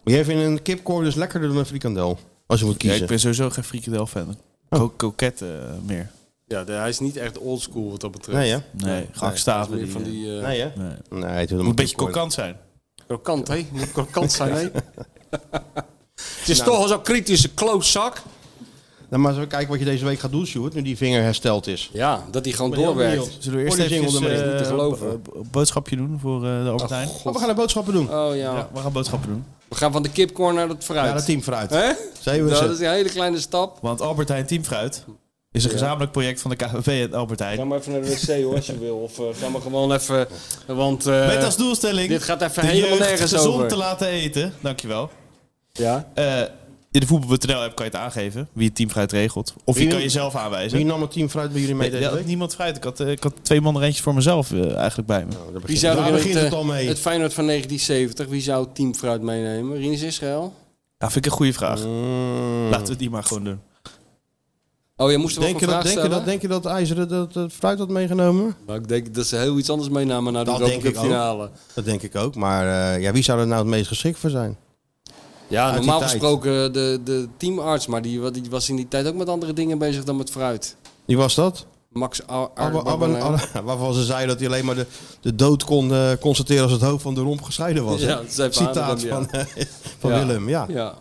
Maar jij vindt een kipcorn dus lekkerder dan een frikandel. Als je moet
Ja,
kiezen.
ik ben sowieso geen frikandel fan. Ook kroketten eh, meer.
Ja, de- hij is niet echt oldschool wat dat betreft.
Nee, hè?
Nee, gehaktstaven.
Meer van die eh,
Nee, hè?
Nee.
Nee, het is
Moet een beetje kokant zijn.
krokant, hè? Moet krokant zijn, hè? Het is
Nou.
toch al zo'n kritische klootzak.
Nou, maar eens kijken wat je deze week gaat doen, Sjoerd, nu die vinger hersteld is.
Ja, dat hij gewoon
Ik ben heel
doorwerkt.
benieuwd.
Zullen we eerst
Hoor die
even eh,
jingle ermee.
een
Niet te geloven.
boodschapje doen voor eh, de
Oh,
Albertijn?
God.
Oh, we gaan de boodschappen doen.
Oh ja.
Ja, we gaan boodschappen doen.
We gaan van de kipcorn naar het fruit.
Ja, dat team fruit.
Hè?
Zeven we
Dat
zet.
is een hele kleine stap.
Want Albertijn Teamfruit is een
Ja.
gezamenlijk project van de KVV en Albertijn.
Ga maar even naar de wc hoor, als je wil. Of eh, ga maar gewoon even... Want, eh,
Met als doelstelling
Dit gaat even
de
helemaal
jeugd
nergens
gezond
over.
te laten eten. Dankjewel. Eh,
Ja.
in de voetbal.nl app kan je het aangeven wie het teamfruit regelt. Of je
Wie-
kan jezelf aanwijzen.
Wie nam het team fruit bij jullie mee
Nee,
deze
dat had
week?
niemand fruit. Ik had, eh, ik had twee mandarijntjes voor mezelf eh, eigenlijk bij me.
Wie zou er
Daar
in
begint
eh,
het al mee.
Het Feyenoord van 1970, wie zou het team fruit meenemen? Rinus Israël?
Ja, vind ik een goede vraag.
Mm.
Mm.
Laten we het die maar gewoon doen.
Oh, je moest er wel
Denk
een
je, dat,
vraag
denk, je
stellen?
dat, denk je dat IJzeren dat eh, fruit had meegenomen?
Maar ik denk dat ze heel iets anders meenamen naar de
Dat
Europa
denk ik
Cup finale.
ook. Dat denk ik ook. Maar eh, ja, wie zou er nou het meest geschikt voor zijn?
Ja,
Uit die
normaal
tijd.
gesproken eh, de, de teamarts, maar die, wa- die was in die tijd ook met andere dingen bezig dan met fruit.
Wie was dat?
Max Ar-
Abba,
Ar-
Abba- Abba- waarvan ze zeiden dat hij alleen maar de, de dood kon eh, constateren als het hoofd van de romp gescheiden was. hè?
Ja, dat zei Van
Citaat
Hanegem,
van,
ja.
eh, van
Ja.
Willem, ja.
Ja.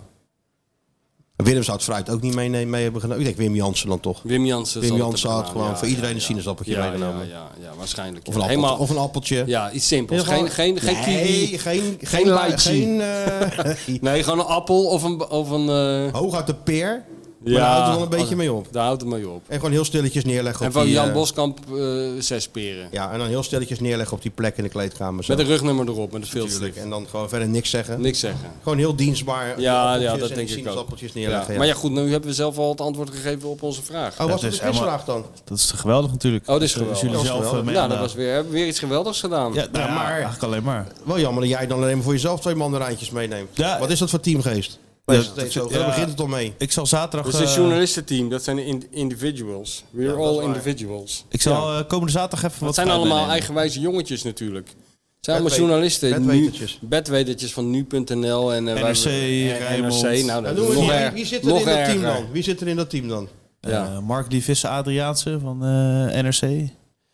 Willem zou het fruit ook niet mee, mee hebben genomen. Ik denk Wim Jansen dan toch.
Wim Jansen. zal
Wim
het
Jansen
hebben
had
gedaan.
gewoon
Ja,
voor
ja,
iedereen een
ja.
sinaasappeltje
Ja,
meegenomen.
Ja, ja, ja, waarschijnlijk.
Of
ja.
een, appeltje,
Helemaal-
of een appeltje.
Ja, iets simpels.
Heel
Geen, geen, geen
nee,
kiwi.
geen,
geen lychee.
Geen, eh,
Nee, gewoon een appel of een... Of een eh,
Hooguit de peer. Maar oh, daar houdt het wel een beetje mee op.
Daar houdt het mee op.
En gewoon heel stilletjes neerleggen
Oh, En
op
van
die,
Jan
eh,
Boskamp eh, zes peren.
Ja, en dan heel stilletjes neerleggen op die plek in de kleedkamer. Zo.
Met een rugnummer erop, met een filter.
Natuurlijk. En dan gewoon verder niks zeggen.
Niks zeggen.
Gewoon heel dienstbaar.
Ja,
appeltjes
ja,
en
dat
die
denk ik ook.
sinaasappeltjes neerleggen.
Ja. Maar ja, goed, nu hebben we zelf al het antwoord gegeven op onze vraag.
Oh, was
Dat
het
is
een quizvraag dan?
helemaal- Dat is geweldig natuurlijk.
Oh, dit is
Dat, eh,
geweldig.
jullie
Dat was
zelf eh,
geweldig.
mee
Ja,
aan
Nou, dat
de-
was weer, hebben we weer iets geweldigs gedaan.
Ja, nou ja,
maar-
eigenlijk alleen maar.
Wel jammer dat jij dan alleen maar voor jezelf twee mandarijntjes meeneemt.
Ja.
Wat is dat voor teamgeest?
Ja,
Is het
dat
steeds zo?
vind-
Daar
ja.
begint het al mee.
Ik zal zaterdag...
Dus het
eh,
journalistenteam, dat zijn de in- individuals. We're all individuals.
ik
Ja.
zal eh, komende zaterdag even
Het
wat
zijn
fruit
allemaal
meenemen.
eigenwijze jongetjes natuurlijk. Het zijn allemaal
Bedwet-
journalisten.
bedwetertjes.
Nu- Bedwetertjes van nu.nl en eh, wij-
NRC,
en-
Rijnmond.
NRC. Nou,
En
dat
doen
is
we
nog
die-
erg-
wie zit er
nog
in dat team
erger.
dan? Wie zit er in dat team dan?
Ja.
Eh, Mark Lievisse Adriaanse van eh, NRC.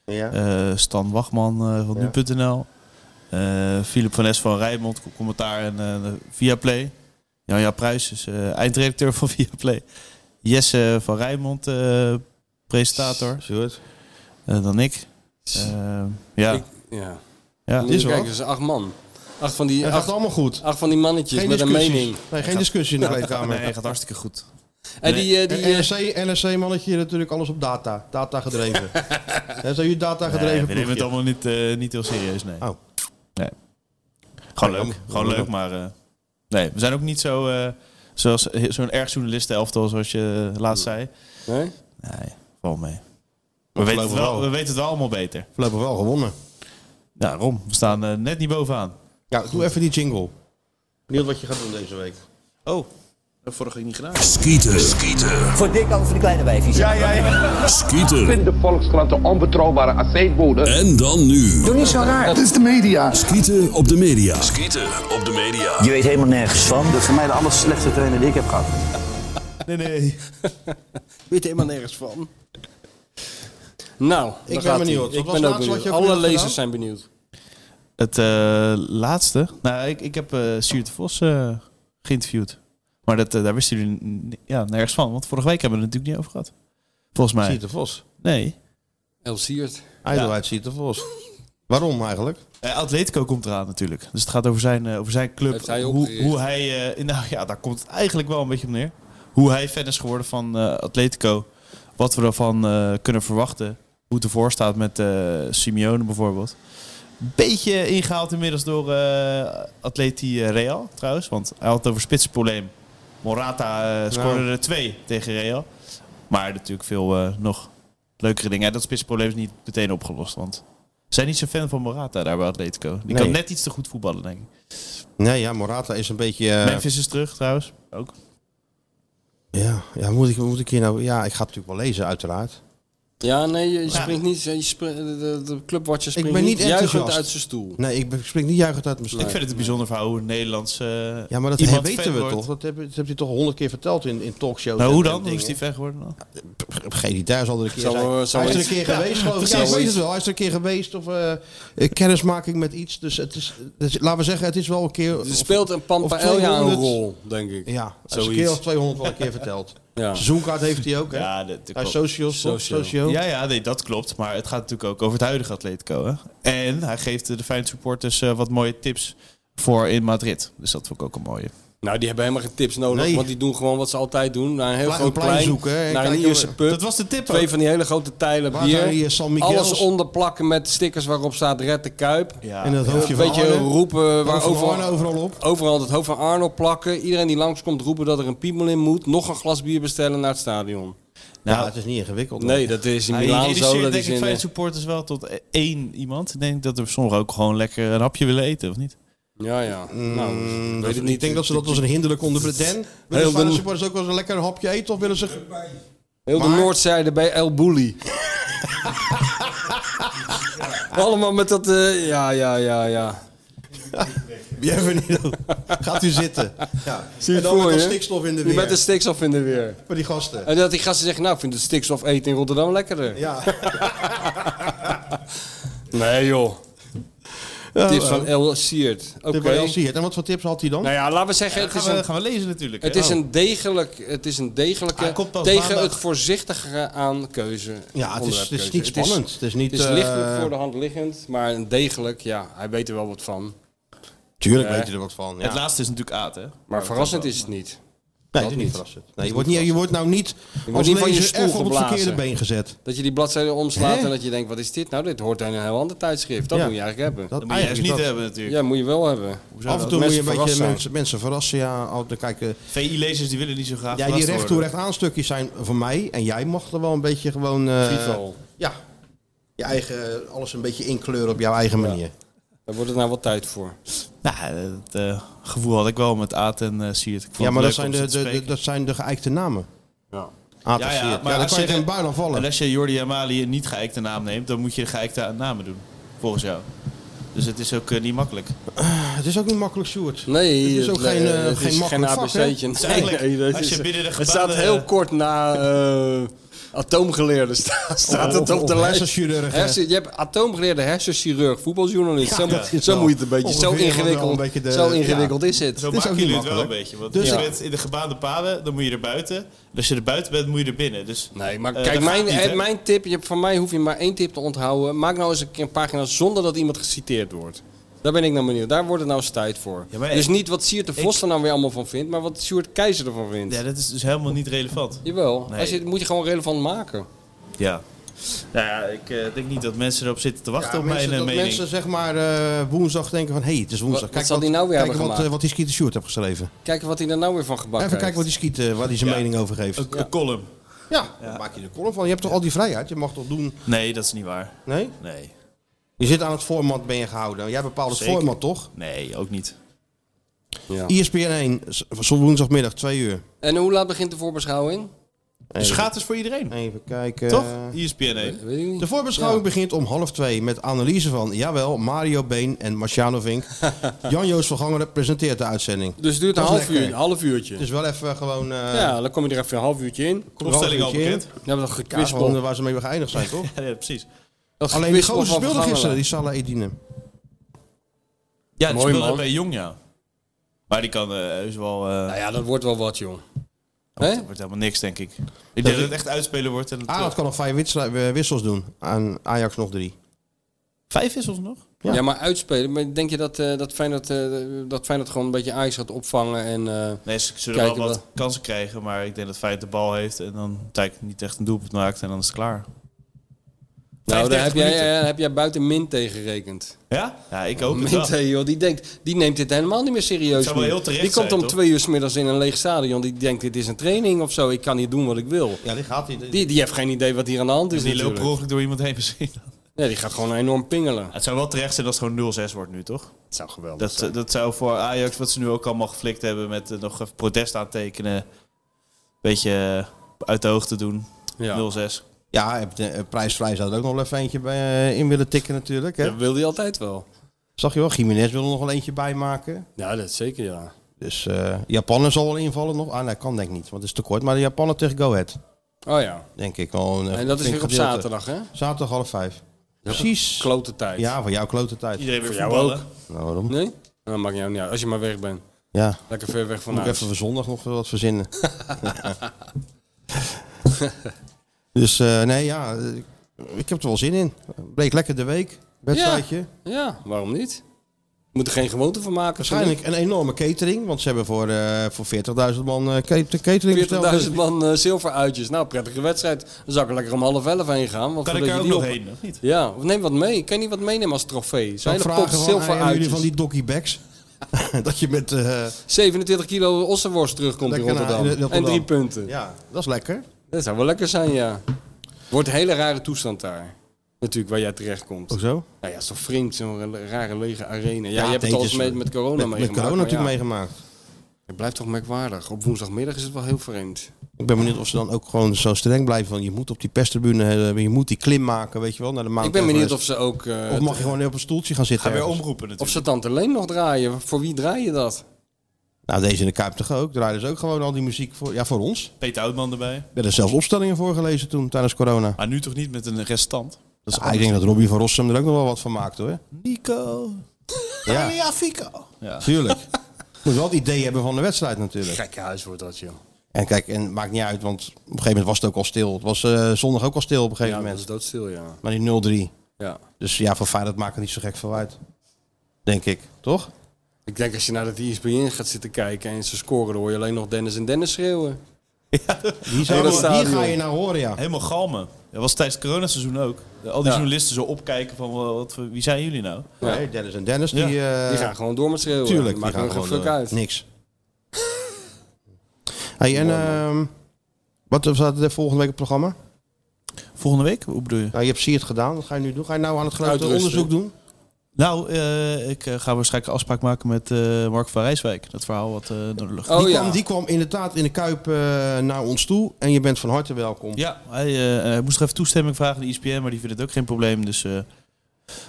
Ja.
Eh, Stan Wachman eh, van
Ja.
nu.nl. Eh, Philip van Es van Rijmond, co- commentaar en eh Viaplay. Jan-Ja Pruijs is eh, eindredacteur van Viaplay. Jesse van Rijmond, eh, presentator.
Sjoerd.
Eh, dan ik. Eh, ja.
Ik- ja.
ja.
Moet je kijken, dat is acht man. Acht van die,
Het gaat
acht,
allemaal goed.
acht van die mannetjes
Geen
met een
discussies.
mening.
Nee, geen discussie in de kleedkamer.
Nee, gaat hartstikke goed.
En die, eh,
En
die, eh,
NRC, NRC-mannetje natuurlijk alles op data. Data gedreven. Hè, Zijn jullie data
Nee, we
gedreven
nemen het
ploegje?
allemaal niet, eh, niet heel serieus, nee.
Oh.
Nee. Gewoon
Nee,
leuk,
dan-
gewoon
dan-
leuk, maar... eh, nee, we zijn ook niet zo... eh, zoals zo'n erg journalistenelftal, zoals je laatst zei.
nee?
Nee, val mee. We weten, het
geloven
wel,
wel.
we weten het wel allemaal beter.
Voorlopig wel gewonnen.
Ja, Rom, we staan eh, net niet bovenaan.
Ja, doe even die jingle. Benieuwd wat je gaat doen deze week.
Oh, dat vorige week niet gedaan.
Skieten. Skieten.
Voor dik over de kleine wijfjes. Ja, ja, ja.
Skieten.
de Volkskrant een onbetrouwbare aceetbode.
En dan nu.
Doe niet zo raar.
Het
is de media.
Skieten op de media. Skieten op de media.
Je weet helemaal nergens van. Dat is Dus voor mij de aller slechtste trainer die ik heb gehad.
Nee, nee.
weet helemaal nergens van. Nou, daar
ben
gaat-ie.
benieuwd. Wat
Ik
was
ben
het laatste
ook
wat
benieuwd.
je ook
Alle
weer hebt
lezers
gedaan?
zijn benieuwd.
Het eh, laatste? Nou, ik, ik heb eh Siert de Vos eh, geïnterviewd. Maar dat, eh, daar wisten jullie n- ja, nergens van. Want vorige week hebben we het natuurlijk niet over gehad. Volgens mij.
Siert de Vos.
Nee.
El Siert.
Ijdelheid ziet de Vos. Waarom eigenlijk?
Eh, Atletico komt eraan natuurlijk. Dus het gaat over zijn, eh, over zijn club.
Heeft hij
hoe,
opgericht.
hoe hij, eh, nou ja, daar komt het eigenlijk wel een beetje op neer. Hoe hij fan is geworden van eh, Atletico. Wat we ervan eh, kunnen verwachten. Hoe het ervoor staat met eh, Simeone bijvoorbeeld. Beetje ingehaald inmiddels door eh Atleti eh, Real trouwens. Want hij had het over spitsenprobleem. Morata eh, scoorde
Nou.
er twee tegen Real. Maar natuurlijk veel eh, nog leukere dingen. En dat spitsprobleem is niet meteen opgelost. Want ze zijn niet zo fan van Morata daar bij Atletico. Die
Nee.
kan net iets te goed voetballen, denk ik.
Nee, ja, Morata is een beetje... eh,
Memphis is terug trouwens. Ook.
Ja, ja moet, ik, moet ik hier nou... Ja, ik ga het natuurlijk wel lezen uiteraard.
Ja, nee, je springt niet. Je springt, de, de clubwatcher springt
Ik ben niet
juichend
enthousiast.
uit zijn stoel.
Nee, ik ben- ik spring niet juichend uit mijn stoel.
Ik vind het een bijzonder verhaal hoe een Nederlands eh,
Ja, maar dat
iemand fan
weten we
wordt.
toch? Dat heb, dat heb je toch honderd keer verteld in, in talkshows.
Nou, hoe
en- en
dan? Hoe
dingen.
is die fan geworden dan?
Pff, Geen idee, hij zal er een keer
Zal
zijn.
we- zal
hij is er een
we-
keer
Ja,
geweest, geloof ik. Ja, ik
precies.
weet het wel. Hij is er een keer geweest of eh, eh, kennismaking met iets. Dus, het is, dus laten we zeggen, het is wel een keer...
Er speelt een Pampa
of 200.
Elja een rol, denk ik.
Ja, hij is een
Zoiets.
keer of 200 wel een keer verteld.
Ja.
Seizoenkaart heeft hij ook, hè?
Ja, dat- dat
Bij
klopt.
Socios, toch?
Socio.
Socio.
Ja, ja nee, dat klopt. Maar het gaat natuurlijk ook over het huidige Atletico. Hè? En hij geeft eh, de fijn supporters eh, wat mooie tips voor in Madrid. Dus dat vond ik ook een mooie.
Nou, die hebben helemaal geen tips nodig,
Nee.
want die doen gewoon wat ze altijd doen. Naar een heel
Pla-
groot
een plein
plein,
zoeken, hè.
naar een
Kijk,
Ierse
joh,
pub.
dat was de tip
Twee
ook.
van die hele grote teilen
Waar
bier.
zijn die, eh, San Miguel's?
Alles onderplakken met stickers waarop staat Red de Kuip. Eh,
En dat hoofdje
Een
van
beetje
Arne.
roepen
Hoofd
waar
van
overal,
Arne overal op.
Overal het hoofd van Arno plakken. Iedereen die langskomt roepen dat er een piemel in moet. Nog een glas bier bestellen naar het stadion.
Nou, het is niet ingewikkeld. hoor.
Nee, dat is in
Hij
Milaan
reduceert
zo. Dat
denk
is
ik
in,
fijn supporters wel tot eh, één iemand. Ik denk dat er sommigen ook gewoon lekker een hapje willen eten, of niet?
ja, ja. Nou,
Mm,
weet
dat-
het
ik denk dat ze dat als een hinderlijk onder Den. Willen
Heel
de
de,
supporters ook wel eens een lekker hapje eten? Of willen ze...
heel de
Maar-
noordzijde bij El Bulli. Allemaal met dat... eh, ja, ja, ja, ja.
Bienvenido. Gaat u zitten. Ja.
Zie je
en dan
het
met
voor
dat
je?
stikstof in de
Je dus-
weer.
Met de stikstof in de weer.
Voor die gasten.
En dat die gasten zeggen, nou, ik vind het stikstof eten in Rotterdam lekkerder.
Ja.
nee, joh.
Ja,
tips
eh,
van El Siert. Oké.
Tip van El Siert. En wat voor tips had hij dan?
Nou ja, laten we zeggen,
Ja,
het
gaan
is
we-
een,
gaan we lezen natuurlijk,
Het
hè?
is
Oh.
een, degelijk, het is een degelijke,
Hij komt pas
tegen
maandag.
het voorzichtige aan keuze.
Ja, het is-
onderwerpkeuze.
het is niet spannend. Het is niet,
het is lichtelijk
eh,
voor de hand liggend, maar een degelijk, ja, hij weet er wel wat van.
Tuurlijk
Eh,
weet je er wat van. Ja.
Het laatste is natuurlijk aat, hè?
Maar verrassend is het niet.
Nee, dit
Dat
is
niet.
niet verrassend. Nee, je, wordt niet, je wordt nou niet
Je wordt
als
niet van je
lezer
stoel
even op het
geblazen.
verkeerde been gezet.
Dat je die bladzijde omslaat
Hè?
en dat je denkt, wat is dit nou? Dit hoort in een heel ander tijdschrift. Dat
Nou Ja.
moet je eigenlijk hebben.
Dat Dat moet je eigenlijk juist niet dat- hebben natuurlijk.
Ja, moet je wel hebben.
Af en toe moet je een beetje
verrassen.
mensen, mensen verrassen. Ja, al te kijken.
VI-lezers die willen niet zo graag
Ja, die
verrast
recht toe
worden.
recht aan stukjes zijn van mij. En jij mag er wel een beetje gewoon... eh,
Frieval.
ja. Je eigen, alles een beetje inkleuren op jouw eigen manier.
Daar wordt het nou wat tijd voor.
Nou, het eh, gevoel had ik wel met Aad en eh Siert. Ik vond
Ja, maar
het
dat
leuk
zijn
om
de,
ze
de,
te spreken.
de- dat zijn de geëikte namen.
Ja.
Ah, ja, ja, maar ja, dan
als
kan je
de-
geen buil aan vallen.
En als je Jordi Amali een niet geëikte naam neemt, dan moet je de geëikte namen doen. Volgens jou. Dus het is ook eh, niet makkelijk.
Het is ook niet makkelijk, Sjoerd.
Nee,
het is ook geen, eh,
het
geen
is geen
makkelijk vak, hè?
ABC'tje.
Dus eigenlijk,
Nee, dat
als
is-
je binnen de
Het staat
gebaande-
heel kort na eh atoomgeleerden
Oh,
sta- staat het
of-
op de
of
lijst.
hersenchirurg, hè?
Hersen- je hebt atoomgeleerde hersenchirurg, voetbaljournalist.
Ja,
zo
dat
moet,
is
zo
wel
moet je het een beetje. Zo
ongeveer wel
ingewikkeld,
een beetje de-
zo ingewikkeld is het.
Zo
Het is
maken
ook
jullie
niet
het wel een
makkelijk.
beetje. Want
Dus-
je
Ja.
bent in de gebaande paden, dan moet je er buiten. En als je er buiten bent, moet je er binnen. Dus,
Nee, maar
eh,
kijk,
dat
mijn,
gaat niet,
het-
hè?
mijn tip, je, hebt- van mij hoef je maar één tip te onthouden. Maak nou eens een keer een pagina zonder dat iemand geciteerd wordt. Daar ben ik nou benieuwd. Daar wordt het nou eens tijd voor.
maar
dus
ik-
niet wat Siert de
ik-
Vos er nou weer allemaal van vindt, maar wat Sjoerd Keizer ervan vindt.
Ja, dat is dus helemaal niet relevant.
Jawel,
Nee.
als je, moet je gewoon relevant maken.
Ja. Nou ja, ik eh, denk niet dat mensen erop zitten te wachten
Ja,
op
mensen,
mijn eh,
dat
mening.
mensen zeg maar eh, woensdag denken van... hé, hey, het is woensdag.
Wat- wat zal die nou weer
kijk
hebben
wat,
gemaakt?
eh, wat die Skeeter Sjoerd heeft geschreven.
Kijken wat hij er nou weer van gebakken
Even kijken wat die Skeet, eh, waar hij zijn
Ja.
mening over geeft.
Een, een column.
Ja, daar maak je de column van. Je hebt toch al die vrijheid? Je mag toch doen...
Nee, dat is niet waar.
Nee?
Nee.
Je zit aan het format, ben je gehouden. Jij bepaalt het
Zeker.
format, toch? E
Nee, ook niet.
Ja.
ISPN 1, z- zo woensdagmiddag, 2 uur.
En hoe laat begint de voorbeschouwing?
Dus gratis voor iedereen.
Even kijken.
Toch? ESPN 1.
Weet ik niet.
De voorbeschouwing begint om half twee met analyse van, jawel, Mario Been en Marciano Vink. Jan-Joos van Gangeren presenteert de uitzending.
Dus het duurt een
Dat is
half, uur,
lekker.
een half uurtje.
Het is wel even gewoon... eh,
ja, dan kom je er even een half uurtje in.
er wel een
Opstelling al
uurtje in.
bekend.
Dan hebben we dat
Ja, gewoon
gekwispel.
waar ze mee geëindigd zijn, toch?
Ja, precies.
Dat
Alleen die
gekwispel
gozer
van
speelde
Van
gisteren,
Gammelen.
die Salah Edine.
Ja, die
Mooi,
speelde
man.
bij Jong, ja. Maar die kan eh heus wel... eh,
Nou ja, dat wordt wel wat, joh. Hè?
wordt, wordt helemaal niks, denk ik. Ik denk dat Ah, het echt uitspelen wordt. En het,
Ajax kan nog vijf wissel- eh, wissels doen. En Ajax nog drie.
Vijf is ons nog?
Ja. maar uitspelen. Maar denk je dat, eh dat, Feyenoord, eh dat Feyenoord gewoon een beetje ijs gaat opvangen? En, eh,
Nee, ze zullen
Kijken
wel wat
we.
kansen krijgen, maar ik denk dat Feyenoord de bal heeft en dan Tijk niet echt een doelpunt maakt en dan is het klaar.
nou, daar
35
heb jij,
minuten.
eh, heb jij buiten Min gerekend.
Ja? Ja, ik ook. het wel.
Minte, joh, die, denkt, die neemt dit helemaal niet meer serieus.
Zou wel
nu.
heel terecht
die komt
zijn,
om
toch?
twee uur 's middags in een leeg stadion. Die denkt, dit is een training of zo. Ik kan hier doen wat ik wil.
Ja, die gaat die.
Die, die heeft geen idee wat hier aan de hand is
Dus die loopt
natuurlijk.
per ongeluk door iemand heen misschien.
Nee, die gaat gewoon enorm pingelen.
Het zou wel terecht zijn als het gewoon 0-6 wordt nu, toch?
Het zou geweldig
Dat,
zijn.
eh, dat zou voor Ajax, wat ze nu ook allemaal geflikt hebben met eh, nog even protest aantekenen, beetje eh, uit de hoogte doen.
Ja.
0-6.
Ja, eh, de- eh, prijsvrij zou er ook nog wel even eentje bij, eh, in willen tikken natuurlijk. Hè?
Dat wil hij altijd wel.
Zag je wel, Jiménez wil er nog wel eentje bij maken.
Ja, dat zeker ja.
Dus eh Japaner zal wel invallen nog. Ah, nee, kan denk ik niet, want het is te kort. Maar de Japaner tegen Go Ahead,
Oh ja.
denk ik. Wel een, eh,
En dat is
flink
weer op
gedeelte.
zaterdag, hè?
Zaterdag half vijf.
Precies. Klote tijd.
Ja, van jouw klote tijd.
Iedereen weer
Voor jou
voetballen.
ook.
Nou, waarom?
Nee? Nou, dat maakt jou niet uit. Als je maar weg bent.
Ja. Nou, dus-
Lekker ver weg
Moet ik
vanuit.
even voor zondag nog wel wat verzinnen. dus eh, nee, ja, eh, ik heb er wel zin in. Bleek lekker de week, wedstrijdje.
Ja, ja, waarom niet? Je moet er geen gewoonte van maken.
Waarschijnlijk een enorme catering, want ze hebben voor, eh, voor 40.000 man eh, ca- catering besteld. Dus
40.000 man eh, zilveruitjes. Nou, prettige wedstrijd. Dan zou ik er lekker om half elf heen gaan. Want
Kan ik
voordat
er
je
ook
die
nog
op-
heen, of niet?
Ja, of neem wat mee. Ik kan niet wat meenemen als trofee.
Zou
Zijn
ik
er
vragen
pot
van, hey, hebben jullie
zilveruitjes?
van die doggybacks? dat je met... eh,
27 kilo ossenworst terugkomt in
Lekker naar-
Rotterdam.
in Rotterdam.
En drie punten.
Ja, dat is lekker.
Dat zou wel lekker zijn, ja. Wordt een hele rare toestand daar. Natuurlijk, waar jij terechtkomt.
Hoezo?
Nou ja, is toch vreemd, zo'n le- rare lege arena.
Oh,
Ja,
Ja,
je hebt het al eens
teentjes,
met, met corona
met- met
meegemaakt.
corona
maar
natuurlijk meegemaakt.
Het blijft toch merkwaardig. Op woensdagmiddag is het wel heel vreemd.
Ik ben benieuwd of ze dan ook gewoon zo streng blijven. Van je moet op die perstribune, eh, je moet die klim maken, weet je wel. Naar de Mount
Ik ben benieuwd
Everest.
of ze ook... eh,
Of mag je gewoon op een stoeltje gaan zitten?
dus-
ergens?
Of ze Tante Leen nog draaien. Voor wie draai je dat?
Nou, deze in de Kuip toch ook. Draaiden ze ook gewoon al die muziek voor, ja, voor ons.
Peter Oudman erbij.
Er zijn zelfs opstellingen voorgelezen toen, tijdens corona.
Maar nu toch niet met een restant? Dat is
Ah, ik denk dat Robbie van Rossum er ook nog wel wat van maakt hoor.
Nico.
Ja.
Ja, Fico. Ja.
Tuurlijk. Moet wel het idee hebben van de wedstrijd natuurlijk.
Gekke huis wordt dat, joh.
En kijk, en het maakt niet uit, want op een gegeven moment was het ook al stil. Het was eh, zondag ook al stil op een
Ja,
gegeven
dat
moment.
is doodstil, ja.
Maar die 0-3.
Ja.
Dus ja, voor Feyenoord maakt het niet zo gek veel uit. Denk ik, toch?
Ik denk als je naar E dat ESPN gaat zitten kijken en ze scoren, dan hoor je alleen nog Dennis en Dennis schreeuwen.
Die,
Hele stadion.
horen, ja.
Helemaal galmen. Dat was tijdens het coronaseizoen ook. Al die journalisten zo opkijken van, wel, wat, voor- wie zijn jullie nou?
Ja. Nee, Dennis en Dennis,
Ja.
die... eh,
Die gaan gewoon door met schreeuwen.
Tuurlijk,
Die maken
die gaan
er geen
gewoon
fuck
door.
uit.
Niks. Hey, en ehm, wat staat er volgende week op het programma?
Volgende week? Hoe bedoel je?
Nou, je hebt Siert gedaan. Wat ga je nu doen? Ga je nou aan het grote
Uitrusten.
onderzoek doen?
Nou, eh, ik eh, ga waarschijnlijk een afspraak maken met eh, Mark van Rijswijk. Dat verhaal wat eh door de lucht.
Oh
die, kwam, die kwam inderdaad in de Kuip eh, naar ons toe. En je bent van harte welkom.
Ja, hij, eh, hij moest nog even toestemming vragen aan de E ESPN, maar die vindt het ook geen probleem. Dus eh,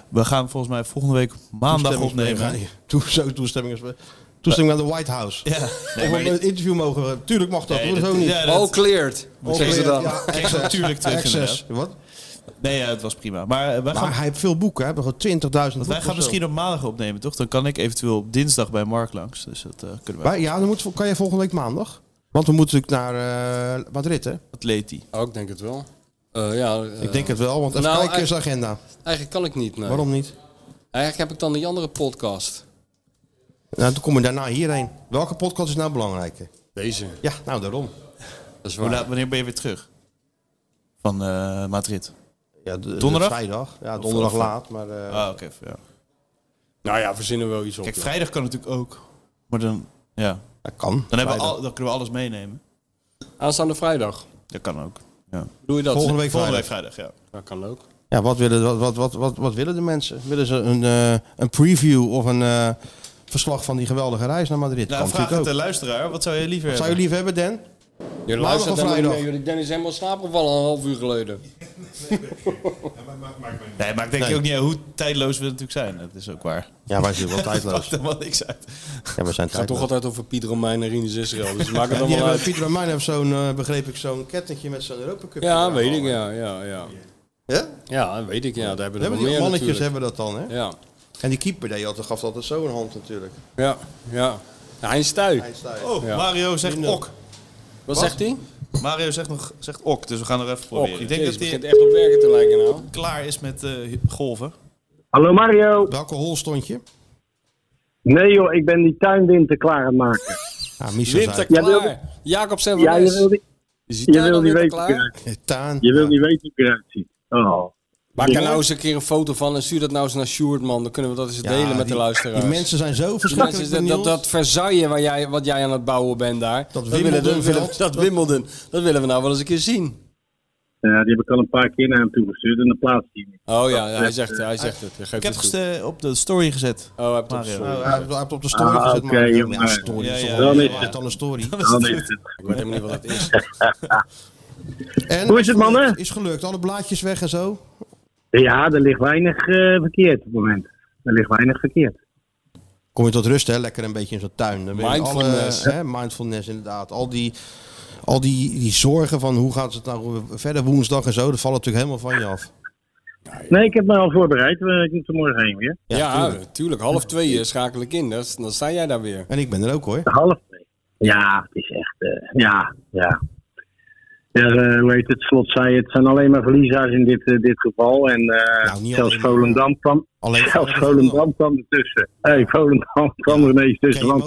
we gaan volgens mij volgende week maandag opnemen.
Toestemming- Toe, zo toestemming. Toestemming aan de White House.
Ja.
Nee, maar... een interview mogen we. Tuurlijk mag dat.
Nee,
hoor,
dat-
zo niet.
ja, dat- All
cleared.
Wat
All
zeggen ze
cleared,
dan?
ja,
Kijk
access.
natuurlijk terug.
Access.
inderdaad.
Wat?
Nee, ja, het was prima. Maar, eh, wij gaan,
Maar hij heeft veel boeken. Hè? We hebben gewoon 20.000 boeken.
wij
of zo.
gaan misschien op maandag opnemen, toch? Dan kan ik eventueel op dinsdag bij Mark langs. Dus dat eh, kunnen we.
Wij- ja, dan moeten we- kan je volgende week maandag. Want we moeten natuurlijk naar eh Madrid, hè?
Atleti.
Oh, ik denk het wel. Eh, ja, eh,
Ik denk het wel, want even
nou,
eh,
kijken is de
eigenlijk-
agenda.
Eigenlijk kan ik niet, nee.
Waarom niet?
Eigenlijk heb ik dan die andere podcast.
Nou, dan kom je daarna hierheen. Welke podcast is nou belangrijker?
Deze.
Ja, nou daarom.
Dat is
Hoe
waar.
laat- wanneer ben je weer terug? Van eh, Madrid.
Ja, de- de
donderdag?
vrijdag. Ja,
Of-
donderdag
of-
laat, maar, eh,
ah, oké. ja.
Nou ja, verzinnen we wel iets op.
Kijk,
ja.
vrijdag kan natuurlijk ook. Maar dan, ja.
Dat kan.
Dan, hebben we
Vrijdag.
al, dan kunnen we alles meenemen.
Aanstaande vrijdag.
Dat kan ook.
Doe je dat?
Volgende week
Volgende week vrijdag, ja. Nou,
Dat kan ook.
Ja, wat willen, wat, wat, wat, wat, wat willen de mensen? Willen ze een, eh, een preview of een eh, verslag van die geweldige reis naar Madrid?
Nou,
kan
vraag het de
natuurlijk ook.
luisteraar. Wat zou je liever
Wat zou je
hebben?
liever hebben, Dan?
Je
Maandag
luistert
of
helemaal niet
vrijdag?
meer. Jullie Dennis is helemaal slaapgevallen een half uur geleden.
Nee, maar ik denk
Nee.
ook niet uit hoe tijdloos we natuurlijk zijn. Dat is ook waar.
Ja, wij zijn wel tijdloos.
Maakt helemaal niks uit.
Ja, we zijn
Het gaat toch
tijdloos.
altijd over Piet Romein en Rinus Israël. Dus maak het
Die
allemaal
hebben,
uit.
Pieter en heeft zo'n, eh, begreep ik, zo'n kettingje met zo'n Europa Cup.
Ja, weet ik. Ja, ja, ja.
Ja?
Ja, weet ik. Ja, daar hebben we
Hebben
er
die
wel meer
mannetjes
natuurlijk.
hebben dat dan, hè?
Ja,
En die keeper die altijd, gaf altijd zo'n hand natuurlijk.
ja, ja. Heinz Stuy.
Hij staat-
Oh,
Ja.
Mario zegt ok.
Wat zegt hij?
Mario zegt nog zegt ok, dus we gaan er even proberen.
Ok.
ik denk
Jezus,
dat hij
begint echt op werken te lijken nou.
klaar is met eh, golven.
Hallo Mario.
Welke hol stond je?
Nee joh, ik ben die tuinwinter klaar aan het maken.
Ah, Michel
Winter
zei...
Jij wil-
klaar. Jacob zijn
Ja, je wil niet,
Is die
je
tuin
wil niet
alweer
weten hoe ik
klaar?
eruit-
Taan.
je wil niet weten hoe ik eruit zie. Oh.
Maak daar nou eens een keer een foto van en stuur dat nou eens naar Sjoerd, man. Dan kunnen we dat eens
Ja,
delen met
die-
de luisteraars.
Die mensen zijn zo
Die mensen,
verschrikkelijk
dat, dat,
benieuwd.
dat Versailles waar jij, wat jij aan het bouwen bent daar. Dat willen,
Wimbledonveld.
willen- dat Wimbledon. Dat willen we nou wel eens een keer zien.
Ja, die heb ik al een paar keer naar hem toegestuurd en dan plaatst hij niet. eh,
Oh ja, ja, hij zegt, hij zegt het. Hij geeft
Ik heb
het
het
toe.
geste- op de story gezet.
Oh, hij hebt het op
Mario.
story.
Oh, hij heeft- hij heeft op de
Ah,
story gezet,
oké,
maar
joh,
ja,
maar-
story,
Ja,
is
ja,
toch
ja,
wel-
ja,
je
ja.
hebt dan een story.
Dan is het.
Ik weet helemaal niet wat dat is.
En
Hoe is het, mannen?
Is gelukt, alle blaadjes weg en zo.
Ja, er ligt weinig eh, verkeerd op het moment. Er ligt weinig verkeerd.
Kom je tot rust, hè? Lekker een beetje in zo'n tuin. Dan ben je
Mindfulness.
Alle, hè? Mindfulness, inderdaad. Al die, al die, die zorgen van hoe gaat het nou verder woensdag en zo, dat valt natuurlijk helemaal van je af.
Nee, ik heb me al voorbereid. Eh, Ik moet er morgen heen weer.
Ja, tuurlijk. Half twee eh, schakel ik in. Dat is- dan sta jij daar weer.
En ik ben er ook hoor.
Half twee. Ja, het is echt. eh, ja, ja. Ja, eh, hoe heet het? Slot zei het zijn alleen maar verliezers in dit, eh, dit geval. En eh, zelfs Volendam kwam, zelfs Volendam kwam ertussen. hey, Volendam kwam er ineens tussen. Want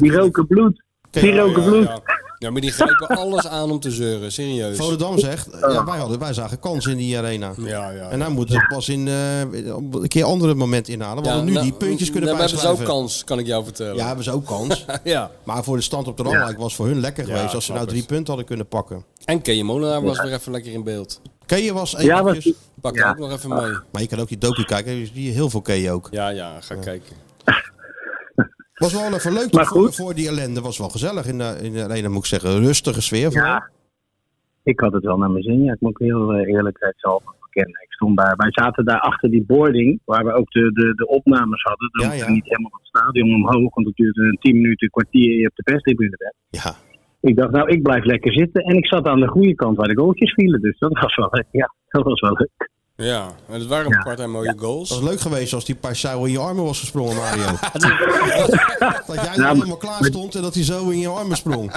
die roken bloed. Die roken bloed.
Ja, Ja, maar die grijpen alles aan om te zeuren, serieus.
Volendam zegt, ja, wij, hadden, wij zagen kans in die arena. En hij moet er pas in, eh, op een keer andere moment inhalen. We hadden nu
nou,
die puntjes kunnen
nou, We hebben ze ook
bijschuiven.
kans, kan ik jou vertellen.
Ja, hebben ze ook kans.
ja.
Maar voor de stand op de
Ja.
ranglijst was voor hun lekker
Ja,
geweest als ze
snap
nou
ik.
drie punten hadden kunnen pakken.
En Kenje Molenaar was
Ja.
weer even lekker in beeld.
Kee was
Ja, was-
eventjes.
Pak hem Ja. ook nog even mee.
Maar je kan ook die docu kijken, dus die heel veel Kee ook.
Ja, ja, ga kijken.
Was wel even leuk toch, voor, voor die ellende. Was wel gezellig in de, in de arena, moet ik zeggen. Rustige sfeer. Ja.
Ik had het wel naar mijn zin. Ja, ik moet heel eh, eerlijkheidshalve bekennen. Ik stond daar. Wij zaten daar achter die boarding, waar we ook de, de, de opnames hadden. Dan moeten we niet helemaal het stadion omhoog, want het duurt een tien minuten, een kwartier en je op de perstribune bent.
Ja.
Ik dacht, nou, ik blijf lekker zitten. En ik zat aan de goede kant waar de goaltjes vielen. Dus dat was wel, ja, dat was wel leuk.
Ja, en het waren een paar tijd mooie goals.
Dat was leuk geweest als die Paisao in je armen was gesprongen, Mario. dat jij nou,
maar-
helemaal klaar stond en dat hij zo in je armen sprong.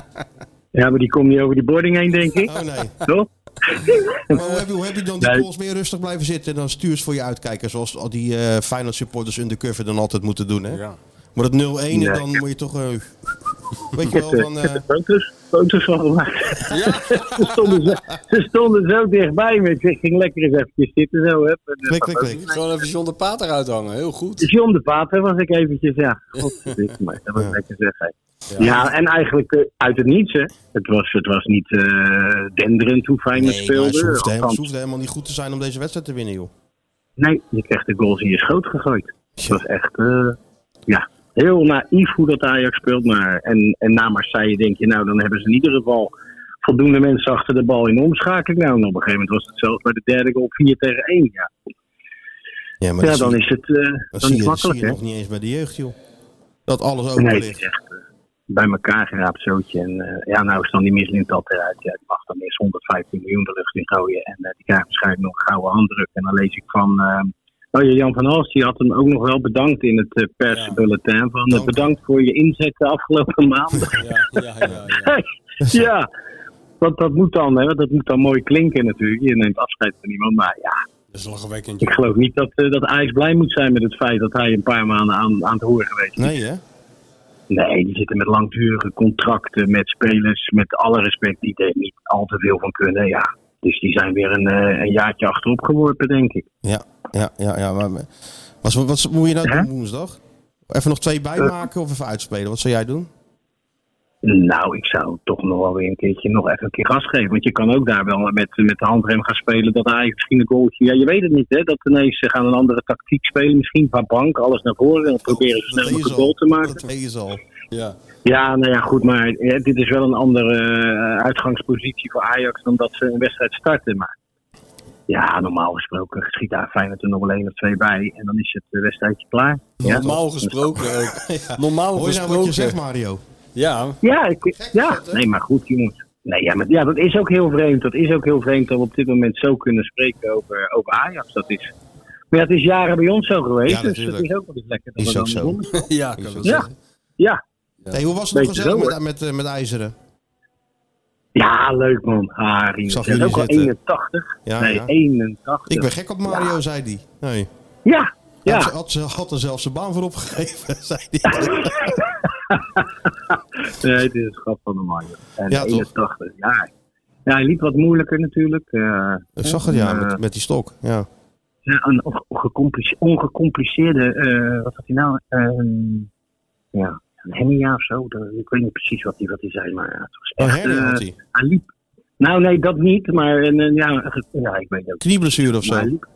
Ja, maar die komt niet over die boarding heen, denk ik.
Oh nee.
Toch?
Maar hoe heb je, hoe heb je dan die
Nee.
goals meer rustig blijven zitten en dan stuurs voor je uitkijken? Zoals al die eh Feyenoord supporters undercover dan altijd moeten doen, hè?
Ja.
Maar dat 0-1 en
Nee.
dan moet je toch... eh, weet je
Ik heb,
wel,
eh,
van...
ik
eh,
heb er foto's, foto's van gemaakt. ze, stonden zo, ze stonden zo dichtbij me. Ik zeg, ging lekker eens eventjes zitten. Zo, hup, en, eh,
Klik, klik,
foto's.
klik. Gewoon even John de Paat eruit hangen, heel goed.
John de Pater was ik eventjes, ja. Godverdikke me, dat was lekker zeg. hè. Ja. en eigenlijk eh, uit het niets, hè. Het was, het was niet eh denderend hoe fijn het
nee, maar
speelde.
ze hoefde helemaal-
Althans,
ze hoefde helemaal niet goed te zijn om deze wedstrijd te winnen, joh.
Nee, je krijgt de goals in je schoot gegooid. Het was echt, eh, ja, heel naïef hoe dat Ajax speelt. Maar, en, en na Marseille denk je, nou, dan hebben ze in ieder geval voldoende mensen achter de bal in de omschakeling. Nou, en op een gegeven moment was het zelfs bij de derde goal 4 tegen 1. Ja,
Ja,
ja dan is het eh,
Dat zie je,
dan is het
dat zie
makkelijk,
je
hè?
nog niet eens bij de jeugd, joh. Dat alles open
Nee, het
ligt.
is echt eh, bij elkaar geraapt zootje. En eh, ja, nou is dan die mislint dat eruit. Ja, die mag dan eerst 115 miljoen de lucht in gooien. En eh, die krijgt waarschijnlijk nog een gouden handdruk. En dan lees ik van... eh, oh ja, Jan van Hals die had hem ook nog wel bedankt in het eh, persbulletin. Van, eh, bedankt voor je inzet de afgelopen maanden. ja, want dat moet dan, hè, want dat moet dan mooi klinken natuurlijk. Je neemt afscheid van iemand, maar ja,
Dat is lachwekkend.
ik
joh.
geloof niet dat, eh, dat Ajax blij moet zijn met het feit dat hij een paar maanden aan, aan het horen geweest is.
Nee, hè?
Nee, die zitten met langdurige contracten, met spelers, met alle respect, die er niet al te veel van kunnen. Ja. Dus die zijn weer een, eh, een jaartje achterop geworpen, denk ik.
Ja, ja, ja. ja maar, maar- wat, wat, wat moet je nou doen woensdag? Even nog twee
Eh.
bijmaken of even uitspelen? Wat zou jij doen?
Nou, ik zou toch nog wel weer een keertje nog even een keer gas geven. Want je kan ook daar wel met, met de handrem gaan spelen. Dat hij misschien een goaltje. Ja, je weet het niet, hè? Dat ineens ze gaan een andere tactiek spelen. Misschien van bank, alles naar voren. En dan proberen ze snel mogelijk een goal te maken.
Dat weet je al.
Ja.
Ja, nou ja, goed, maar hè, dit is wel een andere eh, uitgangspositie voor Ajax dan dat ze een wedstrijd starten. Maar ja, normaal gesproken schiet daar Feyenoord er nog wel één of twee bij en dan is het eh, wedstrijdje klaar. Ja,
Normaal
toch?
gesproken ook. Normaal
Hoor nou je nou
gesproken.
wat je zegt, Mario?
Ja.
Ja, ik, ja. nee, maar goed, jongens. Nee, ja, maar, ja, dat is ook heel vreemd. Dat is ook heel vreemd dat we op dit moment zo kunnen spreken over, over Ajax. Dat is, maar ja, het is jaren bij ons zo geweest, dus dat is ook wel eens lekker. dat
Is
we
ook
dan
zo.
doen.
ja,
kan wel
Ja,
zeggen.
ja.
Hey, hoe was het nog
Beetje
gezellig
zo,
met,
hoor.
met, eh, met IJzeren?
Ja, leuk man. Harry.
Ik zag
Het is
jullie
ook al
zitten.
81.
Ja,
nee,
ja.
81.
Ik ben gek op Mario, zei hij. Nee.
Ja, ja.
Had, ze- had, ze- had er zelfs zijn baan voor opgegeven, zei hij.
Nee, het is een schat van de man. joh. En
Ja, toch?
81. Ja. ja, hij liep wat moeilijker natuurlijk. eh,
Ik zag het, ja,
eh,
met, met die stok. Ja.
ja, een onge- ongecomplice- ongecompliceerde, eh, wat had hij nou? Ehm, ja, een hernia of zo. Dat- Ik weet niet precies wat hij wat die zei, maar ja, het was
Oh,
echt...
hernia
eh,
had hij.
hij liep. Nou, nee, dat niet, maar een, een- ja, een ge- ja, ik weet het ook.
Knieblessure of zo.
Maar Hij liep,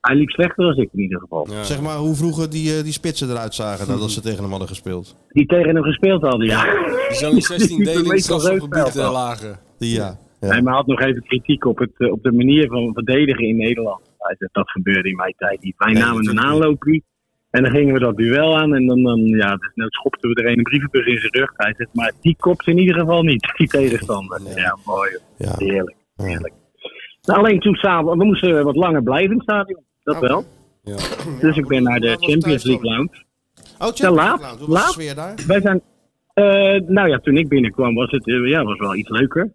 hij liep slechter dan ik in ieder geval.
Zeg maar hoe vroeger die, eh, die spitsen eruit zagen nadat ze tegen hem hadden gespeeld.
Die tegen hem gespeeld hadden, ja.
Zo'n 16
Die
delen in
weet wel leuk
strafgebied
wel.
eh, lagen.
Die, ja.
Nee, maar hij had nog even kritiek op, het, eh, op de manier van verdedigen in Nederland. Hij zegt, dat gebeurde in mijn tijd niet. Wij
Nee,
namen een
natuurlijk
aanloop en dan gingen we dat duel aan. En dan, dan ja, desnoods schopten we er een brievenbus in zijn rug. Hij zegt, maar die kopt in ieder geval niet, die tegenstander. Ja, mooi. hoor. Heerlijk, heerlijk. Nou, alleen toen samen, we moesten wat langer blijven in het stadion. Dat wel. Dus ik ben naar de Champions League Lounge.
Oh,
Ja,
Champions
laat.
League Lounge, hoe was de
laat.
sfeer daar?
Wij zijn, eh, nou ja, toen ik binnenkwam was het eh, ja, was wel iets leuker.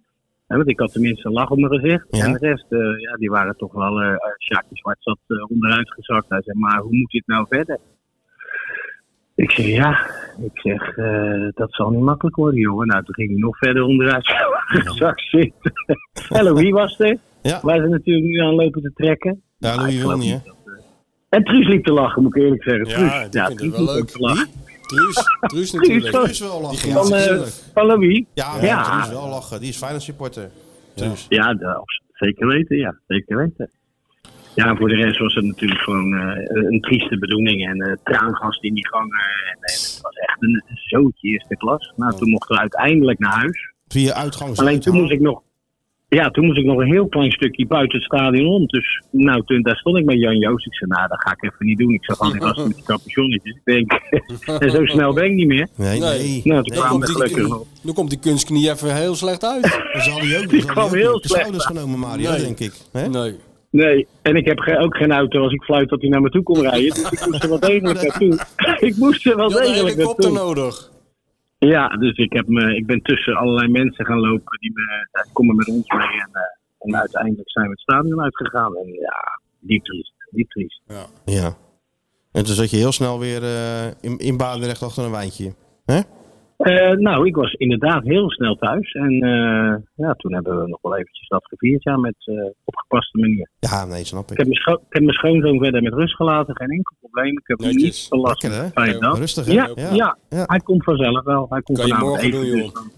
Hè, want ik had tenminste een lach op mijn gezicht.
Ja.
En de rest, eh, ja, die waren toch wel... eh Sjaakje Zwart zat eh, onderuit gezakt. Hij zei, maar hoe moet dit nou verder? Ik zeg, ja, ik zeg, eh, dat zal niet makkelijk worden, jongen. Nou, toen ging hij nog verder onderuit gezakt zitten. Hallo, wie was er? Wij zijn natuurlijk nu aan lopen te trekken.
Ja, Louis wil niet, hè?
En Truus liep te lachen, moet ik eerlijk zeggen.
Ja,
Truus,
die vindt het wel
liep ook
leuk.
te lachen.
Truus, Truus natuurlijk.
toch?
Truus wel lachen,
Van,
ja,
eh,
natuurlijk.
van Louis?
Ja, maar
ja.
Truus wel lachen. Die is Feyenoord supporter. Truus.
Ja, dat- zeker weten, ja. Zeker weten. Ja, en voor de rest was het natuurlijk gewoon eh, een trieste bedoeling. En eh traangas in die gangen. En, eh, het was echt een zootje eerste klas. Nou, toen mochten we uiteindelijk naar huis.
Via uitgangs.
Alleen toen moest ik nog... Ja, toen moest ik nog een heel klein stukje buiten het stadion om. Dus nou, toen, daar stond ik met Jan Joost. Ik zei, nou, dat ga ik even niet doen. Ik zag al die gasten met die capuchonnetjes. Ik denk, en zo snel ben ik niet meer. Nou, toen
Dan,
kwamen
komt die,
we gelukkig nog.
dan komt die kunstknie even heel slecht uit. Dan
zal die ook
Die zal die kwam ook heel op de slecht schouders uit.
genomen, Mario, denk ik.
Nee.
Nee, en ik heb ge- ook geen auto als ik fluit dat hij naar me toe komt rijden. Dus ik moest er wel degelijk naartoe. ik moest er wel
Je had een
degelijk
helikopter
naartoe.
nodig.
Ja, dus ik, heb me, ik ben tussen allerlei mensen gaan lopen. Die me, ja, die komen met ons mee. En, eh, en uiteindelijk zijn we het stadion uitgegaan. En ja, diep triest. Diep triest.
Ja. En toen zat je heel snel weer eh, in, in Barendrecht achter een wijntje.
Eh, nou, ik was inderdaad heel snel thuis. En eh, ja, toen hebben we nog wel eventjes dat gevierd. Ja, met eh, opgepaste manier.
Ja, nee, snap ik.
Ik heb, mijn scho- ik heb mijn schoonzoon verder met rust gelaten. Geen enkel probleem. Ik heb hem niet belast.
Lekker, hè?
Fijn, dat.
Rustig, hè?
ja,
Ja.
ja, hij komt vanzelf wel. Hij komt
Kan je
vanavond
morgen
eten.
doen, joh.
dus dan-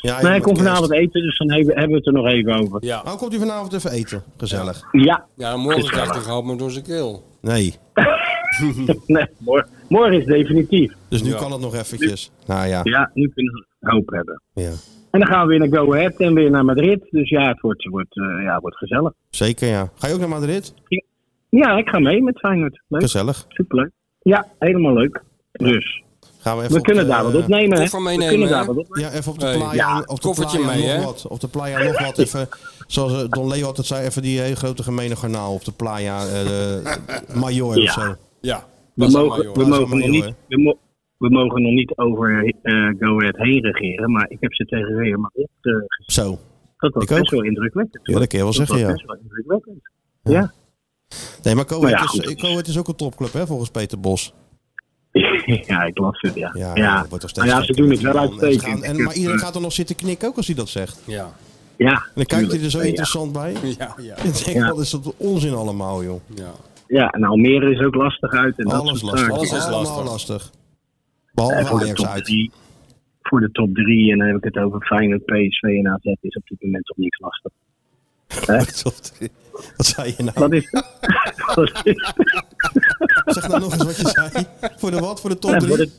Ja,
nee, hij komt vanavond eten, dus dan hebben hebben we het er nog even over.
Ja,
Nou, komt u vanavond even eten? Gezellig.
ja.
Ja, morgen
Gezellig.
krijgt hij gehaald maar door zijn keel.
Nee.
nee morgen, morgen is definitief.
Dus nu
Ja.
kan het nog eventjes. Nou ja.
Ja, nu kunnen we hoop hebben.
Ja.
En dan gaan we weer naar Go Ahead en weer naar Madrid. Dus ja, het wordt, het wordt, eh, ja, het wordt gezellig.
Zeker, ja. Ga je ook naar Madrid?
Ja, ik ga mee met Feyenoord. Leuk.
Gezellig.
Superleuk. Ja, helemaal leuk. Dus.
Gaan we even
We
op
kunnen
de,
daar wat
eh,
opnemen, hè?
koffer meenemen,
we kunnen
hè?
daar wat opnemen.
Ja, even op de
Hey.
playa,
Ja,
op de
koffertje
playa
mee,
nog
hè?
wat. Op de playa nog wat. Even, zoals eh, Don Leo altijd zei, even die hele grote gemene garnaal op de playa eh Major
Ja.
of zo.
Ja.
We mogen, we,
Plaza
mogen nog
Mayor, hè?
niet, we, mo- we mogen nog niet over eh Go Ahead heen regeren, maar ik heb ze tegen Real Madrid eh, gezien.
Zo.
Dat was
Ik
best
ook.
wel indrukwekkend.
Ja, dat kun je wel zeggen,
was
ja.
best wel indrukwekkend. Ja.
Nee, maar Coët
Nou ja,
is,
goed.
Coët is ook een topclub, hè, volgens Peter Bos.
Ja, ik las het, ja. Ja,
dat wordt toch steeds
Maar ja, ze
gekker
doen
met
het wel
die man. En ze gaan-
uitstekend.
en-
Ik
Maar
heb,
iedereen
eh,
gaat er nog zitten knikken, ook als hij dat zegt.
Ja.
Ja.
En dan kijkt hij er
tuurlijk.
zo dus-
Ja.
interessant bij.
Ja, ja.
Ik denk,
Ja.
wat is dat onzin allemaal, joh.
Ja.
Ja, en Almere is ook lastig uit. En dat
Alles
soort
lastig.
zaken.
Alles is lastig. lastig. Behalve
En voor, de
Ajax
top
uit.
drie, voor de top drie, en dan heb ik het over Feyenoord, PSV en AZ, is op dit moment toch niks lastig. Hè?
Wat zei je nou?
Wat is Wat is-
Zeg nou nog eens wat je zei. Voor de wat? Voor de top
Ja, voor,
drie?
de,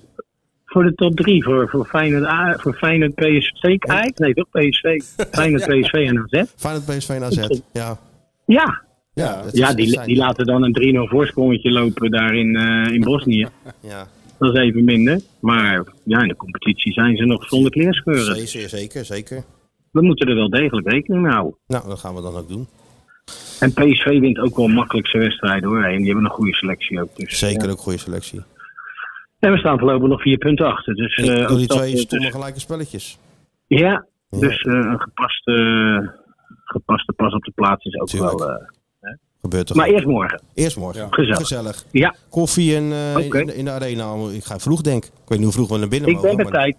voor de top drie, voor, voor, Feyenoord, A- voor Feyenoord, PSV, Ajax, nee toch, PSV, Feyenoord, PSV en AZ.
Feyenoord, PSV en AZ. Ja.
Ja,
Ja, dat
ja
is-
die,
zijn-
die laten dan een 3-0 voorsprongetje lopen daar in, eh, in Bosnië.
Ja.
Dat is even minder. Maar ja, in de competitie zijn ze nog zonder kleerscheuren.
Zeker, zeker, zeker.
We moeten er wel degelijk rekening mee houden.
Nou, dat gaan we dan ook doen.
En PSV wint ook wel makkelijk zijn wedstrijden hoor. En die hebben een goede selectie ook. Dus,
Zeker
ja.
ook goede selectie.
En we staan voorlopig nog vier punten achter. Dus, eh,
Door
ook
die
dat,
twee
eh,
stomme
dus-
gelijke spelletjes.
ja, dus eh, een gepaste, gepaste pas op de plaats is ook
Tuurlijk.
wel... eh, hè.
Gebeurt er
maar
gewoon.
eerst morgen.
Eerst morgen.
Ja. Gezellig.
Ja. Koffie en, eh, in-
Oké.
in, de arena. Ik ga vroeg denk. Ik weet niet hoe vroeg we naar binnen
ik
mogen.
ben op
maar-
tijd.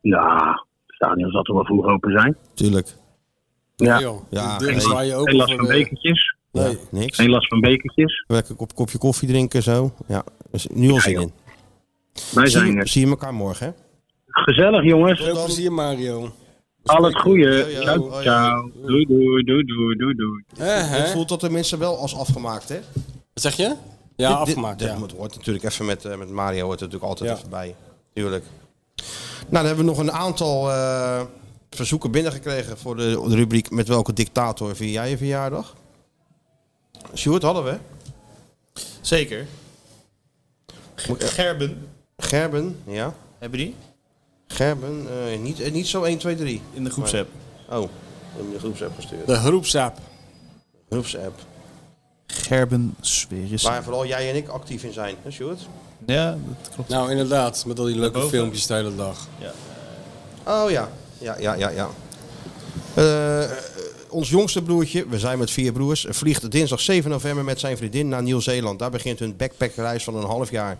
Ja, het stadion zal toch wel vroeg open zijn.
Tuurlijk.
Ja.
Nee, joh.
Ja,
Die deuren
nee.
zwaaien open
Geen last
voor
van
de-
bekertjes.
Ja, niks.
Geen last van bekertjes.
Lekker kop, kopje koffie drinken zo. Ja, dus nu al zin in. Zie-
Wij zijn er.
Zie je elkaar morgen, hè?
Gezellig jongens.
Veel plezier, Mario.
Al het goede.
Ja, ja.
Ciao,
Hoi,
ciao. Doei, doei, doei, doei, doei, doei.
Het voelt dat de mensen wel als afgemaakt, hè?
Wat zeg je? Ja,
Dit- dit-
afgemaakt.
dit
ja.
moet- hoort natuurlijk even met, eh, met Mario, hoort er natuurlijk altijd
Ja.
even bij. Tuurlijk. Nou, dan hebben we nog een aantal eh, verzoeken binnengekregen voor de, de rubriek Met welke dictator vier jij je verjaardag? Sjoerd hadden we.
Zeker. Gerben.
eh, Gerben, ja.
Hebben die?
Gerben, eh, niet, eh, niet zo 1, 2, 3.
In de groepsapp.
Oh, in de groepsapp gestuurd.
De groepsapp.
groepsapp.
Gerben Sweris.
Waar vooral jij en ik actief in zijn, hè Sjoerd?
Ja, dat klopt.
Nou, inderdaad. Met al die leuke
Daarboven.
filmpjes de hele dag.
Ja.
Oh ja. Ja, ja, ja, ja. Eh, ons jongste broertje, we zijn met vier broers, vliegt dinsdag 7 november met zijn vriendin naar Nieuw-Zeeland. Daar begint hun backpackreis van een half jaar.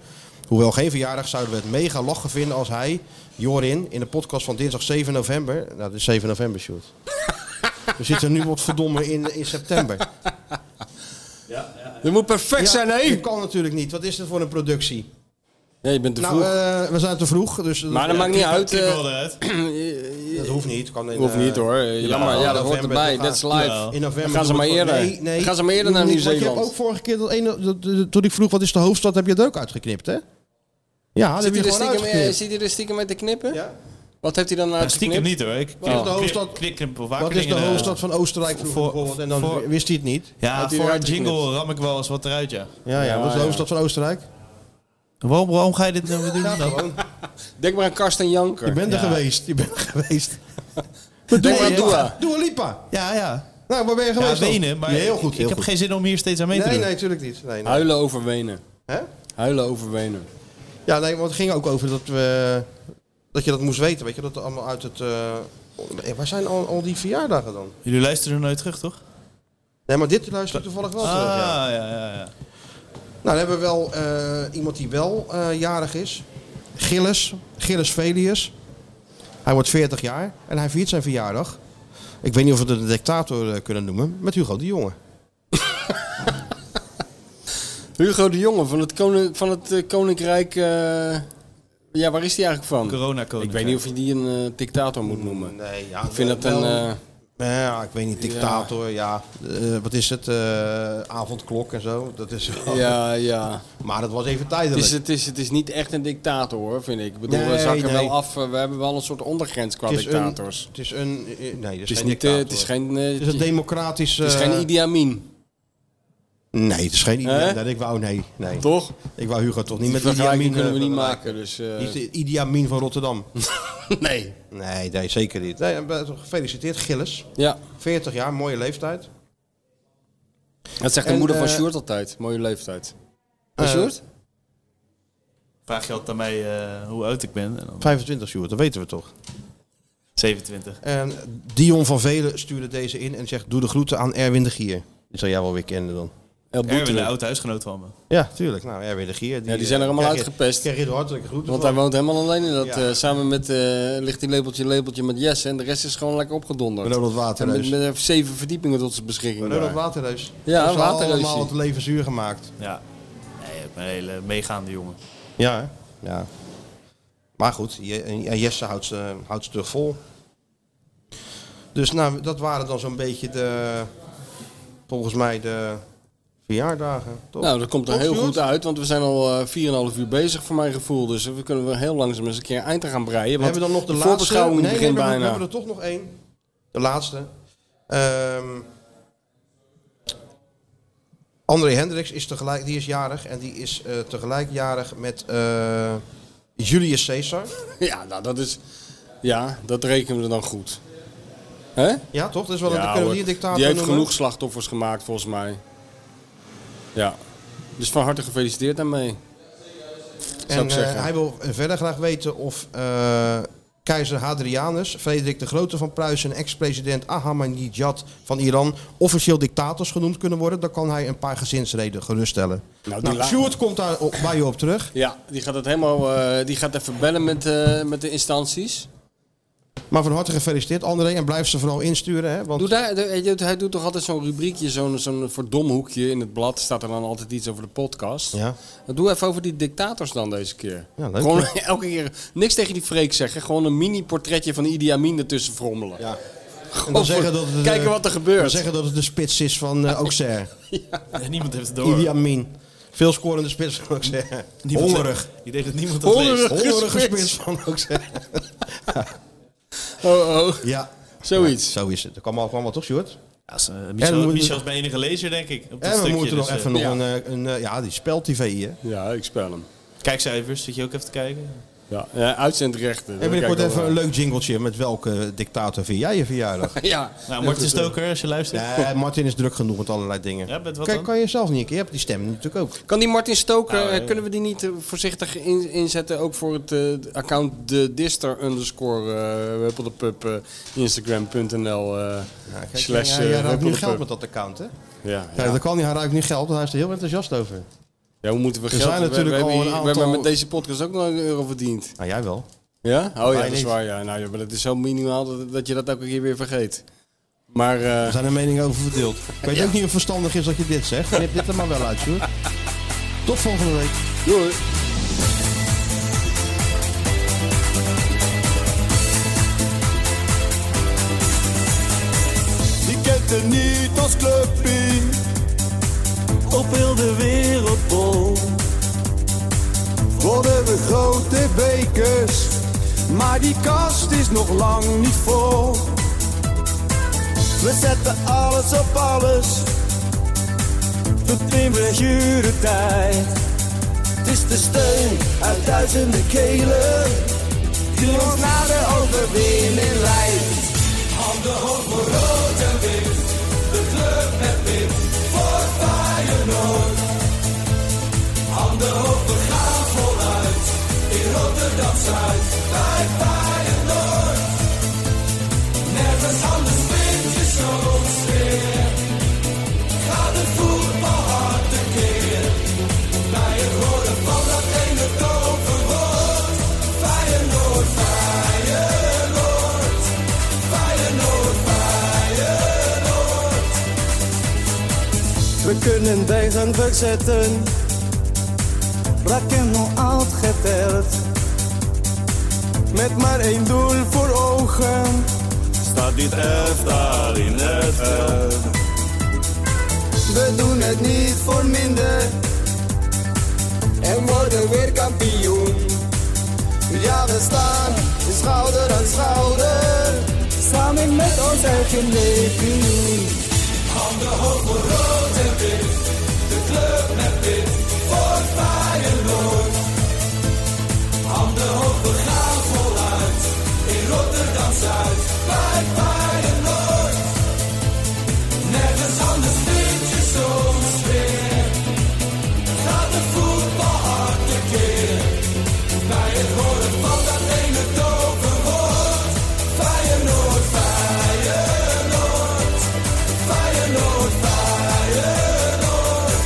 Hoewel geen verjaardag, zouden we het mega lachen vinden als hij, Jorin, in de podcast van dinsdag 7 november... Nou, dat is 7 november, shoot. we zitten nu wat verdomme in, in september.
Dat moet perfect
zijn, hè? Dat kan natuurlijk niet. Wat is dat voor een productie?
Nee, je bent te
nou,
vroeg.
eh, we zijn te vroeg. Dus,
Maar dat maakt niet uit, eh.
dat hoeft niet. Kan in,
Hoeft niet,
eh,
hoor.
jawel,
Jammer,
Oh,
ja, dat
november,
hoort erbij.
dan
That's
gaan-
live.
Ja.
Dan
In november.
gaan ze maar
doen we het
eerder.
gewoon. Nee, nee.
Dan gaan ze maar eerder naar
Doe niet, want Je
Nieuw-Zeeland.
hebt ook vorige keer, dat ene, dat- dat- toen ik vroeg wat is de hoofdstad, heb je het ook uitgeknipt, hè? Ja, dat
zit
heb je
hij
gewoon
er stiekem, eh,
uitgeknipt.
zit hij er stiekem mee te knippen? Wat heeft hij dan
Nou,
uitgeknipt?
stiekem niet hoor. Ik knip,
Wat is de
knip,
hoofdstad-
knip, knip wel vaker
Wat is de
dingen, eh,
hoofdstad van Oostenrijk vroeger bijvoorbeeld? En dan
voor-
wist hij het niet.
Ja,
Had hij
voor een
eruit geknipt.
jingle ram ik wel eens wat eruit, ja.
Ja, ja. Wat is de hoofdstad van Oostenrijk?
Waarom, waarom ga je dit nou weer doen? dan?
Denk maar aan Karsten Janker.
Je bent er
Ja.
geweest. Je bent er geweest.
Nee,
Doe
maar doe
Lipa.
maar.
Doe Lipa.
Ja, ja.
Nou, waar ben je
Ja,
geweest? dan?
Wenen, maar
Nee, heel
ik-
goed.
ik,
heel
heb
goed.
geen zin om hier steeds aan mee te
nee,
doen.
nee, natuurlijk niet. Nee, nee.
Huilen over Wenen.
Hè?
Huilen over Wenen.
Ja, nee, want het ging ook over dat we. Dat je dat moest weten, weet je, dat allemaal uit het. eh, waar zijn al, al die verjaardagen dan?
Jullie luisteren er nooit terug, toch?
Nee, maar dit luister ik toevallig wel
ah,
terug. Ja.
ja, ja, ja. ja.
Nou, dan hebben we wel eh, iemand die wel eh, jarig is. Gilles, Gilles Velius. Hij wordt 40 jaar en hij viert zijn verjaardag. Ik weet niet of we het een dictator eh, kunnen noemen, met Hugo de Jonge.
Hugo de Jonge van het, koning, van het eh, Koninkrijk. eh, ja, waar is die eigenlijk van?
Corona
Ik weet niet of je die een eh, dictator moet noemen.
Nee, ja.
Ik vind dat een.
Mm, wel-
eh,
Nou ja, ik weet niet, dictator, ja. Eh, wat is het? eh, avondklok en zo. Dat is wel-
ja, ja.
Maar dat was even
Het
tijdelijk.
is, het, is, het is niet echt een dictator hoor, vind ik. Ik bedoel, we
Nee,
zakken
nee.
wel af. eh, We hebben wel een soort ondergrens qua
Het is een-
dictators.
het is een. eh, Nee, dat is,
Het is
geen
niet, eh,
dictator.
het is geen, eh,
Het is een democratisch.
het is
eh,
geen Idi Amin.
Nee, het is geen Idi
Hè?
Nee, ik wou, nee, nee.
Toch?
Ik wou Hugo toch niet
Die
met Idi
vergelijking
Amin.
kunnen we
eh,
niet
vergelijken.
maken, dus, eh.
Die is de Idi Amin van Rotterdam.
nee.
Nee, nee, zeker niet. Nee, eh, gefeliciteerd, Gilles.
Ja.
40 jaar, mooie leeftijd.
Dat zegt de
En,
moeder van
eh,
Sjoerd altijd. Mooie leeftijd.
Eh,
Sjoerd?
Vraag je altijd aan mij eh, hoe oud ik ben. En dan
25, Sjoerd, dat weten we toch.
27.
En Dion van Velen stuurde deze in en zegt: Doe de groeten aan Erwin de Gier. Die zal jij wel weer kennen dan.
Erwin, de oud huisgenoot van me.
Ja, tuurlijk. Nou, Erwin de Gier.
Ja, die zijn er
eh,
allemaal
krijg je-
uitgepest.
Krijg je de hartelijke groeten.
Want
van.
hij woont helemaal alleen in dat.
Ja.
eh, samen met eh, ligt die lepeltje, lepeltje met Jesse. En de rest is gewoon lekker opgedonderd.
Ronald
En met,
Waterreus.
met zeven verdiepingen tot zijn beschikking.
Ronald
daar.
Waterreus.
Ja,
Ze hebben
Waterreus.
allemaal het leven zuur gemaakt.
Ja. Nee, ik ben een hele meegaande jongen.
Ja, hè? ja. Maar goed, Je- en Jesse houdt ze, houdt ze terug vol. Dus nou, dat waren dan zo'n beetje de, volgens mij de verjaardagen. Toch?
Nou, dat komt er
Toch,
heel
Sjoerd?
goed uit, want we zijn al eh 4,5 uur bezig voor mijn gevoel. Dus we kunnen wel heel langzaam eens een keer een eind aan gaan breien.
We
Want
hebben dan nog de,
de
laatste.
voorbeschouwing
nee,
begint
nee, maar we-
bijna.
We hebben er toch nog één. De laatste. Ehm André Hendricks is tegelijk, die is jarig en die is eh, tegelijk jarig met eh, Julius Caesar.
Ja, nou dat is... Ja, dat rekenen we dan goed. Hè?
Ja, toch? Dat is wel een,
Ja,
kunnen we
hoor.
die een dictator
Die heeft
noemen?
genoeg slachtoffers gemaakt, volgens mij. Ja. Dus van harte gefeliciteerd daarmee. Zou
En
ik
eh,
zeggen.
hij wil verder graag weten of eh, keizer Hadrianus, Frederik de Grote van Pruisen en ex-president Ahmadinejad van Iran officieel dictators genoemd kunnen worden. Dan kan hij een paar gezinsreden geruststellen.
Nou,
Nou,
die la-
Sjoerd komt daar op, bij je op terug.
Ja, die gaat, het helemaal, eh, die gaat even bellen met, eh, met de instanties.
Maar van harte gefeliciteerd André en blijf ze vooral insturen. Hè, want
Doe daar, de- hij doet- hij doet toch altijd zo'n rubriekje, zo'n zo'n verdomhoekje in het blad. Staat er dan altijd iets over de podcast.
Ja.
Doe even over die dictators dan deze keer.
Ja, leuk,
Gewoon
ja.
elke keer niks tegen die freak zeggen. Gewoon een mini-portretje van Idi Amin ertussen frommelen.
Ja. en
Gewoon
dan zeggen dat het, eh,
kijken wat er gebeurt.
Dan zeggen dat het de spits is van eh Auxerre.
Niemand heeft het door.
Idi Amin. Veel scorende spits van Auxerre.
Niemand-
Hongerig.
Je denkt dat niemand dat leest.
Hongerige
Hongerige
spits.
spits van Auxerre.
Oh, oh.
Ja.
Zoiets.
Ja, zo is het. Dat kan allemaal wel toch, Sjoerd?
Ja, is, eh,
En we
Michel,
moeten-
Michel is mijn enige lezer, denk ik. Op dat
En we
stukje,
moeten nog
dus, eh,
even nog
ja.
een, eh, een, eh, ja, die spel-tv hier.
Ja, ik spel hem.
Kijkcijfers, zit je ook even te kijken?
Ja, ja uitzendrechten.
En binnenkort even een leuk jingletje met welke dictator vier jij je verjaardag?
Ja.
Nou, Martin Stoker, als je luistert.
Nee, Martin is druk genoeg met allerlei dingen.
Ja, met wat
Kijk,
dan?
kan je zelf niet een keer? Je hebt die stem natuurlijk ook.
Kan die Martin Stoker,
Nou,
eh,
ja.
kunnen we die niet eh, voorzichtig in- inzetten? Ook voor het eh, account de dister underscore eh, huppeldepup eh, instagram.nl eh,
Kijk,
slash
ja, jij
eh,
ruikt nu
huppeldepup.
geld met dat account, hè?
Ja,
Kijk, dat kan niet. Hij ruikt nu geld, want hij is er heel enthousiast over.
Ja, hoe moeten we
Er
geld...
zijn
we-
natuurlijk
we,
al
hebben
een
hier- We
aantal-
hebben met deze podcast ook nog een euro verdiend.
Nou, jij wel.
Ja? Oh
Wij
ja, dat is
niet.
waar. Ja. Nou, ja, maar dat is zo minimaal dat, dat je dat elke keer weer vergeet. Maar... eh,
Er zijn er meningen over verdeeld. Ik weet
Ja.
ook niet hoe verstandig is dat je dit zegt. Knip dit er maar wel uit, Sjoerd. Tot volgende week.
Doei.
Je kent er niet als clubpie Op heel de wereldbol Worden we grote bekers Maar die kast is nog lang niet vol We zetten alles op alles Tot in blessure tijd Het is de steun uit duizenden kelen Die ons naar de overwinning leidt Handen hoog voor rood en wit, de kleur met wit voor Feyenoord. Handen hoog, we gaan vooruit, in Rotterdam-Zuid, bij Feyenoord. Nergens anders vind je zo'n sfeer, gaat het voetbal hard tekeer. Bij het horen van dat ene toverwoord, Feyenoord, Feyenoord. Feyenoord, Feyenoord.
We kunnen tegen verzetten, raken al uitgeteld.
Met maar één doel voor ogen Staat dit elftal in het veld
We doen het niet voor minder
En worden weer kampioen
Ja, we staan schouder aan schouder, samen met ons eigen legioen.
Handen hoog voor rood en wit De club met wit voor Feyenoord Handen hoog, we gaan voluit In Rotterdam-Zuid bij Feyenoord Nergens anders vind je zo'n sfeer Gaat de voetbal hard tekeer Bij het horen van dat ene toverwoord Feyenoord, Feyenoord Feyenoord, Feyenoord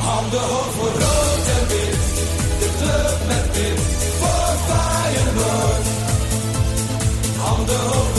Handen hoog voor rood en wit, de club met wit voor Feyenoord. Handen hoog,